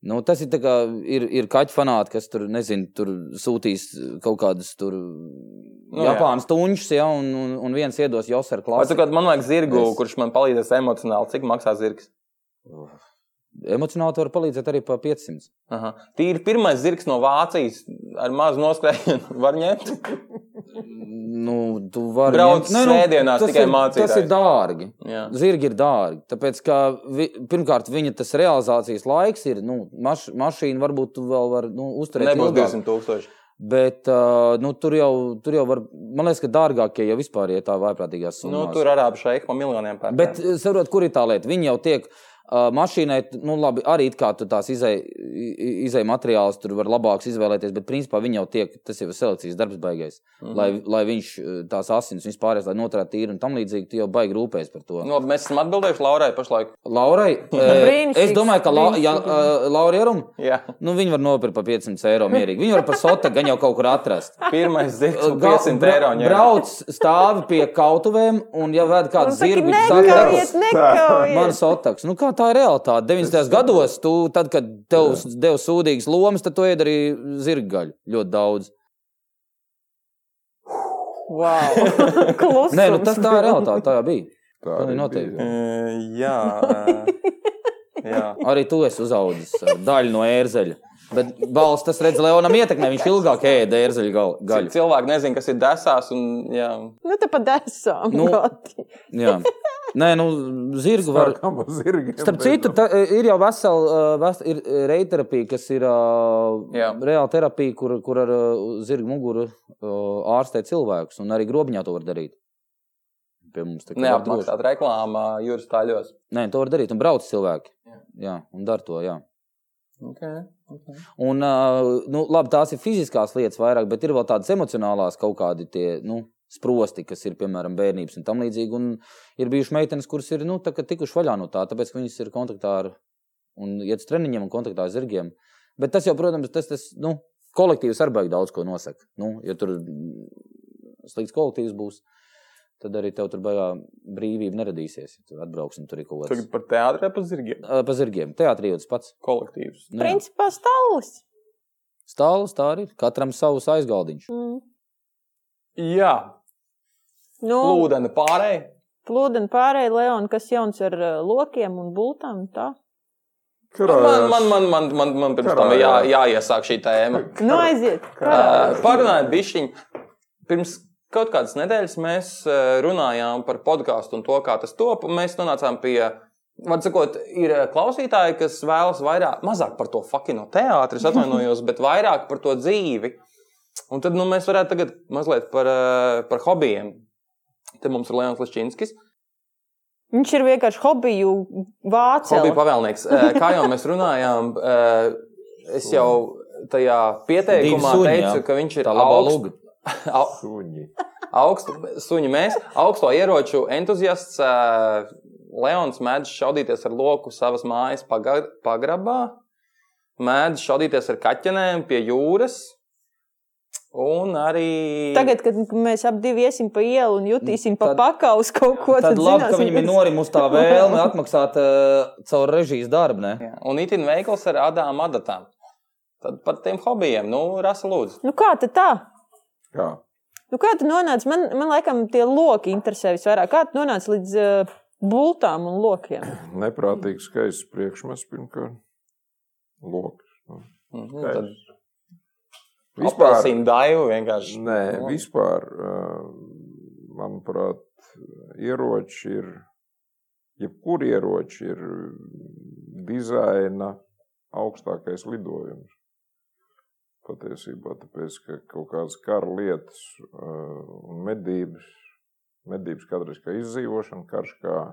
[SPEAKER 3] Nu, tas ir tā kā ir, ir kaķu fanāti, kas tur, nezinu, tur sūtīs kaut kādas tur nu,
[SPEAKER 6] jā.
[SPEAKER 3] Japānas tuņus, ja, un, un, un viens iedos jau ar
[SPEAKER 6] Vai
[SPEAKER 3] klāstu.
[SPEAKER 6] tu kādā man vajag zirgu,
[SPEAKER 3] Es-
[SPEAKER 6] kurš man palīdzēs emocionāli? Cik maksā zirgs?
[SPEAKER 3] Emocionāli tu vari palīdzēt arī par 500.
[SPEAKER 6] Aha. Tīri pirmais zirgs no Vācijas ar mazu noskrējienu var ņemt.
[SPEAKER 3] Nu, tu vari
[SPEAKER 6] Brauc
[SPEAKER 3] ņemt- Nē, nu,
[SPEAKER 6] svētdienās
[SPEAKER 3] tas
[SPEAKER 6] tikai
[SPEAKER 3] ir- Tas
[SPEAKER 6] mācītājs.
[SPEAKER 3] ir dārgi.
[SPEAKER 6] Jā.
[SPEAKER 3] Zirgi ir dārgi. Tāpēc, ka vi, pirmkārt, viņa tas realizācijas laiks ir. Nu, maš, mašīna varbūt tu vēl var nu, uzturēt.
[SPEAKER 6] Nebūs
[SPEAKER 3] ilgāk.
[SPEAKER 6] 200 tūkstoši.
[SPEAKER 3] Bet ā, nu, tur jau, tur jau var, man liekas, ka dārgākie jau vispār ir tā vaiprātīgās summas.
[SPEAKER 6] Nu, tur arābu šeiku pa miljoniem pērk.
[SPEAKER 3] Bet eh, saprotiet, kur ir tā lieta? Viņi jau tiek uh, mašīnai, t- nu, labi, arī it kā tu tās izēja materiālus, tur var labāks izvēlēties, bet principā viņi jau tiek, tas jau ir selekcijas darbs baigais. Mm
[SPEAKER 6] Mhm.
[SPEAKER 3] -hmm. lai, lai viņš eh, tās asins, viņas pārējās, lai noturētu tīru un tam līdzīgi, tu jau baigi rūpējies par to.
[SPEAKER 6] Nu, labi, mēs esam atbildējuši Laurai pašlaik.
[SPEAKER 3] Laurai, eh,
[SPEAKER 5] Brīnišķīgs,
[SPEAKER 3] es domāju, ka la, ja, eh, Laura ir un. *laughs*
[SPEAKER 6] Jā.
[SPEAKER 3] Nu, viņi var nopirkt par 500 eiro mierīgi. Viņi var par sotu gan jau kaut kur atrast.
[SPEAKER 6] Pirmais zirgs no
[SPEAKER 3] Gal-
[SPEAKER 6] 500
[SPEAKER 3] bra-
[SPEAKER 6] eiro. ņem.
[SPEAKER 3] Brauc stāvi pie kautuvēm, un ja vēd kādu zirgu, zaķerus.
[SPEAKER 5] Nekaujiet, nekaujiet.
[SPEAKER 3] *laughs*
[SPEAKER 5] *laughs*
[SPEAKER 3] Mans otrs, nu kā tā ir realitāte. 90. gados, tu, tad, kad tev deva sūdīgas lomas, tad tu ēd arī zirgaļu ļoti daudz.
[SPEAKER 5] Wow. Klusums.
[SPEAKER 3] Nē, nu, tas
[SPEAKER 5] *laughs*
[SPEAKER 3] tā ir realitāte, tā bija.
[SPEAKER 1] Tā
[SPEAKER 3] Nu,
[SPEAKER 1] arī
[SPEAKER 3] noteikti.
[SPEAKER 1] bija.
[SPEAKER 6] Eh, Jā. *laughs* eh, Jā.
[SPEAKER 3] Arī tu esi uzaudzis ar daļu no ērzeļa. Bet balsts tas redz Leonam ietekmē, viņš ilgāk ēda ērzeļu gal-
[SPEAKER 6] Cil-
[SPEAKER 3] gaļu.
[SPEAKER 6] Cilvēki nezina, kas ir desās. Un, jā.
[SPEAKER 5] Nu, te pat esam.
[SPEAKER 3] Nu.
[SPEAKER 5] Nu.
[SPEAKER 3] Jā. Nē, nu, zirgu var.
[SPEAKER 1] Kam uz zirgiem?
[SPEAKER 3] Starp citu, ta, e, ir jau vesela ves, reiterapija, kas ir
[SPEAKER 6] Jā.
[SPEAKER 3] ā, reāla terapija, kur, kur ar ā, zirgu muguru ā, ārstē cilvēkus. Un arī grobiņā to var darīt. Pie mums tā kā var droši.
[SPEAKER 6] Neapmaksāta reklāmā jūras tāļos.
[SPEAKER 3] Nē, to var darīt. Un brauc cilvēki.
[SPEAKER 6] Jā.
[SPEAKER 3] Jā, un dara to. Jā.
[SPEAKER 6] Okay. Okay.
[SPEAKER 3] Un, ā, nu, labi, tās ir fiziskās lietas vairāk, bet ir vēl tādas emocionālās kaut kādi tie. Nu, Sprosti, kas ir piemēram bērnības un tam līdzīgi. Un ir bijušas meitenes, kuras ir nu, tā kā tikušas vaļā no tā, tāpēc ka viņas ir kontaktā ar un iet uz treniņiem un kontaktā ar zirgiem. Bet tas jau, protams, tas, tas nu, kolektīvs arī baigi daudz ko nosaka. Nu, ja tur mm, slikts kolektīvs būs, tad arī tev tur baigā brīvība neradīsies. Ja tu atbrauks un tur ir kaut kas
[SPEAKER 6] Tagad par teātru vai par zirgiem?
[SPEAKER 3] Ā, pa zirgiem. Teātrī jūtas pats.
[SPEAKER 6] Kolektīvs.
[SPEAKER 3] Nu, jā.
[SPEAKER 5] Principā stāvis.
[SPEAKER 3] Stāvus tā arī. ir. Katram savs aizgaldiņš.
[SPEAKER 5] Mm.
[SPEAKER 6] Jā,
[SPEAKER 5] Nu,
[SPEAKER 6] plūdeni pārējai.
[SPEAKER 5] plūdeni pārējai, Leon, kas jauns ar ā, lokiem un bultām. un tā?
[SPEAKER 6] Man, man, man, man, man, man pirms tam ir jā, jāiesāk šī tēma.
[SPEAKER 5] Nu, aiziet.
[SPEAKER 6] Ā, Parunājot bišķiņu. Pirms kaut kādas nedēļas mēs ā, runājām par podkāstu un to, kā tas top. un Mēs nonācām pie, var sakot, ir ā, klausītāji, kas vēlas vairāk, mazāk par to fakino teātri, es atvainojos, bet vairāk par to dzīvi. Un tad nu, mēs varētu tagad mazliet par, ā, par hobijiem. Te mums ir Leons Lišķīnskis.
[SPEAKER 5] Viņš ir vienkārši hobiju
[SPEAKER 6] Hobija
[SPEAKER 5] vācis.
[SPEAKER 6] pavēlnieks. Eh, Kā jau mēs runājām, eh, es jau tajā pieteikumā
[SPEAKER 3] Divi suņi,
[SPEAKER 6] teicu,
[SPEAKER 3] jā.
[SPEAKER 6] ka viņš ir
[SPEAKER 3] Tā labā
[SPEAKER 6] augst-
[SPEAKER 3] lūga.
[SPEAKER 6] au-
[SPEAKER 1] Suņi.
[SPEAKER 6] augstu suņu mēs, augsto ieroču entuziasts. eh, Leons mēdz šaudīties ar loku savas mājas paga- pagrabā, mēdz šaudīties ar kaķenēm pie jūras. Un arī.
[SPEAKER 5] Tagad, kad mēs ap divi iesim pa ielu un jutīsim pa
[SPEAKER 3] Tad-
[SPEAKER 5] pakaus kaut ko
[SPEAKER 3] Tad labi, ka
[SPEAKER 5] zināsim,
[SPEAKER 3] viņam ir norimusi
[SPEAKER 5] *laughs*
[SPEAKER 3] tā vēlme atmaksāt uh, caur režijas darbu. ne?
[SPEAKER 6] Jā, Un itin veikls ar adām adatām. Tad par tiem hobijiem, nu, rasa lūdzu.
[SPEAKER 5] Nu, kā tad tā?
[SPEAKER 1] Kā?
[SPEAKER 5] Nu, kā tu nonāci? Man, man laikam tie loki interesē visvairāk. Kā tu nonāci līdz uh, bultām un lokiem?
[SPEAKER 1] Neprātīgs skaists priekšmets pirmkārt. Loks.
[SPEAKER 6] Mhm,
[SPEAKER 1] Skaidrs.
[SPEAKER 6] tad
[SPEAKER 1] Vispār.
[SPEAKER 6] Apelsīnu daivu vienkārši.
[SPEAKER 1] Nē,
[SPEAKER 6] Nu,
[SPEAKER 1] vispār, uh, manuprāt, ieroči ir, jebkur ieroči ir dizaina augstākais lidojums. Patiesībā, tāpēc, ka kaut kādas kara lietas uh, un medības, medības kādreiz kā izdzīvošana, karš kā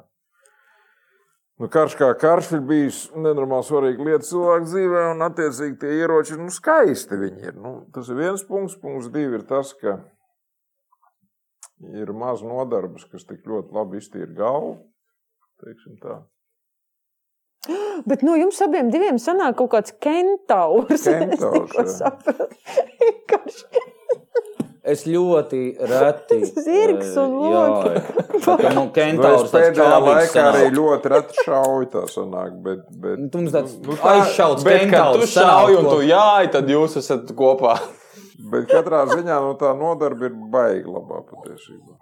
[SPEAKER 1] Nu, karš kā karš ir bijis nenormāli svarīga lieta cilvēku dzīvē, un attiecīgi tie ieroči ir nu, skaisti. Viņi ir. Nu, tas ir viens punkts. Punkts divi ir tas, ka ir maz nodarbes, kas tik ļoti labi iztīra galvu. teiksim tā.
[SPEAKER 5] Bet no jums abiem diviem sanāk kaut kāds kentaurs.
[SPEAKER 1] Kentaurs,
[SPEAKER 5] *laughs*
[SPEAKER 1] jā.
[SPEAKER 5] Es tikko sapratu. *laughs* Vienkārši
[SPEAKER 3] Es ļoti
[SPEAKER 5] *laughs*
[SPEAKER 3] reti.
[SPEAKER 5] Zirgs un
[SPEAKER 3] eh, jā, jā. Tā nu,
[SPEAKER 1] Nu,
[SPEAKER 3] Kentaurs
[SPEAKER 1] es
[SPEAKER 3] tāds
[SPEAKER 1] pēdējā
[SPEAKER 3] kāvīgs
[SPEAKER 1] laikā
[SPEAKER 3] sanāk.
[SPEAKER 1] arī ļoti reti šauju. Tā sanāk, bet, bet,
[SPEAKER 3] Nu, Tu mums tāds
[SPEAKER 1] Nu,
[SPEAKER 3] nu,
[SPEAKER 1] tā-
[SPEAKER 3] aizšauts,
[SPEAKER 6] Bet, kad tu
[SPEAKER 3] kentaurs
[SPEAKER 6] šauj un
[SPEAKER 3] sanāk,
[SPEAKER 6] tu
[SPEAKER 3] ko-
[SPEAKER 6] jāj, tad jūs esat kopā.
[SPEAKER 1] bet katrā ziņā no tā nodarbe ir baigta labā patiesībā.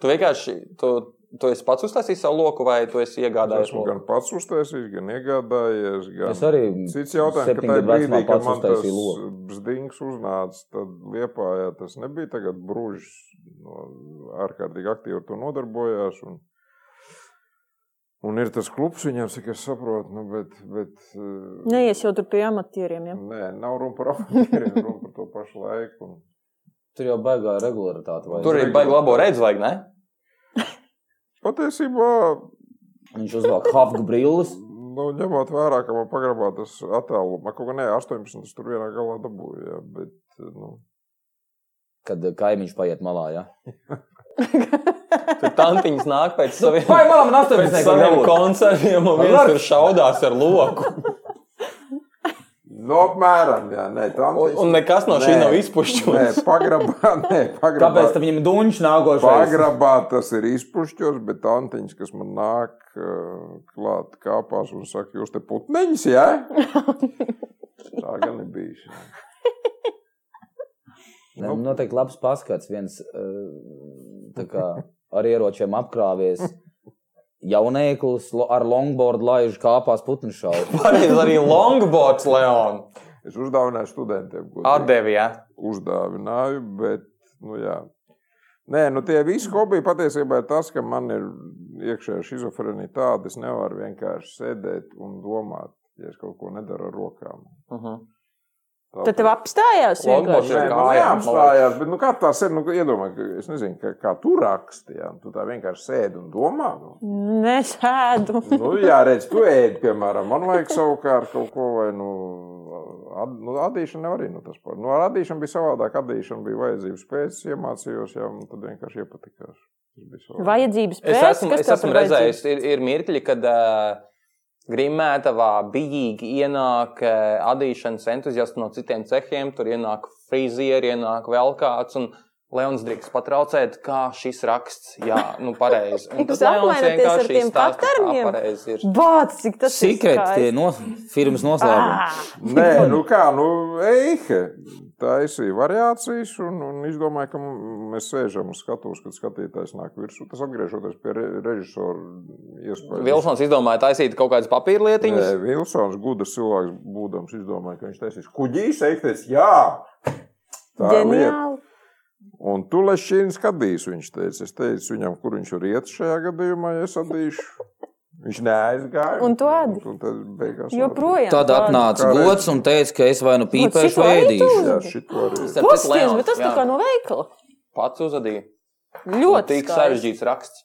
[SPEAKER 6] Tu vienkārši, tu, tu esi pats uztaisījis savu loku, vai tu esi
[SPEAKER 1] Es
[SPEAKER 6] iegādājies
[SPEAKER 1] esmu
[SPEAKER 6] loku?
[SPEAKER 1] gan pats uztaisījis, gan iegādājies. Gan...
[SPEAKER 3] Es arī
[SPEAKER 1] Cits jautājums, ka
[SPEAKER 3] septiņu
[SPEAKER 1] tajā
[SPEAKER 3] gadu
[SPEAKER 1] brīdī,
[SPEAKER 3] vecumā
[SPEAKER 1] kad
[SPEAKER 3] pats
[SPEAKER 1] man tas
[SPEAKER 3] uztaisīju loku.
[SPEAKER 1] bzdings uznāca, tad liepā jā, tas nebija tagad brūžs. No, ārkārtīgi aktīvi ar to nodarbojās. Un, un ir tas klubs viņam, cik es saprotu, nu, bet, bet eh,
[SPEAKER 5] neies Nu, jau tur pie amatieriem. Ja?
[SPEAKER 1] nē, nav runa par amatieriem, *laughs* runa par to pašu laiku. Un,
[SPEAKER 3] Tur jau baigā regularitāte. vai
[SPEAKER 6] Tur
[SPEAKER 3] ne?
[SPEAKER 6] ir baigi labo redzi, vai ne?
[SPEAKER 1] patiesībā,
[SPEAKER 3] Viņš uzvelk hafgu brilles.
[SPEAKER 1] nu, ņemot vērā, ka man pagrabā tas attēlumā, kaut kā ne 18, tas tur vienā galā dabūja. jā, Bet, eh, nu,
[SPEAKER 3] Kad eh, kaimiņš paiet malā, jā.
[SPEAKER 6] Tur tantiņas nāk pēc saviem,
[SPEAKER 3] Nu, Vai malā man
[SPEAKER 6] pēc
[SPEAKER 3] 18
[SPEAKER 6] saviem
[SPEAKER 3] gadu?
[SPEAKER 6] koncertiem, un viens tur šaudās ar loku.
[SPEAKER 1] Nu, apmēram, jā, nē, tā nav.
[SPEAKER 6] Un nekas no šī nav izpušķots.
[SPEAKER 1] Nē, pagrabā, *laughs* nē, pagrabā.
[SPEAKER 3] Kāpēc tam viņam duņš nākošais?
[SPEAKER 1] Pagrabā tas ir izpušķots, bet antiņš, kas man nāk eh, klāt, kāpās un saka, jūs te putniņas, jā? Tā gan nebija.
[SPEAKER 3] Ne, Nu, noteikti labs paskats. Viens eh, tā kā ar ieročiem *laughs* apkrāvies jauneklis lo- ar longboard laižu kāpās putnu *laughs* šaubu.
[SPEAKER 6] Pareizi arī longboards, Leon.
[SPEAKER 1] Es uzdāvināju studentiem, ko
[SPEAKER 6] Atdevi, jā.
[SPEAKER 1] uzdāvināju, bet, nu, jā. Nē, nu tie visi hobiji patiesībā ir tas, ka man ir iekšējā šizofrēnija tāda, es nevaru vienkārši sēdēt un domāt, ja es kaut ko nedaru ar rokām.
[SPEAKER 6] Mhm.
[SPEAKER 5] Tad tev apstājās.
[SPEAKER 6] Longboards
[SPEAKER 5] vienkārši?
[SPEAKER 1] Nē,
[SPEAKER 6] ir
[SPEAKER 1] nu,
[SPEAKER 6] kājām,
[SPEAKER 1] neapstājās, bet nu, kā tas ir? Nu, iedomājies, ka es nezinu, kā, kā tu raksti. Jā, tu tā vienkārši sēdi un domā. Nu.
[SPEAKER 5] Nesēdu.
[SPEAKER 1] Nu, jā, redz, tu ēdi, piemēram, man vajag savukārt kaut ko vai nu. Ad, nu, adīšana nevar arī no tas par. Nu, ar adīšanu bija savādāk. Adīšana bija vajadzības pēc, iemācījos, jā, un tad vienkārši iepatikās. Tas bija savādāk.
[SPEAKER 5] Vajadzības pēc.
[SPEAKER 6] Es esmu,
[SPEAKER 5] kas
[SPEAKER 6] es
[SPEAKER 5] tev
[SPEAKER 6] esmu
[SPEAKER 5] tur vajadzīgs?
[SPEAKER 6] redzējis, ir, ir mirkļi, kad uh, grimētavā bijīgi ienāk uh, adīšanas entuziasti no citiem cehiem. Tur ienāk frizieri, ienāk vēl kāds. Un Leons drīkst patraucēt, kā šis raksts. Jā, nu
[SPEAKER 5] *laughs*
[SPEAKER 6] pareizi. Un
[SPEAKER 5] Jūs
[SPEAKER 6] tad Leons
[SPEAKER 5] apmainaties ar
[SPEAKER 6] vienkārši
[SPEAKER 5] tiem
[SPEAKER 6] stāsta, kā
[SPEAKER 5] patērņiem?
[SPEAKER 6] pareizi ir.
[SPEAKER 5] Bāc, cik tas ir
[SPEAKER 3] Sikrets tie
[SPEAKER 5] skaisti.
[SPEAKER 3] no firmas noslēgumi.
[SPEAKER 5] Ah! *laughs*
[SPEAKER 1] Nē, nu kā, nu, eihe. Taisīja variācijas, un, un izdomāja, ka m- mēs sēžam uz skatuves, kad skatītājs nāk virsū. Tas atgriežoties pie re- režisora iespējas.
[SPEAKER 6] Vilsons izdomāja taisīt kaut kādas papīra lietiņas.
[SPEAKER 1] Nē, Vilsons, gudrs cilvēks, būdams, izdomāja, ka viņš taisīs kuģīs, eikties, jā! Tā ir lieta.
[SPEAKER 5] Ģeniāli.
[SPEAKER 1] Un tu lešīni skatīs, viņš teica. Es teicu viņam, kur viņš var iet šajā gadījumā, ja es atdīšu. Viņš neaizgāja.
[SPEAKER 5] Un tu atdi.
[SPEAKER 1] Un tad beigās.
[SPEAKER 5] Joprojām.
[SPEAKER 3] Tad
[SPEAKER 5] tāda.
[SPEAKER 3] atnāca
[SPEAKER 1] Kā reiz.
[SPEAKER 3] gods un teica, ka es vai nu pīpēšu
[SPEAKER 5] citu
[SPEAKER 3] vai
[SPEAKER 5] arī
[SPEAKER 3] ēdīšu.
[SPEAKER 1] Jā, šito arī.
[SPEAKER 6] Starp citu,
[SPEAKER 5] Posties,
[SPEAKER 6] Leons,
[SPEAKER 5] bet tas tā
[SPEAKER 6] jā,
[SPEAKER 5] kā no veikala.
[SPEAKER 6] pats uzadīja.
[SPEAKER 5] Ļoti
[SPEAKER 6] Tik
[SPEAKER 5] skaisti. Ah,
[SPEAKER 6] sarežģīts raksts.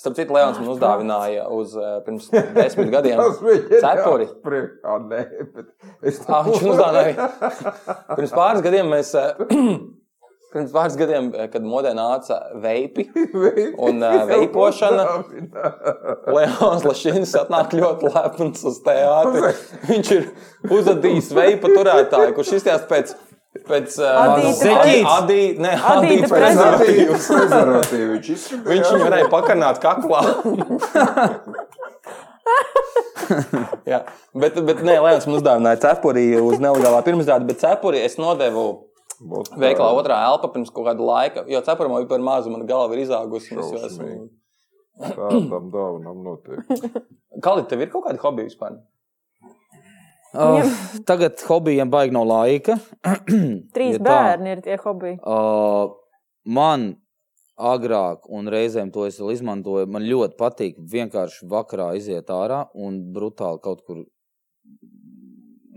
[SPEAKER 6] Starp citu, Leons man uzdāvināja uz uh, pirms desmit gadiem.
[SPEAKER 1] Tas bija
[SPEAKER 6] Cepuri.
[SPEAKER 1] Priekšā, nē, bet es
[SPEAKER 6] Ah, viņš uzdāvināja.
[SPEAKER 1] *laughs*
[SPEAKER 6] Pirms pāris gadiem mēs. eh, *clears throat* Pirms pāris gadiem, eh, kad modē nāca veipi, Un, ā, veipošana. Leons Lašins atnāk ļoti lepns uz teātri. Viņš ir uzadījis veipa turētāju, kurš izties pēc. Pēc eh,
[SPEAKER 5] Adīta prezervatīvs. Adīta prezervatīvs.
[SPEAKER 6] tam
[SPEAKER 1] Prezervatīvs, prezervatīvs. izskatījās.
[SPEAKER 6] viņš viņu varēja pakarnāt kaklā. *laughs* Jā, bet, bet nē, Lēns mums dāvināja cepuri uz nelegālā pirmsdāta, bet cepuri es nodevu
[SPEAKER 1] Būtu tā.
[SPEAKER 6] veiklā otrā elpa pirms kaut kāda laika, jo cepurmā bija par mazu, man galva ir izaugusi. un es jau esmu-
[SPEAKER 1] Tā tam dāvinam notiek.
[SPEAKER 6] *laughs* Kalīt, tev ir kaut kāda hobija vispār?
[SPEAKER 3] Ah, Tagad hobijiem baig no laika.
[SPEAKER 5] Trīs
[SPEAKER 3] Ja tā.
[SPEAKER 5] bērni ir tie hobiji.
[SPEAKER 3] Uh, man agrāk, un reizēm to es vēl izmantoju, man ļoti patīk vienkārši vakarā iziet ārā un brutāli kaut kur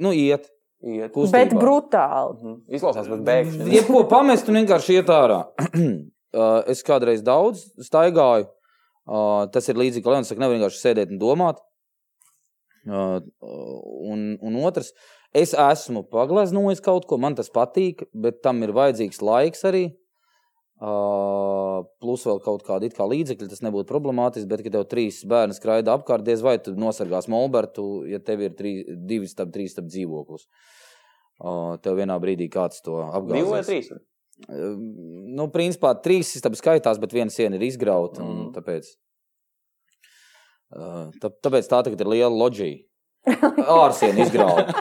[SPEAKER 3] nu, iet.
[SPEAKER 6] Iet.
[SPEAKER 3] Kustībā.
[SPEAKER 5] Bet brutāli.
[SPEAKER 6] Mhm. Izklausās pēc bēgšanas.
[SPEAKER 3] *clears throat* Jebko pamest un vienkārši iet ārā. Uh, es kādreiz daudz staigāju. Uh, tas ir līdzīgi, kā Leons saka, nevar vienkārši sēdēt un domāt. Uh, un, un otrs, es esmu paglaznojis kaut ko, man tas patīk, bet tam ir vajadzīgs laiks arī. Uh, plus vēl kaut kāda it kā līdzekļa, tas nebūtu problemātiski. Bet, kad tev trīs bērni skraida apkārt, diez vai tu nosargās Molbertu, ja tev ir trī, divi stūri, trīs stūri dzīvoklis. Uh, tev vienā brīdī kāds to
[SPEAKER 6] Divi vai
[SPEAKER 3] apgādās.
[SPEAKER 6] trīs?
[SPEAKER 3] nu, principā trīs istabi skaitās, bet viena siena ir izgrauta. Mm.
[SPEAKER 6] Mhm.
[SPEAKER 3] Tāpēc, Uh, tā- tāpēc tā tagad ir liela loģija.
[SPEAKER 1] *laughs*
[SPEAKER 3] Ārsienu izgrauta.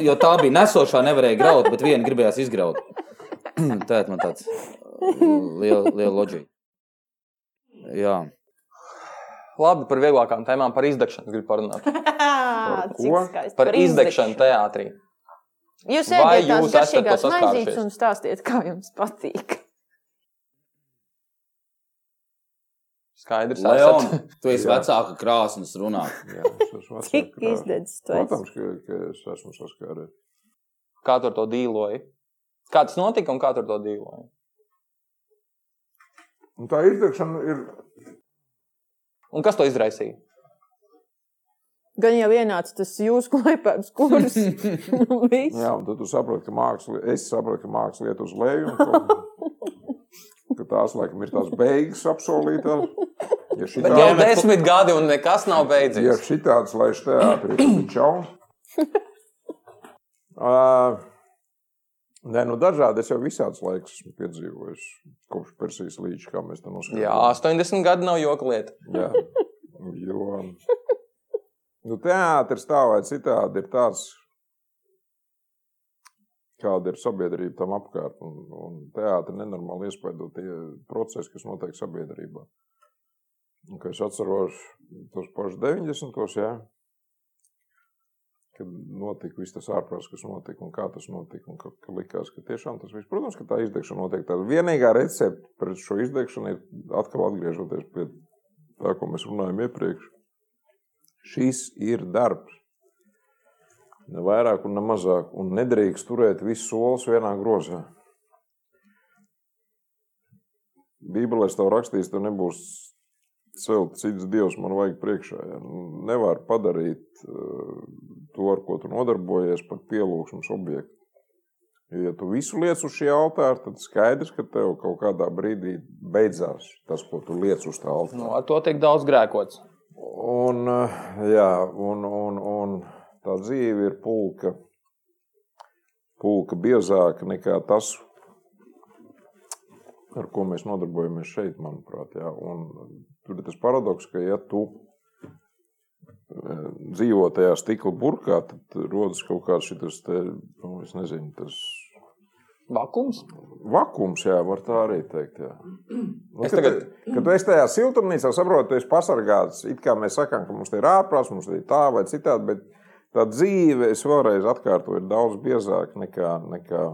[SPEAKER 3] Jo tā bija nesošā, nevarēja graut, bet viena gribējās izgraut. *clears throat* Tā ir man tāds uh, liela, liela loģija. Jā,
[SPEAKER 6] Labi, par vieglākām tēmām, par izdegšanu gribu *laughs* parunāt.
[SPEAKER 5] Cik
[SPEAKER 1] ko?
[SPEAKER 5] skaisti.
[SPEAKER 6] Par izdegšanu teātrī.
[SPEAKER 5] Jūs
[SPEAKER 6] Vai
[SPEAKER 5] ēdiet tās
[SPEAKER 6] jūs esat ar to
[SPEAKER 5] garšīgās
[SPEAKER 6] saskārušies?
[SPEAKER 5] maizītes un stāstiet, kā jums patīk.
[SPEAKER 6] *laughs* Skaidrs, esat.
[SPEAKER 3] Leon, tu esi vecāka krāsnes runā.
[SPEAKER 1] Jā, es esmu
[SPEAKER 5] Cik
[SPEAKER 1] vecāks.
[SPEAKER 5] izdedzis to
[SPEAKER 1] Protams, ka, ka es esmu saskāries.
[SPEAKER 6] kā tur to dīloja. Kā tas notika un kā tur to dīloja.
[SPEAKER 1] Un tā izdegšana ir
[SPEAKER 6] Un kas to izraisīja?
[SPEAKER 5] Gan jau ienāca tas jūsu *laughs* klipēms
[SPEAKER 6] *laughs*
[SPEAKER 5] kurs. Nu, viss.
[SPEAKER 1] Jā, un tad tu saproti, ka māksla, es saprotu, ka māksla iet uz leju. un ka- Ka tās laikam ir tās beigas apsolītās. Ja
[SPEAKER 6] Bet jau
[SPEAKER 1] šitādi,
[SPEAKER 6] desmit gadi un nekas nav
[SPEAKER 1] ja
[SPEAKER 6] beidzies.
[SPEAKER 1] šitāds laiž teātrī, tad čau. Uh, Nē, nu dažādi es jau visādus laikus esmu piedzīvojis. Kopš Persijas līča, kā mēs tam nosaucam.
[SPEAKER 6] Jā, 80 gadi nav joka lieta.
[SPEAKER 1] Jā, jo nu, teātris tā vai citādi ir tāds, kāda ir sabiedrība tam apkārt. Un, un teātris nenormāli iespaido tie procesi, kas notiek sabiedrībā. Un, ka es atceros tos pašus 90. Jā, kad notika viss tas ārprāts, kas notika un kā tas notika. Un, ka, ka likās, ka tiešām tas viss, protams, ka tā izdegšana notiek. Tā vienīgā recepte pret šo izdegšanu ir atkal atgriežoties pie tā, ko mēs runājām iepriekš. Šis ir darbs. Ne vairāk, un ne mazāk. Un nedrīkst turēt visus solus vienā grozā. Bībelē es tev rakstīju, tev nebūs celt cits dievs, man vajag priekšā. Ja. Nu, Nevar padarīt eh, to, ar ko tu nodarbojies, par pielūgšanas objektu. Jo, Ja tu visu liec uz šī altāra, tad skaidrs, ka tev kaut kādā brīdī beidzās tas, ko tu liec uz tā altāra.
[SPEAKER 6] Nu, ar to tiek daudz grēkots.
[SPEAKER 1] Un, eh, jā, un, un, un tā dzīve ir pulka, pulka biezāka nekā tas, ar ko mēs nodarbojamies šeit, manuprāt. Jā. Un tur ir tas paradoks, ka ja tu eh, dzīvo tajā stikla burkā, tad rodas kaut kāds šis, nu, es nezinu, tas
[SPEAKER 6] Vakums.
[SPEAKER 1] vakums, jā, var tā arī teikt.
[SPEAKER 6] *clears throat*
[SPEAKER 1] Jā. Nu,
[SPEAKER 6] Es
[SPEAKER 1] kad,
[SPEAKER 6] tagad-
[SPEAKER 1] tu- kad tu esi tajā siltumnīcā, saproti, tu esi pasargāts. It kā mēs sakām, ka mums te ir ārprāts, mums te ir tā vai citādi, bet tā dzīve, es vēlreiz atkārtoju, ir daudz biezāka nekā. nekā...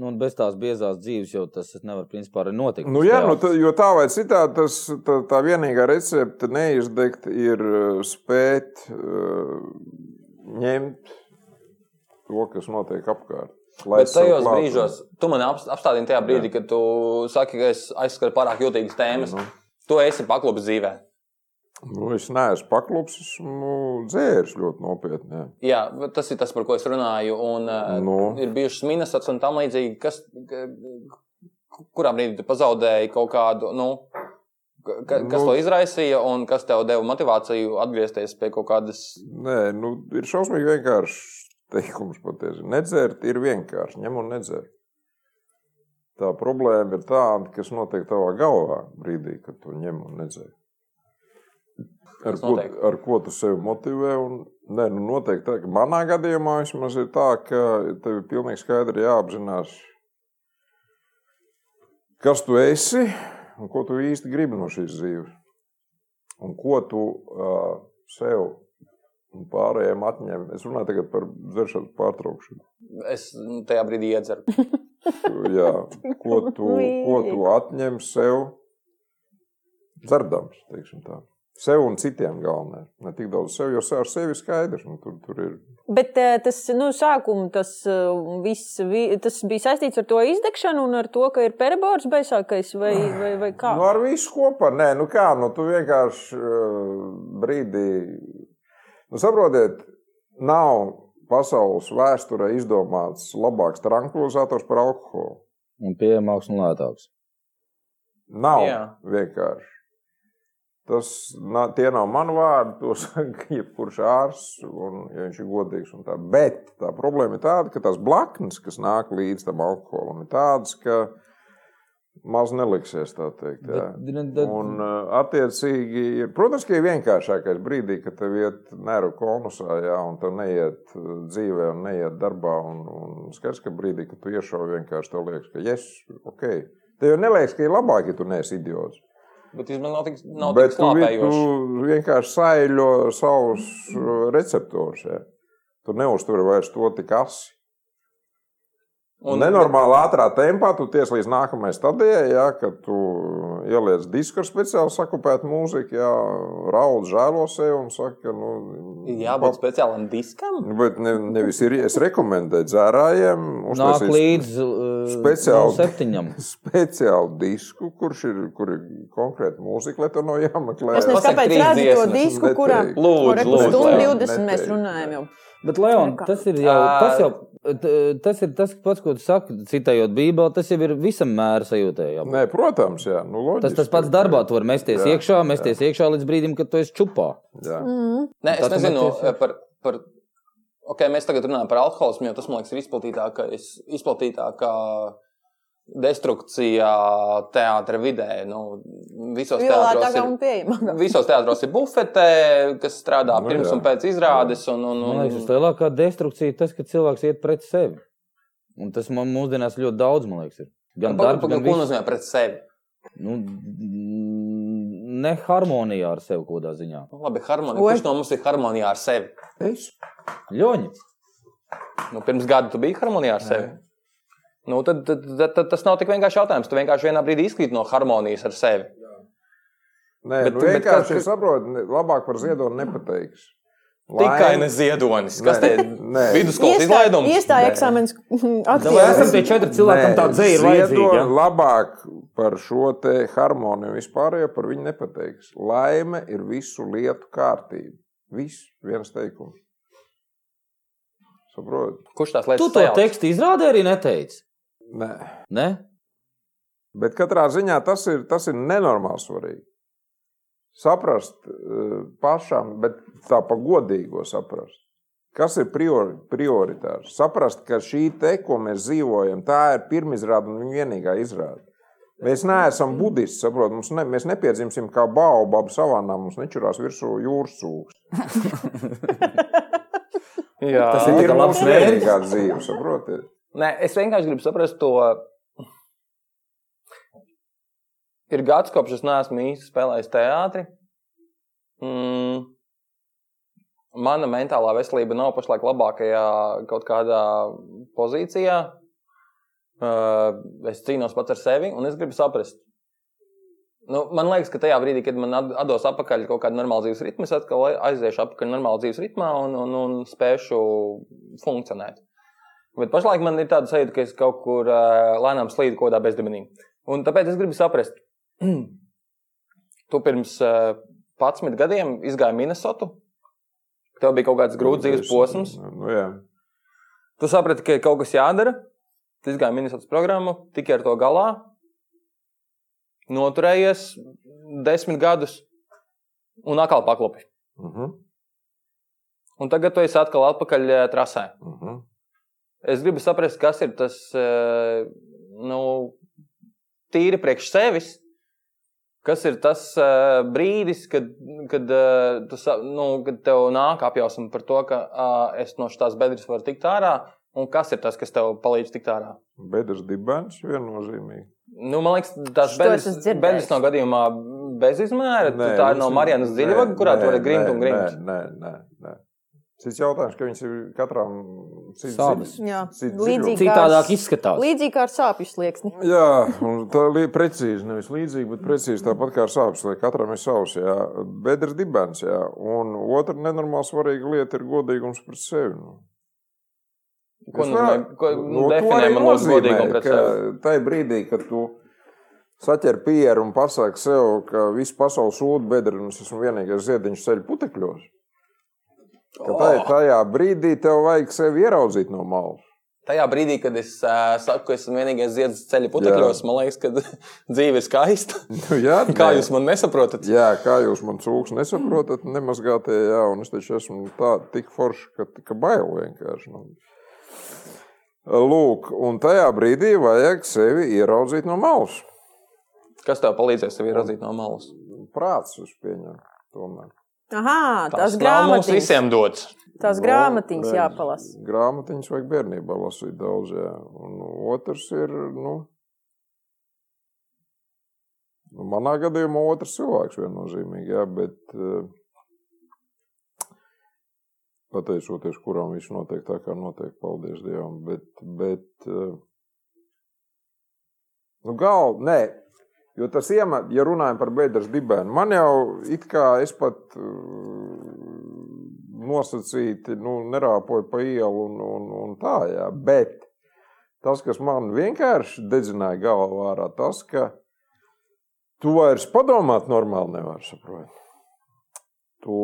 [SPEAKER 3] Nu, un bez tās biezās dzīves jau tas nevar principā arī notikt.
[SPEAKER 1] Nu, jā, nu, tā, jo tā vai citādi, tas, tā, tā vienīgā recepte neizdegt ir uh, spēt uh, ņemt to, kas notiek apkārt. Lai
[SPEAKER 6] Bet
[SPEAKER 1] es sev
[SPEAKER 6] tajos
[SPEAKER 1] klātu.
[SPEAKER 6] brīžos, tu man apstādini tajā brīdī, kad tu saki, ka es aizskaru pārāk jutīgas tēmas.
[SPEAKER 1] Mhm.
[SPEAKER 6] Tu esi paklubs dzīvē.
[SPEAKER 1] Nu, es neesmu paklups, esmu dzēris ļoti nopietni. jā.
[SPEAKER 6] Jā, bet tas ir tas, par ko es runāju. Un, no.
[SPEAKER 1] Nu.
[SPEAKER 6] Ir bijušas minusas un tam līdzīgi, kas, kurā brīdī tu pazaudēji kaut kādu, nu, ka, ka- kas
[SPEAKER 1] Nu.
[SPEAKER 6] to izraisīja un kas tev deva motivāciju atgriezties pie kaut kādas.
[SPEAKER 1] Nē, nu, ir šausmīgi vienkāršs teikums patiesībā. Nedzert ir vienkārši. Ņem un nedzer. Tā problēma ir tāda, kas notiek tavā galvā brīdī, kad tu ņem un nedzer. Ar
[SPEAKER 6] Kas
[SPEAKER 1] ko,
[SPEAKER 6] notiek?
[SPEAKER 1] ar ko tu sevi motivē? Un, nē, nu noteikti tā, ka manā gadījumā vismaz ir tā, ka tev ir pilnīgi skaidri jāapzinās, kas tu esi un ko tu īsti gribi no šīs dzīves. Un ko tu uh, sev un pārējiem atņem. Es runāju tagad par dzeršanas pārtraukšanu.
[SPEAKER 6] Es nu, tajā brīdī iedzeru.
[SPEAKER 1] Jā, ko, tu, ko tu atņem sev dzerdams, teiksim tā. Sev un citiem galvenais. Ne tik daudz sev, jo ar sevi ir skaidrs. Nu, tur, tur ir
[SPEAKER 5] Bet eh, tas, nu, sākumā tas, eh, viss, vi- tas bija saistīts ar to izdegšanu un ar to, ka ir perbors baisākais vai, vai, vai kā.
[SPEAKER 1] Nu, ar visu kopā. Nē, nu kā, nu tu vienkārši uh, brīdī. Nu, saprotiet, nav pasaules vēsturē izdomāts labāks tranquilizators par alkoholu.
[SPEAKER 3] Un pieejamāks un lētāks.
[SPEAKER 1] Nav Jā.
[SPEAKER 6] Jā.
[SPEAKER 1] vienkārši. Tas, na, tie nav mani vārdi. To *laughs* saka jebkurš ārsts, un, ja viņš ir godīgs. un Tā. Bet tā problēma ir tāda, ka tās blaknes, kas nāk līdz tam alkoholam, ir tādas, ka maz neliksies. tā Teikt, jā.
[SPEAKER 3] Bet, ne- ne-
[SPEAKER 1] Un, uh, attiecīgi, ir- protams, ka ir vienkāršākais brīdī, kad tev iet nēru konusā, jā, un tev neiet uh, dzīvē, un neiet darbā. Un, un skaidrs, ka brīdī, kad tu iešauj, vienkārši tev liekas, ka yes, ok. Tev jau neliekas, ka ir labāk, ja tu neesi idiots.
[SPEAKER 6] Bet viņš man nav tik, nav
[SPEAKER 1] Bet
[SPEAKER 6] tik
[SPEAKER 1] tu, vi-
[SPEAKER 6] slāpējošs.
[SPEAKER 1] tu vienkārši saļo savus uh, receptorus. jā. Tu neuzturi vairs to tik asi. Un nenormāli ātrā tempā tu tiec līdz nākamajai stadijai, ja, kad tu ieliec disku ar speciāli sakupētu mūziku, ja, raud žēlo sevi un saka, ka, nu,
[SPEAKER 6] Jābūt speciālam diskam.
[SPEAKER 1] Nu, Bet ne, nevis ir. Es rekomendēju dzērājiem
[SPEAKER 3] Nāk
[SPEAKER 1] uztaisīt
[SPEAKER 3] līdz uh,
[SPEAKER 1] speciāli.
[SPEAKER 3] septiņam.
[SPEAKER 1] speciālu disku, kurš ir, kur ir konkrēti mūzika, lai to nav jāmeklē.
[SPEAKER 5] Es nezinu,
[SPEAKER 6] Pasak
[SPEAKER 5] kāpēc
[SPEAKER 6] trīs
[SPEAKER 5] redzu to
[SPEAKER 6] dziesmas. eh,
[SPEAKER 5] disku,
[SPEAKER 1] Neteiktu.
[SPEAKER 5] kurā
[SPEAKER 6] Lūdzu,
[SPEAKER 5] no, re,
[SPEAKER 6] lūdzu,
[SPEAKER 5] stundu
[SPEAKER 6] Leon,
[SPEAKER 5] 20 mēs
[SPEAKER 1] neteiktu.
[SPEAKER 5] runājam. Jau.
[SPEAKER 3] Bet, Leon,
[SPEAKER 5] Nekā.
[SPEAKER 3] tas ir jau
[SPEAKER 6] Ā.
[SPEAKER 3] tas, jau, t- tas, ir tas pats, ko tu saki, citējot Bībeli. Tas jau ir visam mēra sajūtā. jau.
[SPEAKER 1] Nē, protams, jā. Nu,
[SPEAKER 3] Tas
[SPEAKER 1] loģiski.
[SPEAKER 3] tas pats darbā, tu vari mesties
[SPEAKER 1] Jā,
[SPEAKER 3] iekšā, mesties iekšā līdz brīdim, kad tu esi čupā.
[SPEAKER 1] Jā.
[SPEAKER 5] Mm-hmm.
[SPEAKER 3] Tā
[SPEAKER 6] Nē, es
[SPEAKER 3] tu
[SPEAKER 6] nezinu eh,
[SPEAKER 3] metiesi.
[SPEAKER 6] par. par okay, mēs tagad runājam par alkoholismu, jo tas man liekas ir izplatītākais, izplatītākā destrukcija teātra vidē. Nu, visos teātros
[SPEAKER 5] Vielātākā un
[SPEAKER 6] ir,
[SPEAKER 5] pieejamākā.
[SPEAKER 6] visos teātros ir bufete, kas strādā
[SPEAKER 1] Nu,
[SPEAKER 6] nu, pirms
[SPEAKER 1] jā.
[SPEAKER 6] jā. un pēc izrādes. Un, un,
[SPEAKER 1] Nu.
[SPEAKER 3] Man liekas,
[SPEAKER 6] un,
[SPEAKER 3] vislielākā destrukcija ir tas, ka cilvēks iet pret sevi. Un tas man mūsdienās ļoti daudz, man liekas, ir. Gan
[SPEAKER 6] Pagaidām,
[SPEAKER 3] darbs,
[SPEAKER 6] ko
[SPEAKER 3] gan viss.
[SPEAKER 6] nozīmē pret sevi?
[SPEAKER 3] Nu, mm, neharmonijā ar sevi kādā ziņā.
[SPEAKER 6] Nu, Labi, harmonija.
[SPEAKER 5] Oi.
[SPEAKER 6] Kurš no mums ir harmonijā ar sevi?
[SPEAKER 1] Es
[SPEAKER 3] Ļoņi,
[SPEAKER 6] Nu, pirms gada tu biji harmonijā ar sevi. Nu, tad, tad, tad, tad tas nav tik vienkārši jautājums. Tu vienkārši vienā brīdī izkrīt no harmonijas ar sevi.
[SPEAKER 1] Nē,
[SPEAKER 6] Bet-
[SPEAKER 1] bet, nu,
[SPEAKER 6] bet
[SPEAKER 1] vienkārši
[SPEAKER 6] kā-
[SPEAKER 1] bet, saprotu, ne- labāk par ziedoni nepateiks.
[SPEAKER 6] Tikai
[SPEAKER 1] Laim-
[SPEAKER 6] ne ziedonis.
[SPEAKER 1] Nē,
[SPEAKER 6] Kas te ir?
[SPEAKER 1] nē.
[SPEAKER 6] Vidusskolas
[SPEAKER 5] Iestā-
[SPEAKER 6] izlaidums.
[SPEAKER 5] Iestāja *laughs* eksāmenis
[SPEAKER 4] Vai esam
[SPEAKER 5] atklājās.
[SPEAKER 4] tie četri cilvēki, kam tā dzēja ir vajadzīga?
[SPEAKER 1] Ziedoni
[SPEAKER 4] ja?
[SPEAKER 1] labāk par šo te harmoniju vispār, jo par viņu nepateiks. Laime ir visu lietu kārtība. Viss viens teikums. Saprotiet?
[SPEAKER 6] Kurš tās lietas?
[SPEAKER 3] tu to
[SPEAKER 6] sajauc?
[SPEAKER 3] tekstu izrādē arī neteici.
[SPEAKER 1] Nē.
[SPEAKER 3] Ne?
[SPEAKER 1] Bet katrā ziņā tas ir, tas ir nenormāli svarīgi. Saprast eh, pašam, bet tā pa godīgo saprast. Kas ir priori, prioritārs? Saprast, ka šī te, ko mēs dzīvojam, tā ir pirmizrāde un vienīgā izrāde. Mēs neesam budisti, saprotam, mums ne, mēs nepiedzimsim kā baobabs savānā, mums nečurās virsū jūras sūkļus.
[SPEAKER 6] Jā.
[SPEAKER 1] Tas
[SPEAKER 4] ir
[SPEAKER 1] ir
[SPEAKER 4] labs
[SPEAKER 1] mūsu
[SPEAKER 4] mērķis.
[SPEAKER 1] vienīgā dzīve, saprotiet?
[SPEAKER 6] Nē, es vienkārši gribu saprast to. Ir gads, kopš es neesmu īsti spēlējis teātrī. Mm. Mana mentālā veselība nav pašlaik labākajā kaut kādā pozīcijā. Uh, Es cīnos pats ar sevi, un es gribu saprast. Nu, man liekas, ka tajā brīdī, kad man at- atdos atpakaļ kaut kāda normāla dzīves ritma, es atkal aiziešu atpakaļ normālā dzīves ritmā un, un, un spēšu funkcionēt. Bet pašlaik man ir tāda sajūta, ka es kaut kur uh, lēnām slīdu kaut kādā bezdibenī. Un tāpēc es gribu saprast, *clears throat* tu pirms uh, 11 gadiem izgāji Minnesotu. Tev bija kaut kāds grūts dzīves posms.
[SPEAKER 1] Nu, jā.
[SPEAKER 6] Tu saprati, ka ir kaut kas jādara. Tu izgāji Minnesotas programmu, tikai ar to galā. Noturējies desmit gadus un atkal paklopi.
[SPEAKER 1] Uh -huh,
[SPEAKER 6] Un tagad tu esi atkal atpakaļ eh, trasē.
[SPEAKER 1] uh -huh.
[SPEAKER 6] Es gribu saprast, kas ir tas eh, nu, tīri priekš sevis. Kas ir tas eh, brīdis, kad, kad, eh, tu, sa- nu, kad tev nāk apjausma par to, ka ah, es no šīs bedres varu tikt ārā, un kas ir tas, kas tev palīdz tikt ārā?
[SPEAKER 1] Bedres dibens viennozīmīgi.
[SPEAKER 6] Nu, man liekas, tas
[SPEAKER 5] Šo es esmu dzirdējis.
[SPEAKER 6] bedres nav gadījumā bezizmēra. Nē, tā ir no Marijas Ziedonga, kurā tu vari grimt un grimt.
[SPEAKER 1] Nē, nē, nē. nē. Cits jautājums, ka viņas ir katram cits
[SPEAKER 3] Savas.
[SPEAKER 1] dziļ-
[SPEAKER 5] Jā.
[SPEAKER 1] cits
[SPEAKER 5] Līdzīgi.
[SPEAKER 1] dziļums.
[SPEAKER 3] Citādāk izskatās.
[SPEAKER 5] Līdzīgi kā ar sāpju slieksni.
[SPEAKER 1] Jā, un tā ir precīzi, nevis līdzīga, bet precīzi tāpat kā ar sāpes, lai katram ir savs jā, bedres dibens. Jā. Un otra nenormāli svarīga lieta ir godīgums pret sevi. Nu.
[SPEAKER 6] Ko
[SPEAKER 1] Es
[SPEAKER 6] nozīmē,
[SPEAKER 1] varu-
[SPEAKER 6] ko
[SPEAKER 1] nu,
[SPEAKER 6] nu,
[SPEAKER 1] to
[SPEAKER 6] definē
[SPEAKER 1] arī
[SPEAKER 6] man mūsu
[SPEAKER 1] nozīmē,
[SPEAKER 6] godīgumu pret
[SPEAKER 1] ka
[SPEAKER 6] sevi?
[SPEAKER 1] Tajā brīdī, kad tu saķer pieru un pasaki sev, ka visu pasauli sūta bedri un es esmu vienīgais ziediņš ceļu putekļos, ka
[SPEAKER 6] Oh.
[SPEAKER 1] tajā, tajā brīdī tev vajag sevi ieraudzīt no
[SPEAKER 6] *laughs*
[SPEAKER 1] malas.
[SPEAKER 6] Tajā brīdī, kad es uh, saku, ka esmu vienīgais ziedus ceļa putekļos, man liekas, ka *laughs* dzīve ir skaista.
[SPEAKER 1] Nu, jā,
[SPEAKER 6] Kā
[SPEAKER 1] nē.
[SPEAKER 6] jūs man nesaprotat?
[SPEAKER 1] Jā, kā jūs man cūks nesaprotat, nemazgātie, jā, un es taču esmu tāds tik foršs, ka, ka bailu vienkārši. Nu. Lūk, un tajā brīdī vajag sevi ieraudzīt no malas.
[SPEAKER 6] Kas tev palīdzēs sevi redzēt no malas?
[SPEAKER 1] Prāts uz pieņemt. Tomēr.
[SPEAKER 5] Aha, tās
[SPEAKER 6] nav mums
[SPEAKER 5] grāmatiņas.
[SPEAKER 6] visiem dots.
[SPEAKER 5] Tās
[SPEAKER 1] Nu,
[SPEAKER 5] grāmatiņas
[SPEAKER 1] redz,
[SPEAKER 5] jāpalasa.
[SPEAKER 1] Grāmatiņas vajag bērnībā lasīt daudz, jā. Un otrs ir, nu, nu, manā gadījumā otrs cilvēks viennozīmīgi, jā, bet eh, pateicoties, kuram viņš notiek tā, kā notiek, paldies Dievam, bet, bet eh, nu, gal, nē, Jo tas iemesls, ja runājam par bedres dibēnu, man jau it kā es pat mm, nosacīti nu, nerāpoju pa ielu un, un, un tā, jā. bet tas, kas man vienkārši dedzināja galvā, ir tas, ka tu vairs padomāt normāli nevari saprot. Tu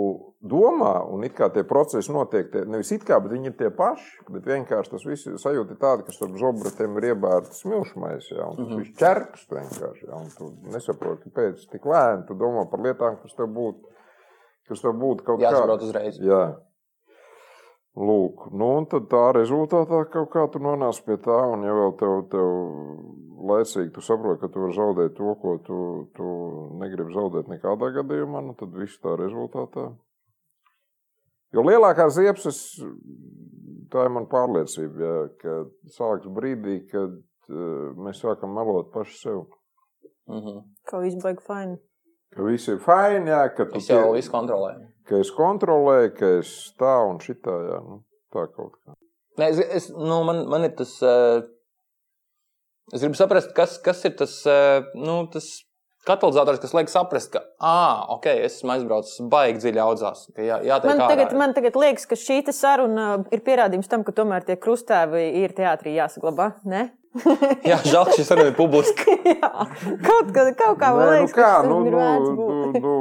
[SPEAKER 1] domā, un it kā tie procesi notiek, tie, nevis it kā, bet viņi ir tie paši, bet vienkārši tas viss ir sajūta ir tāda, ka starp zobratiem ir iebērts smilšmais, jā, un tas viss ķerks vienkārši, jā, un tu nesaproti, kāpēc tik lēni, tu domā par lietām, kas tev būtu, kas tev būtu kaut kā.
[SPEAKER 6] Jāsaprot uzreiz.
[SPEAKER 1] Jā. Lūk, nu, un tad tā rezultātā kaut kā tu nonāc pie tā, un ja vēl tev, tev laicīgi tu saproti, ka tu vari zaudēt to, ko tu, tu negribi zaudēt nekādā gadījumā, nu, tad viss tā rezultātā. Jo lielākā ziepes, tā ir man pārliecība, jā, ka sāks brīdī, kad eh, mēs sākam melot paši sev.
[SPEAKER 6] Mhm.
[SPEAKER 5] Kā izbaigta faina.
[SPEAKER 1] Ka viss ir fajn, jā, ka tu
[SPEAKER 6] Es jau
[SPEAKER 1] tie-
[SPEAKER 6] visu kontrolēju.
[SPEAKER 1] ka es kontrolēju, ka es tā un šitā, jā, nu, tā kaut kā.
[SPEAKER 6] Nē, es, es, nu, man, man ir tas. eh, Es gribu saprast, kas, kas ir tas, eh, nu, tas katalizators, kas liek saprast, ka, ah, ok, es esmu aizbraucis baigi dziļi audzās. ka Jā, jā tā
[SPEAKER 5] Man
[SPEAKER 6] ir
[SPEAKER 5] tagad, man tagad liekas, ka šī te saruna uh, ir pierādījums tam, ka tomēr tie krustēvi ir teātrī jāsaglabā. Ne?
[SPEAKER 6] *laughs*
[SPEAKER 5] *laughs*
[SPEAKER 6] Jā, žēl, ka šis arī ir publiski.
[SPEAKER 5] Jā, kaut, kā- kaut kā man
[SPEAKER 1] Nē,
[SPEAKER 5] liekas,
[SPEAKER 1] nu kā,
[SPEAKER 5] ka
[SPEAKER 1] nu,
[SPEAKER 5] tas ir
[SPEAKER 1] nu,
[SPEAKER 5] vērts
[SPEAKER 1] nu,
[SPEAKER 5] būt.
[SPEAKER 1] nu,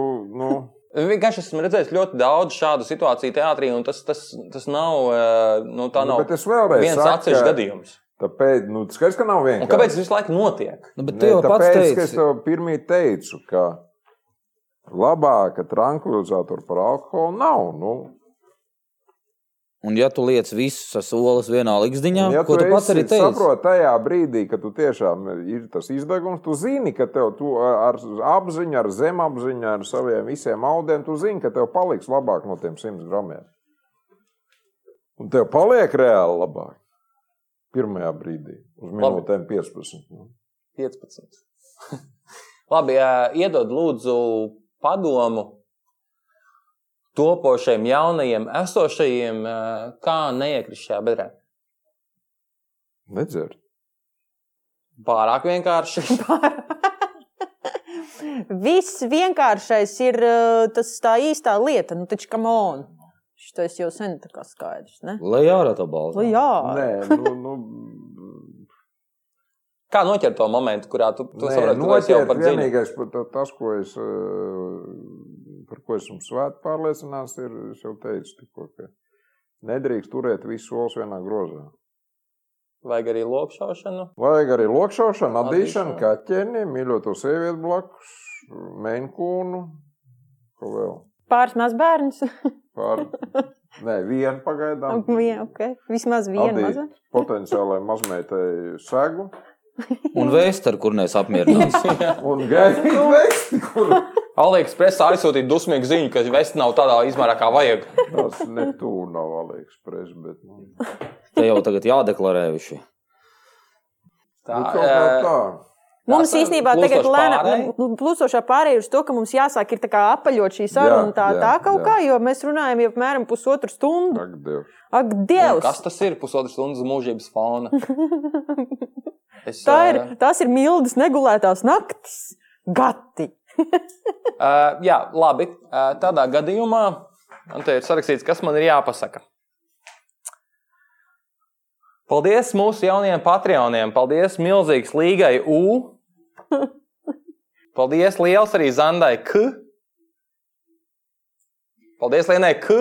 [SPEAKER 1] nu,
[SPEAKER 6] Vienkārši esmu redzējis ļoti daudz šādu situāciju teātrī, un tas, tas, tas nav, eh, nu, tā
[SPEAKER 1] nu,
[SPEAKER 6] nav
[SPEAKER 1] bet es vēlreiz
[SPEAKER 6] viens
[SPEAKER 1] saku,
[SPEAKER 6] atsevišķs
[SPEAKER 1] ka-
[SPEAKER 6] gadījums.
[SPEAKER 1] Tāpēc, nu, skaidrs, ka nav
[SPEAKER 6] Un
[SPEAKER 1] vienkārši.
[SPEAKER 6] kāpēc tas visu laiku notiek?
[SPEAKER 3] Nu, bet tu
[SPEAKER 1] Ne,
[SPEAKER 3] jau pats
[SPEAKER 1] tāpēc, ka es
[SPEAKER 3] teici,
[SPEAKER 1] tev pirmie teicu, ka labāka tranquilizatora par alkoholu nav. Nu,
[SPEAKER 3] un ja tu liec visus solis vienā likteņā,
[SPEAKER 1] Un
[SPEAKER 3] ja ko tu pats
[SPEAKER 1] esi-
[SPEAKER 3] arī teici,
[SPEAKER 1] saproti, tajā brīdī, kad tu tiešām ir tas izdevums, tu zini, ka tev tu ar apziņu, ar zemapziņu, ar saviem visiem audiem, tu zini, ka tev paliks labāk no tiem 100 gramiem. Un tev paliek reāli labāk. Pirmajā brīdī, uz
[SPEAKER 6] Labi.
[SPEAKER 1] minūtēm 15. nu.
[SPEAKER 6] 15. Labi, ā, iedod lūdzu padomu topošajiem, jaunajiem, esošajiem, ā, kā neiekrist šajā bedrē.
[SPEAKER 1] Nedzert.
[SPEAKER 6] Pārāk vienkārši. *laughs*
[SPEAKER 1] nu.
[SPEAKER 5] *laughs* Viss vienkāršais ir uh, tas tā īstā lieta, nu taču kam on. Tas jau sen tā kā skaidrs, ne?
[SPEAKER 3] lai ārā to balstu.
[SPEAKER 5] Nu, jā,
[SPEAKER 1] Nē, nu, nu,
[SPEAKER 6] Kā noķert to momentu, kurā tu, tu saproti, ka tu esi jau
[SPEAKER 1] noķert
[SPEAKER 6] par dziļu?
[SPEAKER 1] vienīgais, par ta- tas, ko es, eh, par ko esmu svēti pārliecināts, ir, es jau teicu, tikko, ka nedrīkst turēt visus solus vienā grozā.
[SPEAKER 6] Vajag arī lopšaušanu.
[SPEAKER 1] Vajag arī lokšaušanu, adīšanu,
[SPEAKER 6] Adīšanu.
[SPEAKER 1] kaķeni, mīļoto sievietu blakus, mēnkūnu, ko vēl.
[SPEAKER 5] pāris maz bērns.
[SPEAKER 1] Pār...
[SPEAKER 6] *laughs*
[SPEAKER 1] Nē, vienu pagaidām.
[SPEAKER 5] *laughs* Jā, okay. Vismaz viena
[SPEAKER 1] Adī-
[SPEAKER 5] maza.
[SPEAKER 1] Potenciālai mazmeitai segu.
[SPEAKER 3] Un vēstur, kur nes apmierinās. *laughs*
[SPEAKER 1] Un gaidīt veiksmi, kur
[SPEAKER 6] Alīks presā aizsūtīja dusmīgu ziņu, ka vests nav tādā izmērā, kā vajag.
[SPEAKER 1] tas netūna nav aliekspres, bet. Nu.
[SPEAKER 3] Te jau tagad jādeklarē visi.
[SPEAKER 1] Tā, nu, kaut kā
[SPEAKER 6] ā,
[SPEAKER 1] tā.
[SPEAKER 5] Mums
[SPEAKER 6] Tātad
[SPEAKER 5] īstenībā tagad
[SPEAKER 6] plūstoši pārēj.
[SPEAKER 5] lēnām plūstošā pārējai uz to, ka mums jāsāk ir tā kā apaļot šī saruna
[SPEAKER 1] Jā,
[SPEAKER 5] tā,
[SPEAKER 1] jā,
[SPEAKER 5] tā kaut
[SPEAKER 1] jā.
[SPEAKER 5] kā, jo mēs runājam jau apmēram pusotru stundu.
[SPEAKER 1] Ak, Dievs.
[SPEAKER 5] Ak,
[SPEAKER 6] Un
[SPEAKER 5] Dievs!
[SPEAKER 6] Kas tas ir? Pusotras stundas mūžības
[SPEAKER 5] *laughs*
[SPEAKER 6] fauna. Es,
[SPEAKER 5] Tā ir,
[SPEAKER 6] ā,
[SPEAKER 5] tās ir mildas negulētās naktis. Gati!
[SPEAKER 6] ā, jā, labi. Ā, tādā gadījumā man te ir sarakstīts, kas man ir jāpasaka. Paldies mūsu jaunajiem patroniem. Paldies milzīgas līgai U. Paldies liels arī Zandai K. Paldies Lienai K.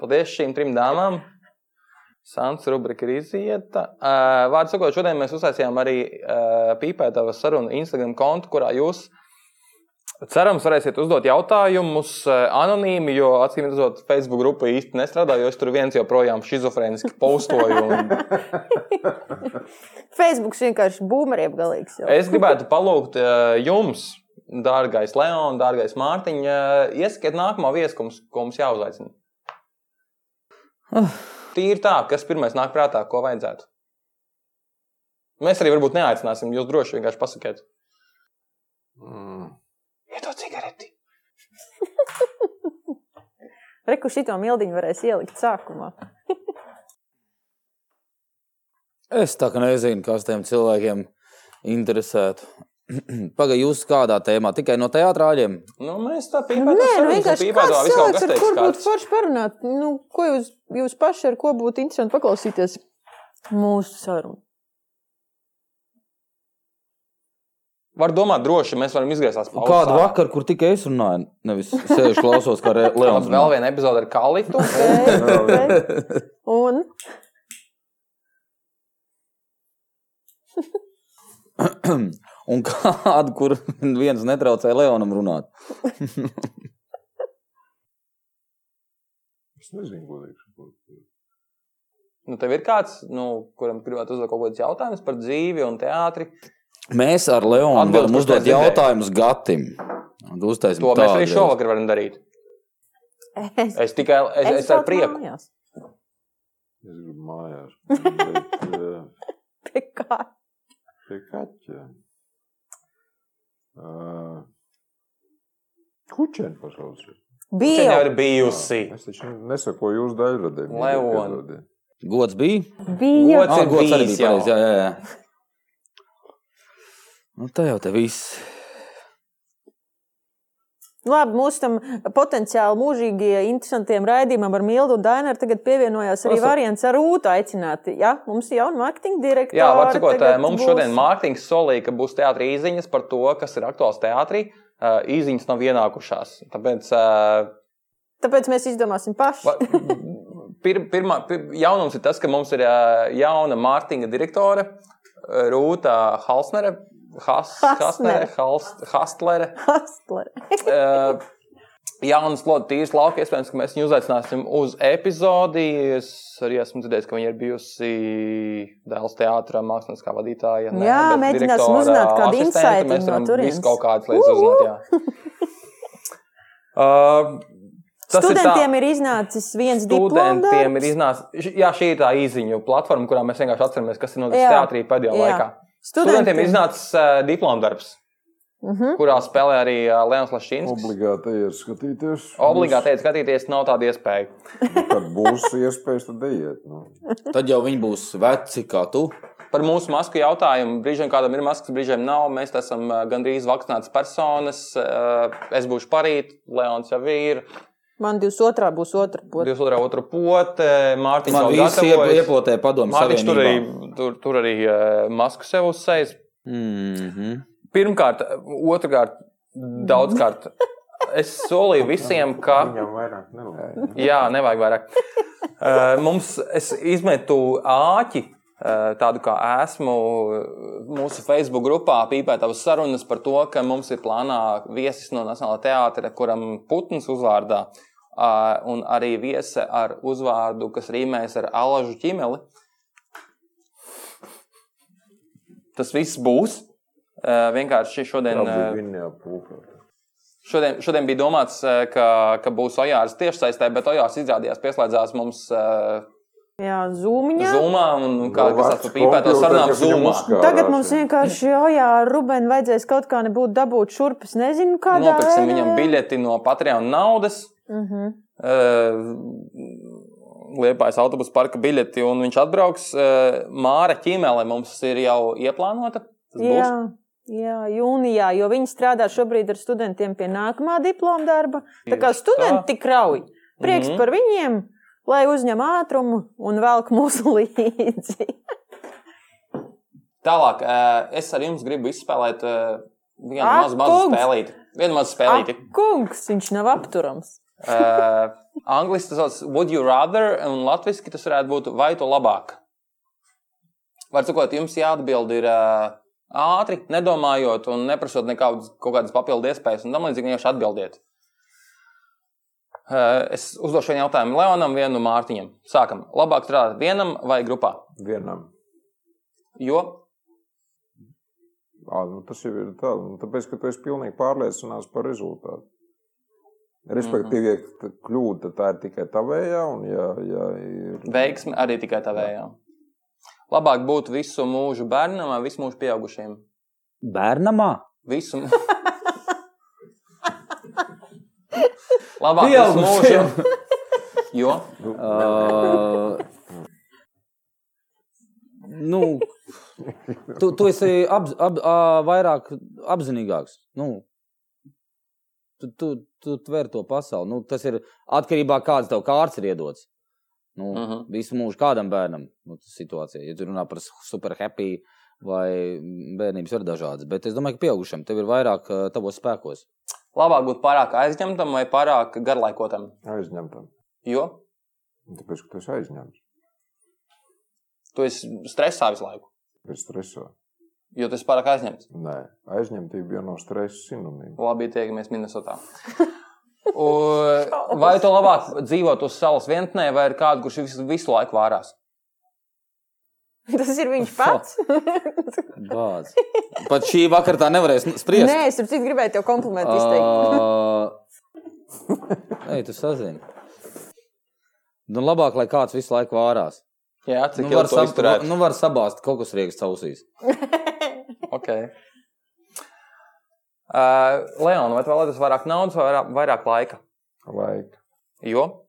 [SPEAKER 6] Paldies šīm trim dāmām. Sants rubrika ir izieta. Uh, Vārds sakot, šodien mēs uzsācījām arī uh, pīpētāvas sarunu Instagram kontu, kurā jūs cerams varēsiet uzdot jautājumus uh, anonīmi, jo acīm redzot, Facebook grupa īsti nestrādā, jo es tur viens joprojām šizofrēniski postoju. Un,
[SPEAKER 5] Facebook vienkārši būmeriem galīgs. Jau.
[SPEAKER 6] Es gribētu palūgt eh, jums, dārgais Leon, dārgais Mārtiņ, eh, ieskatiet nākamo viesu, ko mums- ko mums jāuzaicina. Tīri tā, kas pirmais nāk prātā, ko vajadzētu. Mēs arī varbūt neaicināsim, jūs droši vienkārši pasakiet. Iedod cigareti.
[SPEAKER 5] Reku šito mildiņu varēs ielikt sākumā.
[SPEAKER 3] Es tā kā nezinu, kas tiem cilvēkiem interesētu. *clears throat* Pagaidiet, jūs kādā tēmā tikai no teātrāļiem?
[SPEAKER 6] Nu, mēs tā
[SPEAKER 5] Nē, nu
[SPEAKER 6] pīpējam,
[SPEAKER 5] vienkārši kāds cilvēks, ar kur būtu forši parunāt, nu, ko jūs, jūs paši ar ko būtu interesanti paklausīties mūsu sarunu.
[SPEAKER 6] Var domāt droši, mēs varam izgriezties pauzē.
[SPEAKER 3] Kādu vakaru, kur tikai es runāju, nevis sēžu klausos, kā Re- Leons.
[SPEAKER 6] Leons, vēl viena epizode ar Kalitu.
[SPEAKER 5] Ok, ok. Un
[SPEAKER 3] Un *laughs* kādu, kur viens netraucēja Leonam runāt.
[SPEAKER 1] Es nezinu, ko teikšu.
[SPEAKER 6] *laughs* Nu, tev ir kāds, nu, kuram gribētu uzdot kaut kādus jautājumus par dzīvi un teātri.
[SPEAKER 3] Mēs ar Leonu
[SPEAKER 6] Atbildi,
[SPEAKER 3] varam
[SPEAKER 6] kur
[SPEAKER 3] uzdot
[SPEAKER 6] tu esi
[SPEAKER 3] jautājumus Gatim. Un Uztaisim
[SPEAKER 6] To mēs
[SPEAKER 3] tādu.
[SPEAKER 6] arī šovakar varam darīt.
[SPEAKER 5] es,
[SPEAKER 6] Es tikai es, es, es ar
[SPEAKER 5] braucu
[SPEAKER 6] prieku.
[SPEAKER 5] mājās. *laughs*
[SPEAKER 1] Es gribu mājās. Bet, eh,
[SPEAKER 5] Pie kā?
[SPEAKER 1] Pie kaķa. Uh, Kučēni pašlausīt.
[SPEAKER 6] Viņa Nu, jau
[SPEAKER 5] Bija,
[SPEAKER 6] ir bijusi.
[SPEAKER 1] Ah, Es taču nesaku jūsu daļradē.
[SPEAKER 6] Leon.
[SPEAKER 3] Gods bija. Ah,
[SPEAKER 5] bija.
[SPEAKER 6] Gods ir
[SPEAKER 3] gods arī
[SPEAKER 6] bijis
[SPEAKER 3] bija.
[SPEAKER 6] jau.
[SPEAKER 3] Pareiz, jā, jā, jā. Nu, tā jau te viss.
[SPEAKER 5] Labi, mūsu tam potenciāli mūžīgi interesantiem raidījumam ar Mildu un Dainu tagad pievienojās arī
[SPEAKER 6] Protams.
[SPEAKER 5] variants ar Rūtu aicināti. Jā, mums ir jauna marketinga direktora.
[SPEAKER 6] Jā, var sakot, eh,
[SPEAKER 5] tagad
[SPEAKER 6] mums
[SPEAKER 5] būs-
[SPEAKER 6] šodien Mārtiņš solīja, ka būs teātris īziņas par to, kas ir aktuāls teātrī. Uh, īziņas nav ienākušās. Tāpēc uh,
[SPEAKER 5] Tāpēc mēs izdomāsim paši.
[SPEAKER 6] va- pir, pirmā pir, jaunums ir tas, ka mums ir uh, jauna Mārtiņa direktore uh, Rūta Halsnere. Has, Hasnere,
[SPEAKER 5] Hasnere.
[SPEAKER 6] Hals, Hastlere.
[SPEAKER 5] Hastler.
[SPEAKER 6] Eh, Jaunas lodziņas, tīras lauka. Iespējams, ka mēs viņu uzaicināsim uz epizodi. Es arī esmu dzirdējis, ka viņa ir bijusi Dēls teātrā, mākslinieckā vadītāja.
[SPEAKER 5] Jā,
[SPEAKER 6] bet
[SPEAKER 5] mēģināsim
[SPEAKER 6] direktora
[SPEAKER 5] uzzināt kādu
[SPEAKER 6] asistente.
[SPEAKER 5] insightu no
[SPEAKER 6] Mēs varam
[SPEAKER 5] turienes.
[SPEAKER 6] visu kaut kādas lietas uzzināt. jā. Uh, tas ir tā.
[SPEAKER 5] Studentiem ir, ir iznācis viens
[SPEAKER 6] Studentiem ir
[SPEAKER 5] diploms.
[SPEAKER 6] iznācis, jā, šī ir tā īziņu platforma, kurā mēs vienkārši atceramies, kas ir noticis
[SPEAKER 5] Jā.
[SPEAKER 6] teātrī pēdējā
[SPEAKER 5] Jā.
[SPEAKER 6] laikā. Studentiem ir iznācis uh, diplomdarbs,
[SPEAKER 5] Uh -huh.
[SPEAKER 6] kurā spēlē arī uh, Leons Lašīns.
[SPEAKER 1] Obligāti ieskatīties.
[SPEAKER 6] Obligāti iet skatīties, nav tāda iespēja.
[SPEAKER 1] Kad būs iespējas, tad ejiet. Nu.
[SPEAKER 3] Tad jau viņi būs veci kā tu.
[SPEAKER 6] Par mūsu masku jautājumu. Brīžiem kādam ir maskas, brīžiem nav. Mēs te esam eh, gandrīz vakcinētas personas. Eh, Es būšu parīt, Leons jau ir.
[SPEAKER 5] Man 22. būs otra pota.
[SPEAKER 6] 22. otru pote, Mārtiņš
[SPEAKER 3] Man
[SPEAKER 6] jau
[SPEAKER 3] visi iep,
[SPEAKER 6] gatavojas.
[SPEAKER 3] iepotē padomu
[SPEAKER 6] Mārtiņš tur arī,
[SPEAKER 3] savienībā.
[SPEAKER 6] tur, tur arī eh, masku sev uzsēs.
[SPEAKER 3] Mhm.
[SPEAKER 6] Pirmkārt, otrkārt, daudzkārt. Es solīju visiem, ka.
[SPEAKER 1] Viņam vairāk nevajag.
[SPEAKER 6] Jā, nevajag
[SPEAKER 1] *laughs*
[SPEAKER 6] vairāk. Uh, mums, es izmetu āķi, uh, tādu kā esmu uh, mūsu Facebook grupā, pīpētavas sarunas par to, ka mums ir plānā viesis no Nacionālā teātra, kuram Putins uzvārdā, uh, un arī viese ar uzvārdu, kas rīmējas ar alažu ķimeli. Tas viss būs. Uh, vienkārši šodien. uh,
[SPEAKER 1] Viņa apūka.
[SPEAKER 6] Šodien, šodien bija domāts, eh, ka, ka būs Ojārs tiešsaistē, bet Ojārs izrādījās pieslēdzās mums eh,
[SPEAKER 5] Jā, zūmiņā.
[SPEAKER 6] Zumā un un kā
[SPEAKER 1] Vats
[SPEAKER 6] tas tur pīpē, tas
[SPEAKER 1] kompjūteri,
[SPEAKER 6] sarunām
[SPEAKER 1] kas viņam
[SPEAKER 6] zumā.
[SPEAKER 1] uzkārās.
[SPEAKER 5] Tagad mums vienkārši, jā, jā Rubēn, vajadzēs kaut kā nebūt dabūt šurp. Es nezinu, kādā
[SPEAKER 6] Nopirksim viņam biļeti no Patreon naudas. eh,
[SPEAKER 5] Mm -hmm.
[SPEAKER 6] Liepais autobusu parka biļeti, un viņš atbrauks. eh, Māra ķīmēle mums ir jau ieplānota. Tas
[SPEAKER 5] Jā,
[SPEAKER 6] būs.
[SPEAKER 5] jā, jūnijā, jo viņi strādā šobrīd ar studentiem pie nākamā diploma darba. Tā kā
[SPEAKER 6] Tieši tā.
[SPEAKER 5] studenti tik rauj. Prieks
[SPEAKER 6] Mhm.
[SPEAKER 5] par viņiem, lai uzņem ātrumu un velk mūsu *laughs* līdzi.
[SPEAKER 6] Tālāk, eh, es ar jums gribu izspēlēt eh, vienu
[SPEAKER 5] Ah,
[SPEAKER 6] mazu, mazu
[SPEAKER 5] kungs!
[SPEAKER 6] spēlīti. Vienu mazu
[SPEAKER 5] Ak,
[SPEAKER 6] spēlīti.
[SPEAKER 5] kungs, viņš nav apturams.
[SPEAKER 6] Eh, Angliski tas sauc, would you rather, un latviešu tas varētu būt vai tu labāk. Var sakot, jums jāatbild ir eh, ātri, nedomājot un neprasot nekādas kaut kādas papildu iespējas, un tam līdzīgi vienkārši atbildiet. Eh, Es uzdošu vienu jautājumu Leonam, vienu Mārtiņam. Sākam. Labāk strādāt vienam vai grupā?
[SPEAKER 1] vienam.
[SPEAKER 6] Jo
[SPEAKER 1] À, nu tas jau ir tā, nu, tāpēc, ka tu esi pilnīgi pārliecināts par rezultātu. Respektīvi, ja
[SPEAKER 6] Mhm.
[SPEAKER 1] t- kļūda tā ir tikai tavējā, un ja, ja ir
[SPEAKER 6] veiksme arī tikai tavējā. Labāk būt visu mūžu bērnam vai visu mūžu pieaugušajam?
[SPEAKER 3] Bērnamā?
[SPEAKER 6] Visu. mu- *laughs* Labāk, visu mūžu. *laughs* Jo
[SPEAKER 1] nu,
[SPEAKER 3] Uh, nu, tu, tu esi ap, ap, uh, vairāk apzinīgāks. Nu, tu tu, tu tver to pasauli. Nu, tas ir atkarībā no tā, kāds tev kārts ir iedots. Nu, uh
[SPEAKER 6] Mhm.
[SPEAKER 3] -huh. Visu mūžu kādam bērnam nu, tas situācija. Ja tu runā par su- super happy vai bērnības, var dažādas. Bet es domāju, ka pieaugušam tev ir vairāk uh, tavos spēkos.
[SPEAKER 6] labāk būt pārāk aizņemtam vai pārāk garlaikotam.
[SPEAKER 1] aizņemta.
[SPEAKER 6] Jo
[SPEAKER 1] Tāpēc, ka tu esi aizņemts,
[SPEAKER 6] tu esi stresā visu laiku,
[SPEAKER 1] bez stresa.
[SPEAKER 6] jo tu esi pārāk aizņemts.
[SPEAKER 1] Nē, aizņemtība jau nav stresa sinonīma.
[SPEAKER 6] Labi, tiekamies *laughs* Minnesotā. U, Vai tu labāk dzīvot uz salas vientnē, vai ir kāds, kurš visu, visu laiku vārās?
[SPEAKER 5] Tas ir
[SPEAKER 6] *laughs*
[SPEAKER 5] viņš pats.
[SPEAKER 3] Gāds. Pat šī vakarā tā nevarēs nu, spriest.
[SPEAKER 5] Nē, es ar citu gribēju tev komplimentu izteikt.
[SPEAKER 3] Nē, tu sazini. Nu, labāk, lai kāds visu laiku vārās.
[SPEAKER 6] Jā, cik
[SPEAKER 3] Nu,
[SPEAKER 6] ilgi
[SPEAKER 3] var,
[SPEAKER 6] tu
[SPEAKER 3] sab,
[SPEAKER 6] izturēt?
[SPEAKER 3] nu, var sabāzt kaut kas riekas ausīs.
[SPEAKER 6] Okay. Uh, Leon, vai tu vēlētos vairāk naudas vai vairāk, vairāk laika?
[SPEAKER 1] Laika.
[SPEAKER 6] Jo?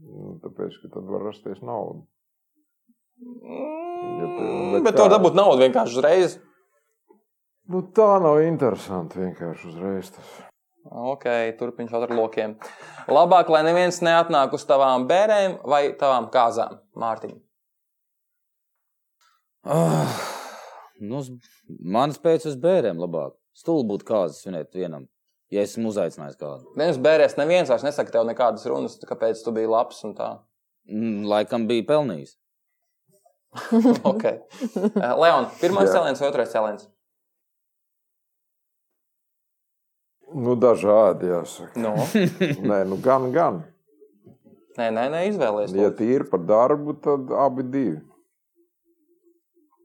[SPEAKER 1] Nu, Tāpēc, ka tad var rasties nauda. Ja tu-
[SPEAKER 6] Mm, bet tu vari
[SPEAKER 1] kā?
[SPEAKER 6] dabūt naudu vienkārši uzreiz.
[SPEAKER 1] Nu, tā nav interesanti vienkārši uzreiz. Tas.
[SPEAKER 6] Ok, turpiniet ar lokiem. Labāk, lai neviens neatnāk uz tavām bērēm vai tavām kāzām, Mārtiņ.
[SPEAKER 3] Ah, nu, uz- man spēc uz bērniem labāk. Stulbi būtu kāds svinēt vienam, ja esmu uzaicinājis kādu.
[SPEAKER 6] Neviens bērēs, neviens vairs nesaka tev nekādas runas, kāpēc tu biji labs un *laughs* tā.
[SPEAKER 3] Mm, Laikam bija pelnījis.
[SPEAKER 6] Ok. Uh, Leon, pirmais
[SPEAKER 1] Jā.
[SPEAKER 6] cēliens vai otrais cēliens?
[SPEAKER 1] Nu, dažādi
[SPEAKER 6] *laughs*
[SPEAKER 1] jāsaka.
[SPEAKER 6] Nu,
[SPEAKER 1] Nē, nu, gan, gan.
[SPEAKER 6] nē, nē, nē izvēlējies.
[SPEAKER 1] Ja tīri par darbu, tad abi divi.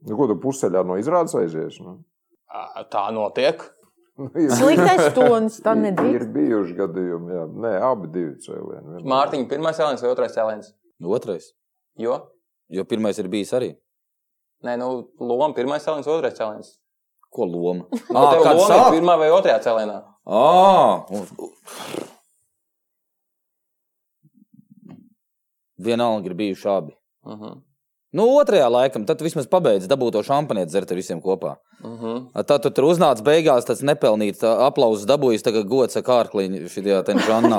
[SPEAKER 1] Nu, ko tu pusceļā no izrādes aizies? Nu? *laughs*
[SPEAKER 6] Tā notiek.
[SPEAKER 1] Nu, ir-
[SPEAKER 5] Sliktais tonis,
[SPEAKER 6] *laughs*
[SPEAKER 5] tā
[SPEAKER 1] ir-
[SPEAKER 5] nedrīkst. *laughs*
[SPEAKER 1] Ir bijuši gadījumi, jā. Nē, abi divi cēlieni. vienmēr.
[SPEAKER 6] Mārtiņ, pirmais cēliens vai otrais cēliens?
[SPEAKER 3] Otrais.
[SPEAKER 6] Jo?
[SPEAKER 3] Jo pirmais ir bijis arī.
[SPEAKER 6] Nē, nu, loma pirmā cēlonis, otrais cēlonis.
[SPEAKER 3] Ko
[SPEAKER 6] *laughs*
[SPEAKER 3] loma?
[SPEAKER 6] Nu,
[SPEAKER 3] Ah,
[SPEAKER 6] tev
[SPEAKER 3] kāds
[SPEAKER 6] loma ir
[SPEAKER 3] sāk?
[SPEAKER 6] pirmā vai otrajā cēlonā.
[SPEAKER 3] Ah, un- Vienalga ir bijuši abi.
[SPEAKER 6] Mhm.
[SPEAKER 3] Nu, otrajā laikam, tad vismaz pabeidz dabūt to šampanieti dzert ar visiem kopā.
[SPEAKER 6] Mhm.
[SPEAKER 3] Tad tu tur uznāc beigās, tas nepelnīts tā aplausus dabūjis, tagad gods ar kārkliņu šajā
[SPEAKER 4] *laughs*
[SPEAKER 3] tenžānā.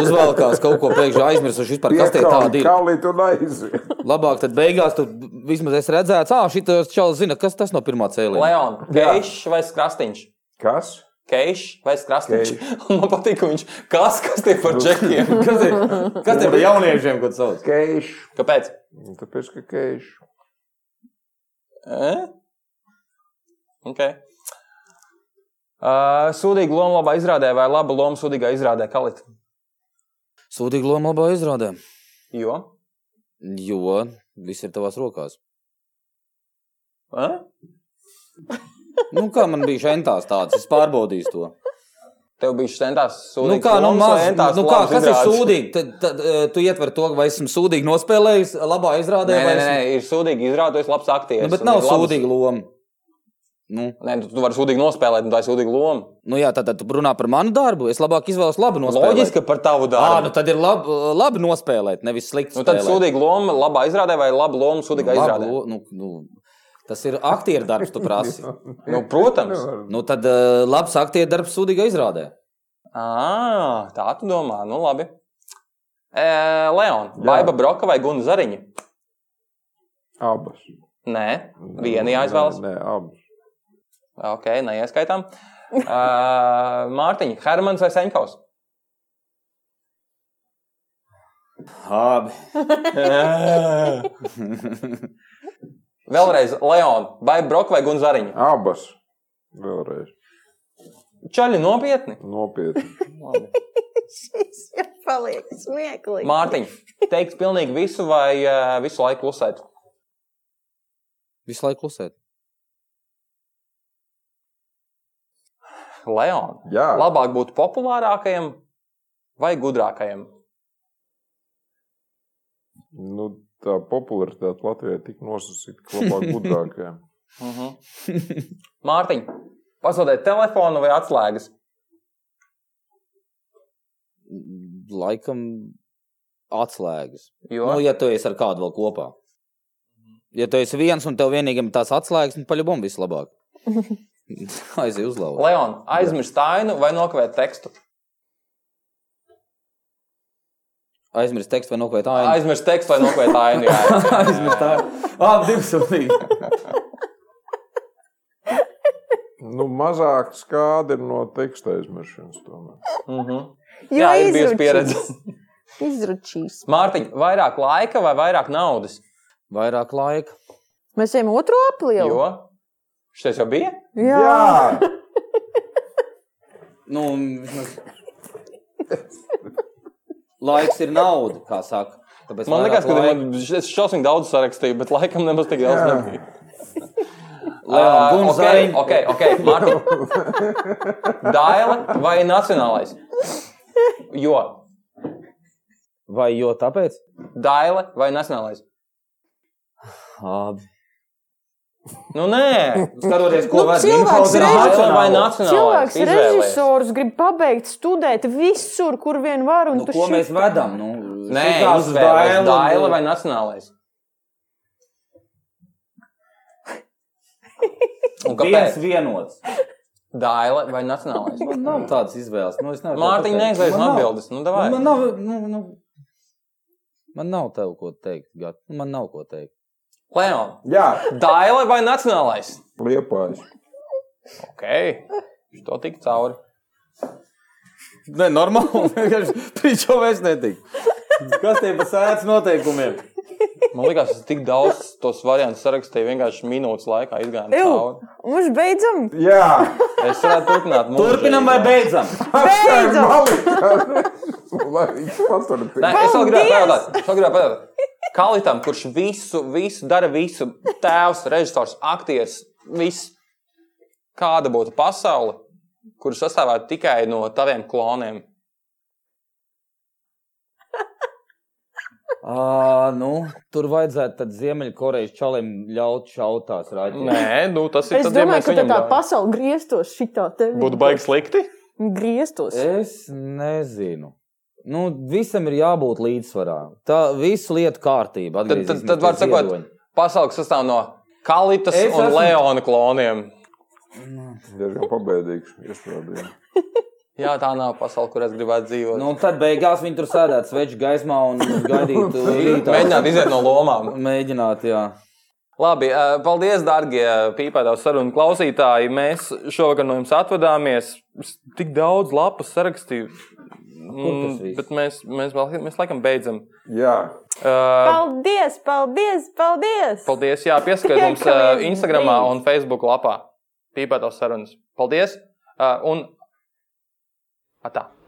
[SPEAKER 3] Uzvalkās kaut ko pēkšņi aizmirsuši vispār, kas tie
[SPEAKER 1] Piekāvi
[SPEAKER 3] tādi ir.
[SPEAKER 1] Kali tu aizies.
[SPEAKER 3] Labāk, tad beigās tu vismaz esi redzēts, ah, šitos čalis zina, kas tas no pirmā cēlīja.
[SPEAKER 6] Leon, keišs vai skrastiņš?
[SPEAKER 1] *laughs* Kas?
[SPEAKER 6] Keišs vai skrastiņš? *laughs* Man patīk, ka viņš kas, kas tie
[SPEAKER 3] Nu,
[SPEAKER 6] par
[SPEAKER 3] *laughs*
[SPEAKER 6] džekiem.
[SPEAKER 4] Kas ir? Kas ir par jauniešiem, ko tu sauc?
[SPEAKER 1] Keišs.
[SPEAKER 6] Kāpēc?
[SPEAKER 1] Nu, Tāpēc, ka keišs.
[SPEAKER 6] Eh? Okay. Uh, sūdīga loma labā izrādē vai laba loma sūdīgā izrādē kalit?
[SPEAKER 3] Sūdīgi loma labā izrādē,
[SPEAKER 6] Jo?
[SPEAKER 3] jo viss ir tavās rokās.
[SPEAKER 6] Eh?
[SPEAKER 3] Nu, kā man bija šentās tāds, es pārbaudīju to.
[SPEAKER 6] Tev bija centās
[SPEAKER 3] Nu
[SPEAKER 6] sūdzēt,
[SPEAKER 3] kā, nu, maz, nu kā, kas ir sūdīgi? Tad, tad, eh, tu ietver to, vai esmu sūdīgi nospēlējis, labā izrādē,
[SPEAKER 6] Nē,
[SPEAKER 3] vai
[SPEAKER 6] nē,
[SPEAKER 3] esmu-
[SPEAKER 6] nē, ir sūdīgi izrādījis labs aktieris.
[SPEAKER 3] Nu, bet
[SPEAKER 6] un
[SPEAKER 3] nav
[SPEAKER 6] ir labs-
[SPEAKER 3] sūdīga loma. Nu,
[SPEAKER 6] Nē, tu, tu vari sūdīgi nospēlēt, un tā ir sūdīga loma.
[SPEAKER 3] nu jā, tad, tad tu runā par manu darbu. Es labāk izvēlos labu nospēlēt.
[SPEAKER 6] Loģiski, ka par tavu
[SPEAKER 3] Ā,
[SPEAKER 6] darbu.
[SPEAKER 3] nu tad ir labi, labi nospēlēt, nevis slikti.
[SPEAKER 6] Nu, tad
[SPEAKER 3] spēlēt.
[SPEAKER 6] sūdīga loma labā izrādē vai laba loma sūdīgā
[SPEAKER 3] Labu
[SPEAKER 6] izrādē?
[SPEAKER 3] lo- Nu, nu, tas ir aktieru darbs, tu
[SPEAKER 1] *laughs*
[SPEAKER 3] prasi.
[SPEAKER 6] *laughs* Nu, protams.
[SPEAKER 3] nu, tad eh, labs aktieru darbs sūdīgā izrādē.
[SPEAKER 6] À, tā tu domā, nu labi. E, Leon, Baiba Broka vai Gunu Zariņa?
[SPEAKER 1] Abas.
[SPEAKER 6] Nē, viena jāizvēlas.
[SPEAKER 1] Nē, abas.
[SPEAKER 6] Ok, neieskaitām. E, Mārtiņa, Hermans vai Senkaus?
[SPEAKER 4] Labi.
[SPEAKER 6] Vēlreiz, Leon, Baiba Broka vai Gunu Zariņa?
[SPEAKER 1] Abas. Vēlreiz.
[SPEAKER 6] Čaļi nopietni.
[SPEAKER 3] *laughs*
[SPEAKER 1] Nopietni.
[SPEAKER 5] Šis jau paliek smieklīgi.
[SPEAKER 6] Mārtiņa, teikt pilnīgi visu vai e, visu laiku klusēt?
[SPEAKER 3] Visu laiku klusēt.
[SPEAKER 6] Leon,
[SPEAKER 1] Jā,
[SPEAKER 6] labāk būt populārākajam vai gudrākajam?
[SPEAKER 1] nu, tā popularitāte Latvijā tik nosacīta, ka labāk gudrākajam.
[SPEAKER 6] Mhm.
[SPEAKER 3] *laughs*
[SPEAKER 6] Mārtiņ, pazaudēt telefonu vai atslēgas?
[SPEAKER 3] Laikam atslēgas.
[SPEAKER 6] Jo,
[SPEAKER 3] Nu, ja tu esi ar kādu vēl kopā. Ja tu esi viens un tev vienīgam ir tās atslēgas, nu, tad paļubom vislabāk. Aizej uz lauku.
[SPEAKER 6] Leon, aizmirst ainu vai nokavēt tekstu?
[SPEAKER 3] Aizmirst tekstu vai nokavēt āņu.
[SPEAKER 6] Aizmirst tekstu vai nokavēt ainu.
[SPEAKER 3] *laughs*
[SPEAKER 6] jā.
[SPEAKER 4] Aizmirst tā. Labi, divi sūdīgi.
[SPEAKER 1] Nu, mazāk skādi ir no teksta aizmiršanas. tomēr.
[SPEAKER 6] Mhm.
[SPEAKER 5] Jo
[SPEAKER 6] Jā, ir bijusi
[SPEAKER 5] izručīs.
[SPEAKER 6] pieredze.
[SPEAKER 5] Izručīs.
[SPEAKER 6] Mārtiņ, vairāk laika vai vairāk naudas?
[SPEAKER 3] Vairāk laika.
[SPEAKER 5] Mēs ejam otru aplī.
[SPEAKER 6] Jo šis jau bija.
[SPEAKER 5] Jā.
[SPEAKER 1] Jā,
[SPEAKER 3] Nu, vismaz- *laughs* laiks ir nauda, kā saka. Tāpēc
[SPEAKER 6] Man
[SPEAKER 3] vairāk
[SPEAKER 6] liekas, ka
[SPEAKER 3] laika.
[SPEAKER 6] man- es šausmīgi daudz sarakstīju, bet laikam nemaz tik daudz
[SPEAKER 1] Jā.
[SPEAKER 6] nebija.
[SPEAKER 3] Leon, Guns,
[SPEAKER 6] okay,
[SPEAKER 3] Zariņ.
[SPEAKER 6] okay, okay, Mārtiņ.
[SPEAKER 3] *laughs*
[SPEAKER 6] Dāle vai nacionālais? Jo.
[SPEAKER 3] Vai jo tāpēc?
[SPEAKER 6] Dāle vai nacionālais?
[SPEAKER 3] Abi.
[SPEAKER 6] Nu, nē,
[SPEAKER 4] Skatoties,
[SPEAKER 5] Nu,
[SPEAKER 4] ko var
[SPEAKER 5] cilvēks
[SPEAKER 4] info-
[SPEAKER 5] reži-
[SPEAKER 6] Nacionālo vai
[SPEAKER 4] Nacionālo.
[SPEAKER 6] nacionālais?
[SPEAKER 5] Cilvēks, režisors, grib pabeigt studēt visur, kur vien var. un
[SPEAKER 3] Nu,
[SPEAKER 5] tu
[SPEAKER 3] ko
[SPEAKER 5] šit-
[SPEAKER 3] mēs vedam? Nu,
[SPEAKER 6] Nē,
[SPEAKER 4] Šitās uz
[SPEAKER 6] izvēlēties
[SPEAKER 4] Dailu,
[SPEAKER 6] dāļu
[SPEAKER 4] nu.
[SPEAKER 6] vai nacionālais.
[SPEAKER 3] nu,
[SPEAKER 6] Un
[SPEAKER 4] Viens
[SPEAKER 6] kāpēc?
[SPEAKER 4] vienots.
[SPEAKER 6] Dāļa vai nacionālais?
[SPEAKER 3] Man nav tādas izvēles. Nu, es nevaru
[SPEAKER 6] Mārtiņa
[SPEAKER 3] pateikt.
[SPEAKER 6] neizvēlas
[SPEAKER 3] Man nav.
[SPEAKER 6] atbildes. Nu, davai.
[SPEAKER 3] Man nav, nu, nu, man nav tev ko teikt, Gat. Nu, Man nav ko teikt.
[SPEAKER 6] Leon,
[SPEAKER 1] jā.
[SPEAKER 6] dāļa vai nacionālais?
[SPEAKER 1] liepājs.
[SPEAKER 6] Ok, to tik cauri.
[SPEAKER 4] Nē, normāli. vienkārši Pričo vairs netika. Kas tie par sēdz
[SPEAKER 3] *laughs*
[SPEAKER 4] noteikumiem?
[SPEAKER 6] Man liekas, es tik daudz tos variantus sarakstīju vienkārši minūtes laikā izgājām
[SPEAKER 5] Ew.
[SPEAKER 6] cauri.
[SPEAKER 5] Mums beidzam!
[SPEAKER 1] Jā,
[SPEAKER 6] Es varētu turpināt. mūžīgi.
[SPEAKER 4] Turpinam vai beidzam?
[SPEAKER 5] Beidzam!
[SPEAKER 1] *laughs* lai viņš
[SPEAKER 6] Nē,
[SPEAKER 1] paturētu.
[SPEAKER 6] es vēl gribēju
[SPEAKER 5] Paldies!
[SPEAKER 6] pajautāt, es vēl gribēju pajautāt. Kalitam, kurš visu, visu dara, visu tēvs, režisors, aktieris, viss. Kāda būtu pasaule, kur sastāvētu tikai no taviem kloniem?
[SPEAKER 3] À, nu, tur vajadzētu tad Ziemeļkorejas čalim ļaut šautās raidīt.
[SPEAKER 6] Nē, nu, tas ir
[SPEAKER 5] Es
[SPEAKER 6] tad, ja
[SPEAKER 5] domāju,
[SPEAKER 6] mēs
[SPEAKER 5] ka tā
[SPEAKER 6] viņam
[SPEAKER 5] tā
[SPEAKER 6] ļaujam.
[SPEAKER 5] pasaule grieztos šitā te.
[SPEAKER 6] Būtu baigi slikti.
[SPEAKER 5] Grieztos.
[SPEAKER 3] Es nezinu. Nu, visam ir jābūt līdzsvarā. Tā visu lietu kārtība.
[SPEAKER 6] Tad, tad, tad var sakot, pasaule sastāv no Kalitas
[SPEAKER 3] Es
[SPEAKER 6] es un
[SPEAKER 3] esmu-
[SPEAKER 6] esmu... Leona kloniem.
[SPEAKER 1] Jā, jau pabeigšu. Iestrādīju.
[SPEAKER 6] Jā, tā nav pasaule, kur es gribētu dzīvot. Nu,
[SPEAKER 3] Nu, tad beigās viņi tur sēdētu sveču gaismā un gaidītu rītā.
[SPEAKER 6] Mēģināt iziet no lomām.
[SPEAKER 3] Mēģināt, jā.
[SPEAKER 6] Labi, eh, paldies, dārgie pīpētāju sarunu klausītāji. Mēs šovakar no jums atvadāmies. Es Tik daudz lapu sarakstīju.
[SPEAKER 3] tas
[SPEAKER 6] Mm,
[SPEAKER 3] viss?
[SPEAKER 6] Bet mēs, mēs, vēl- mēs laikam beidzam.
[SPEAKER 1] Jā,
[SPEAKER 6] Eh,
[SPEAKER 5] Paldies, paldies, paldies!
[SPEAKER 6] Paldies, jā, pieskatiet mums
[SPEAKER 5] Tiekamies
[SPEAKER 6] eh, Instagram
[SPEAKER 5] drīz.
[SPEAKER 6] un Facebook lapā. Pīpētāju sarunas. Paldies! eh, Un atā!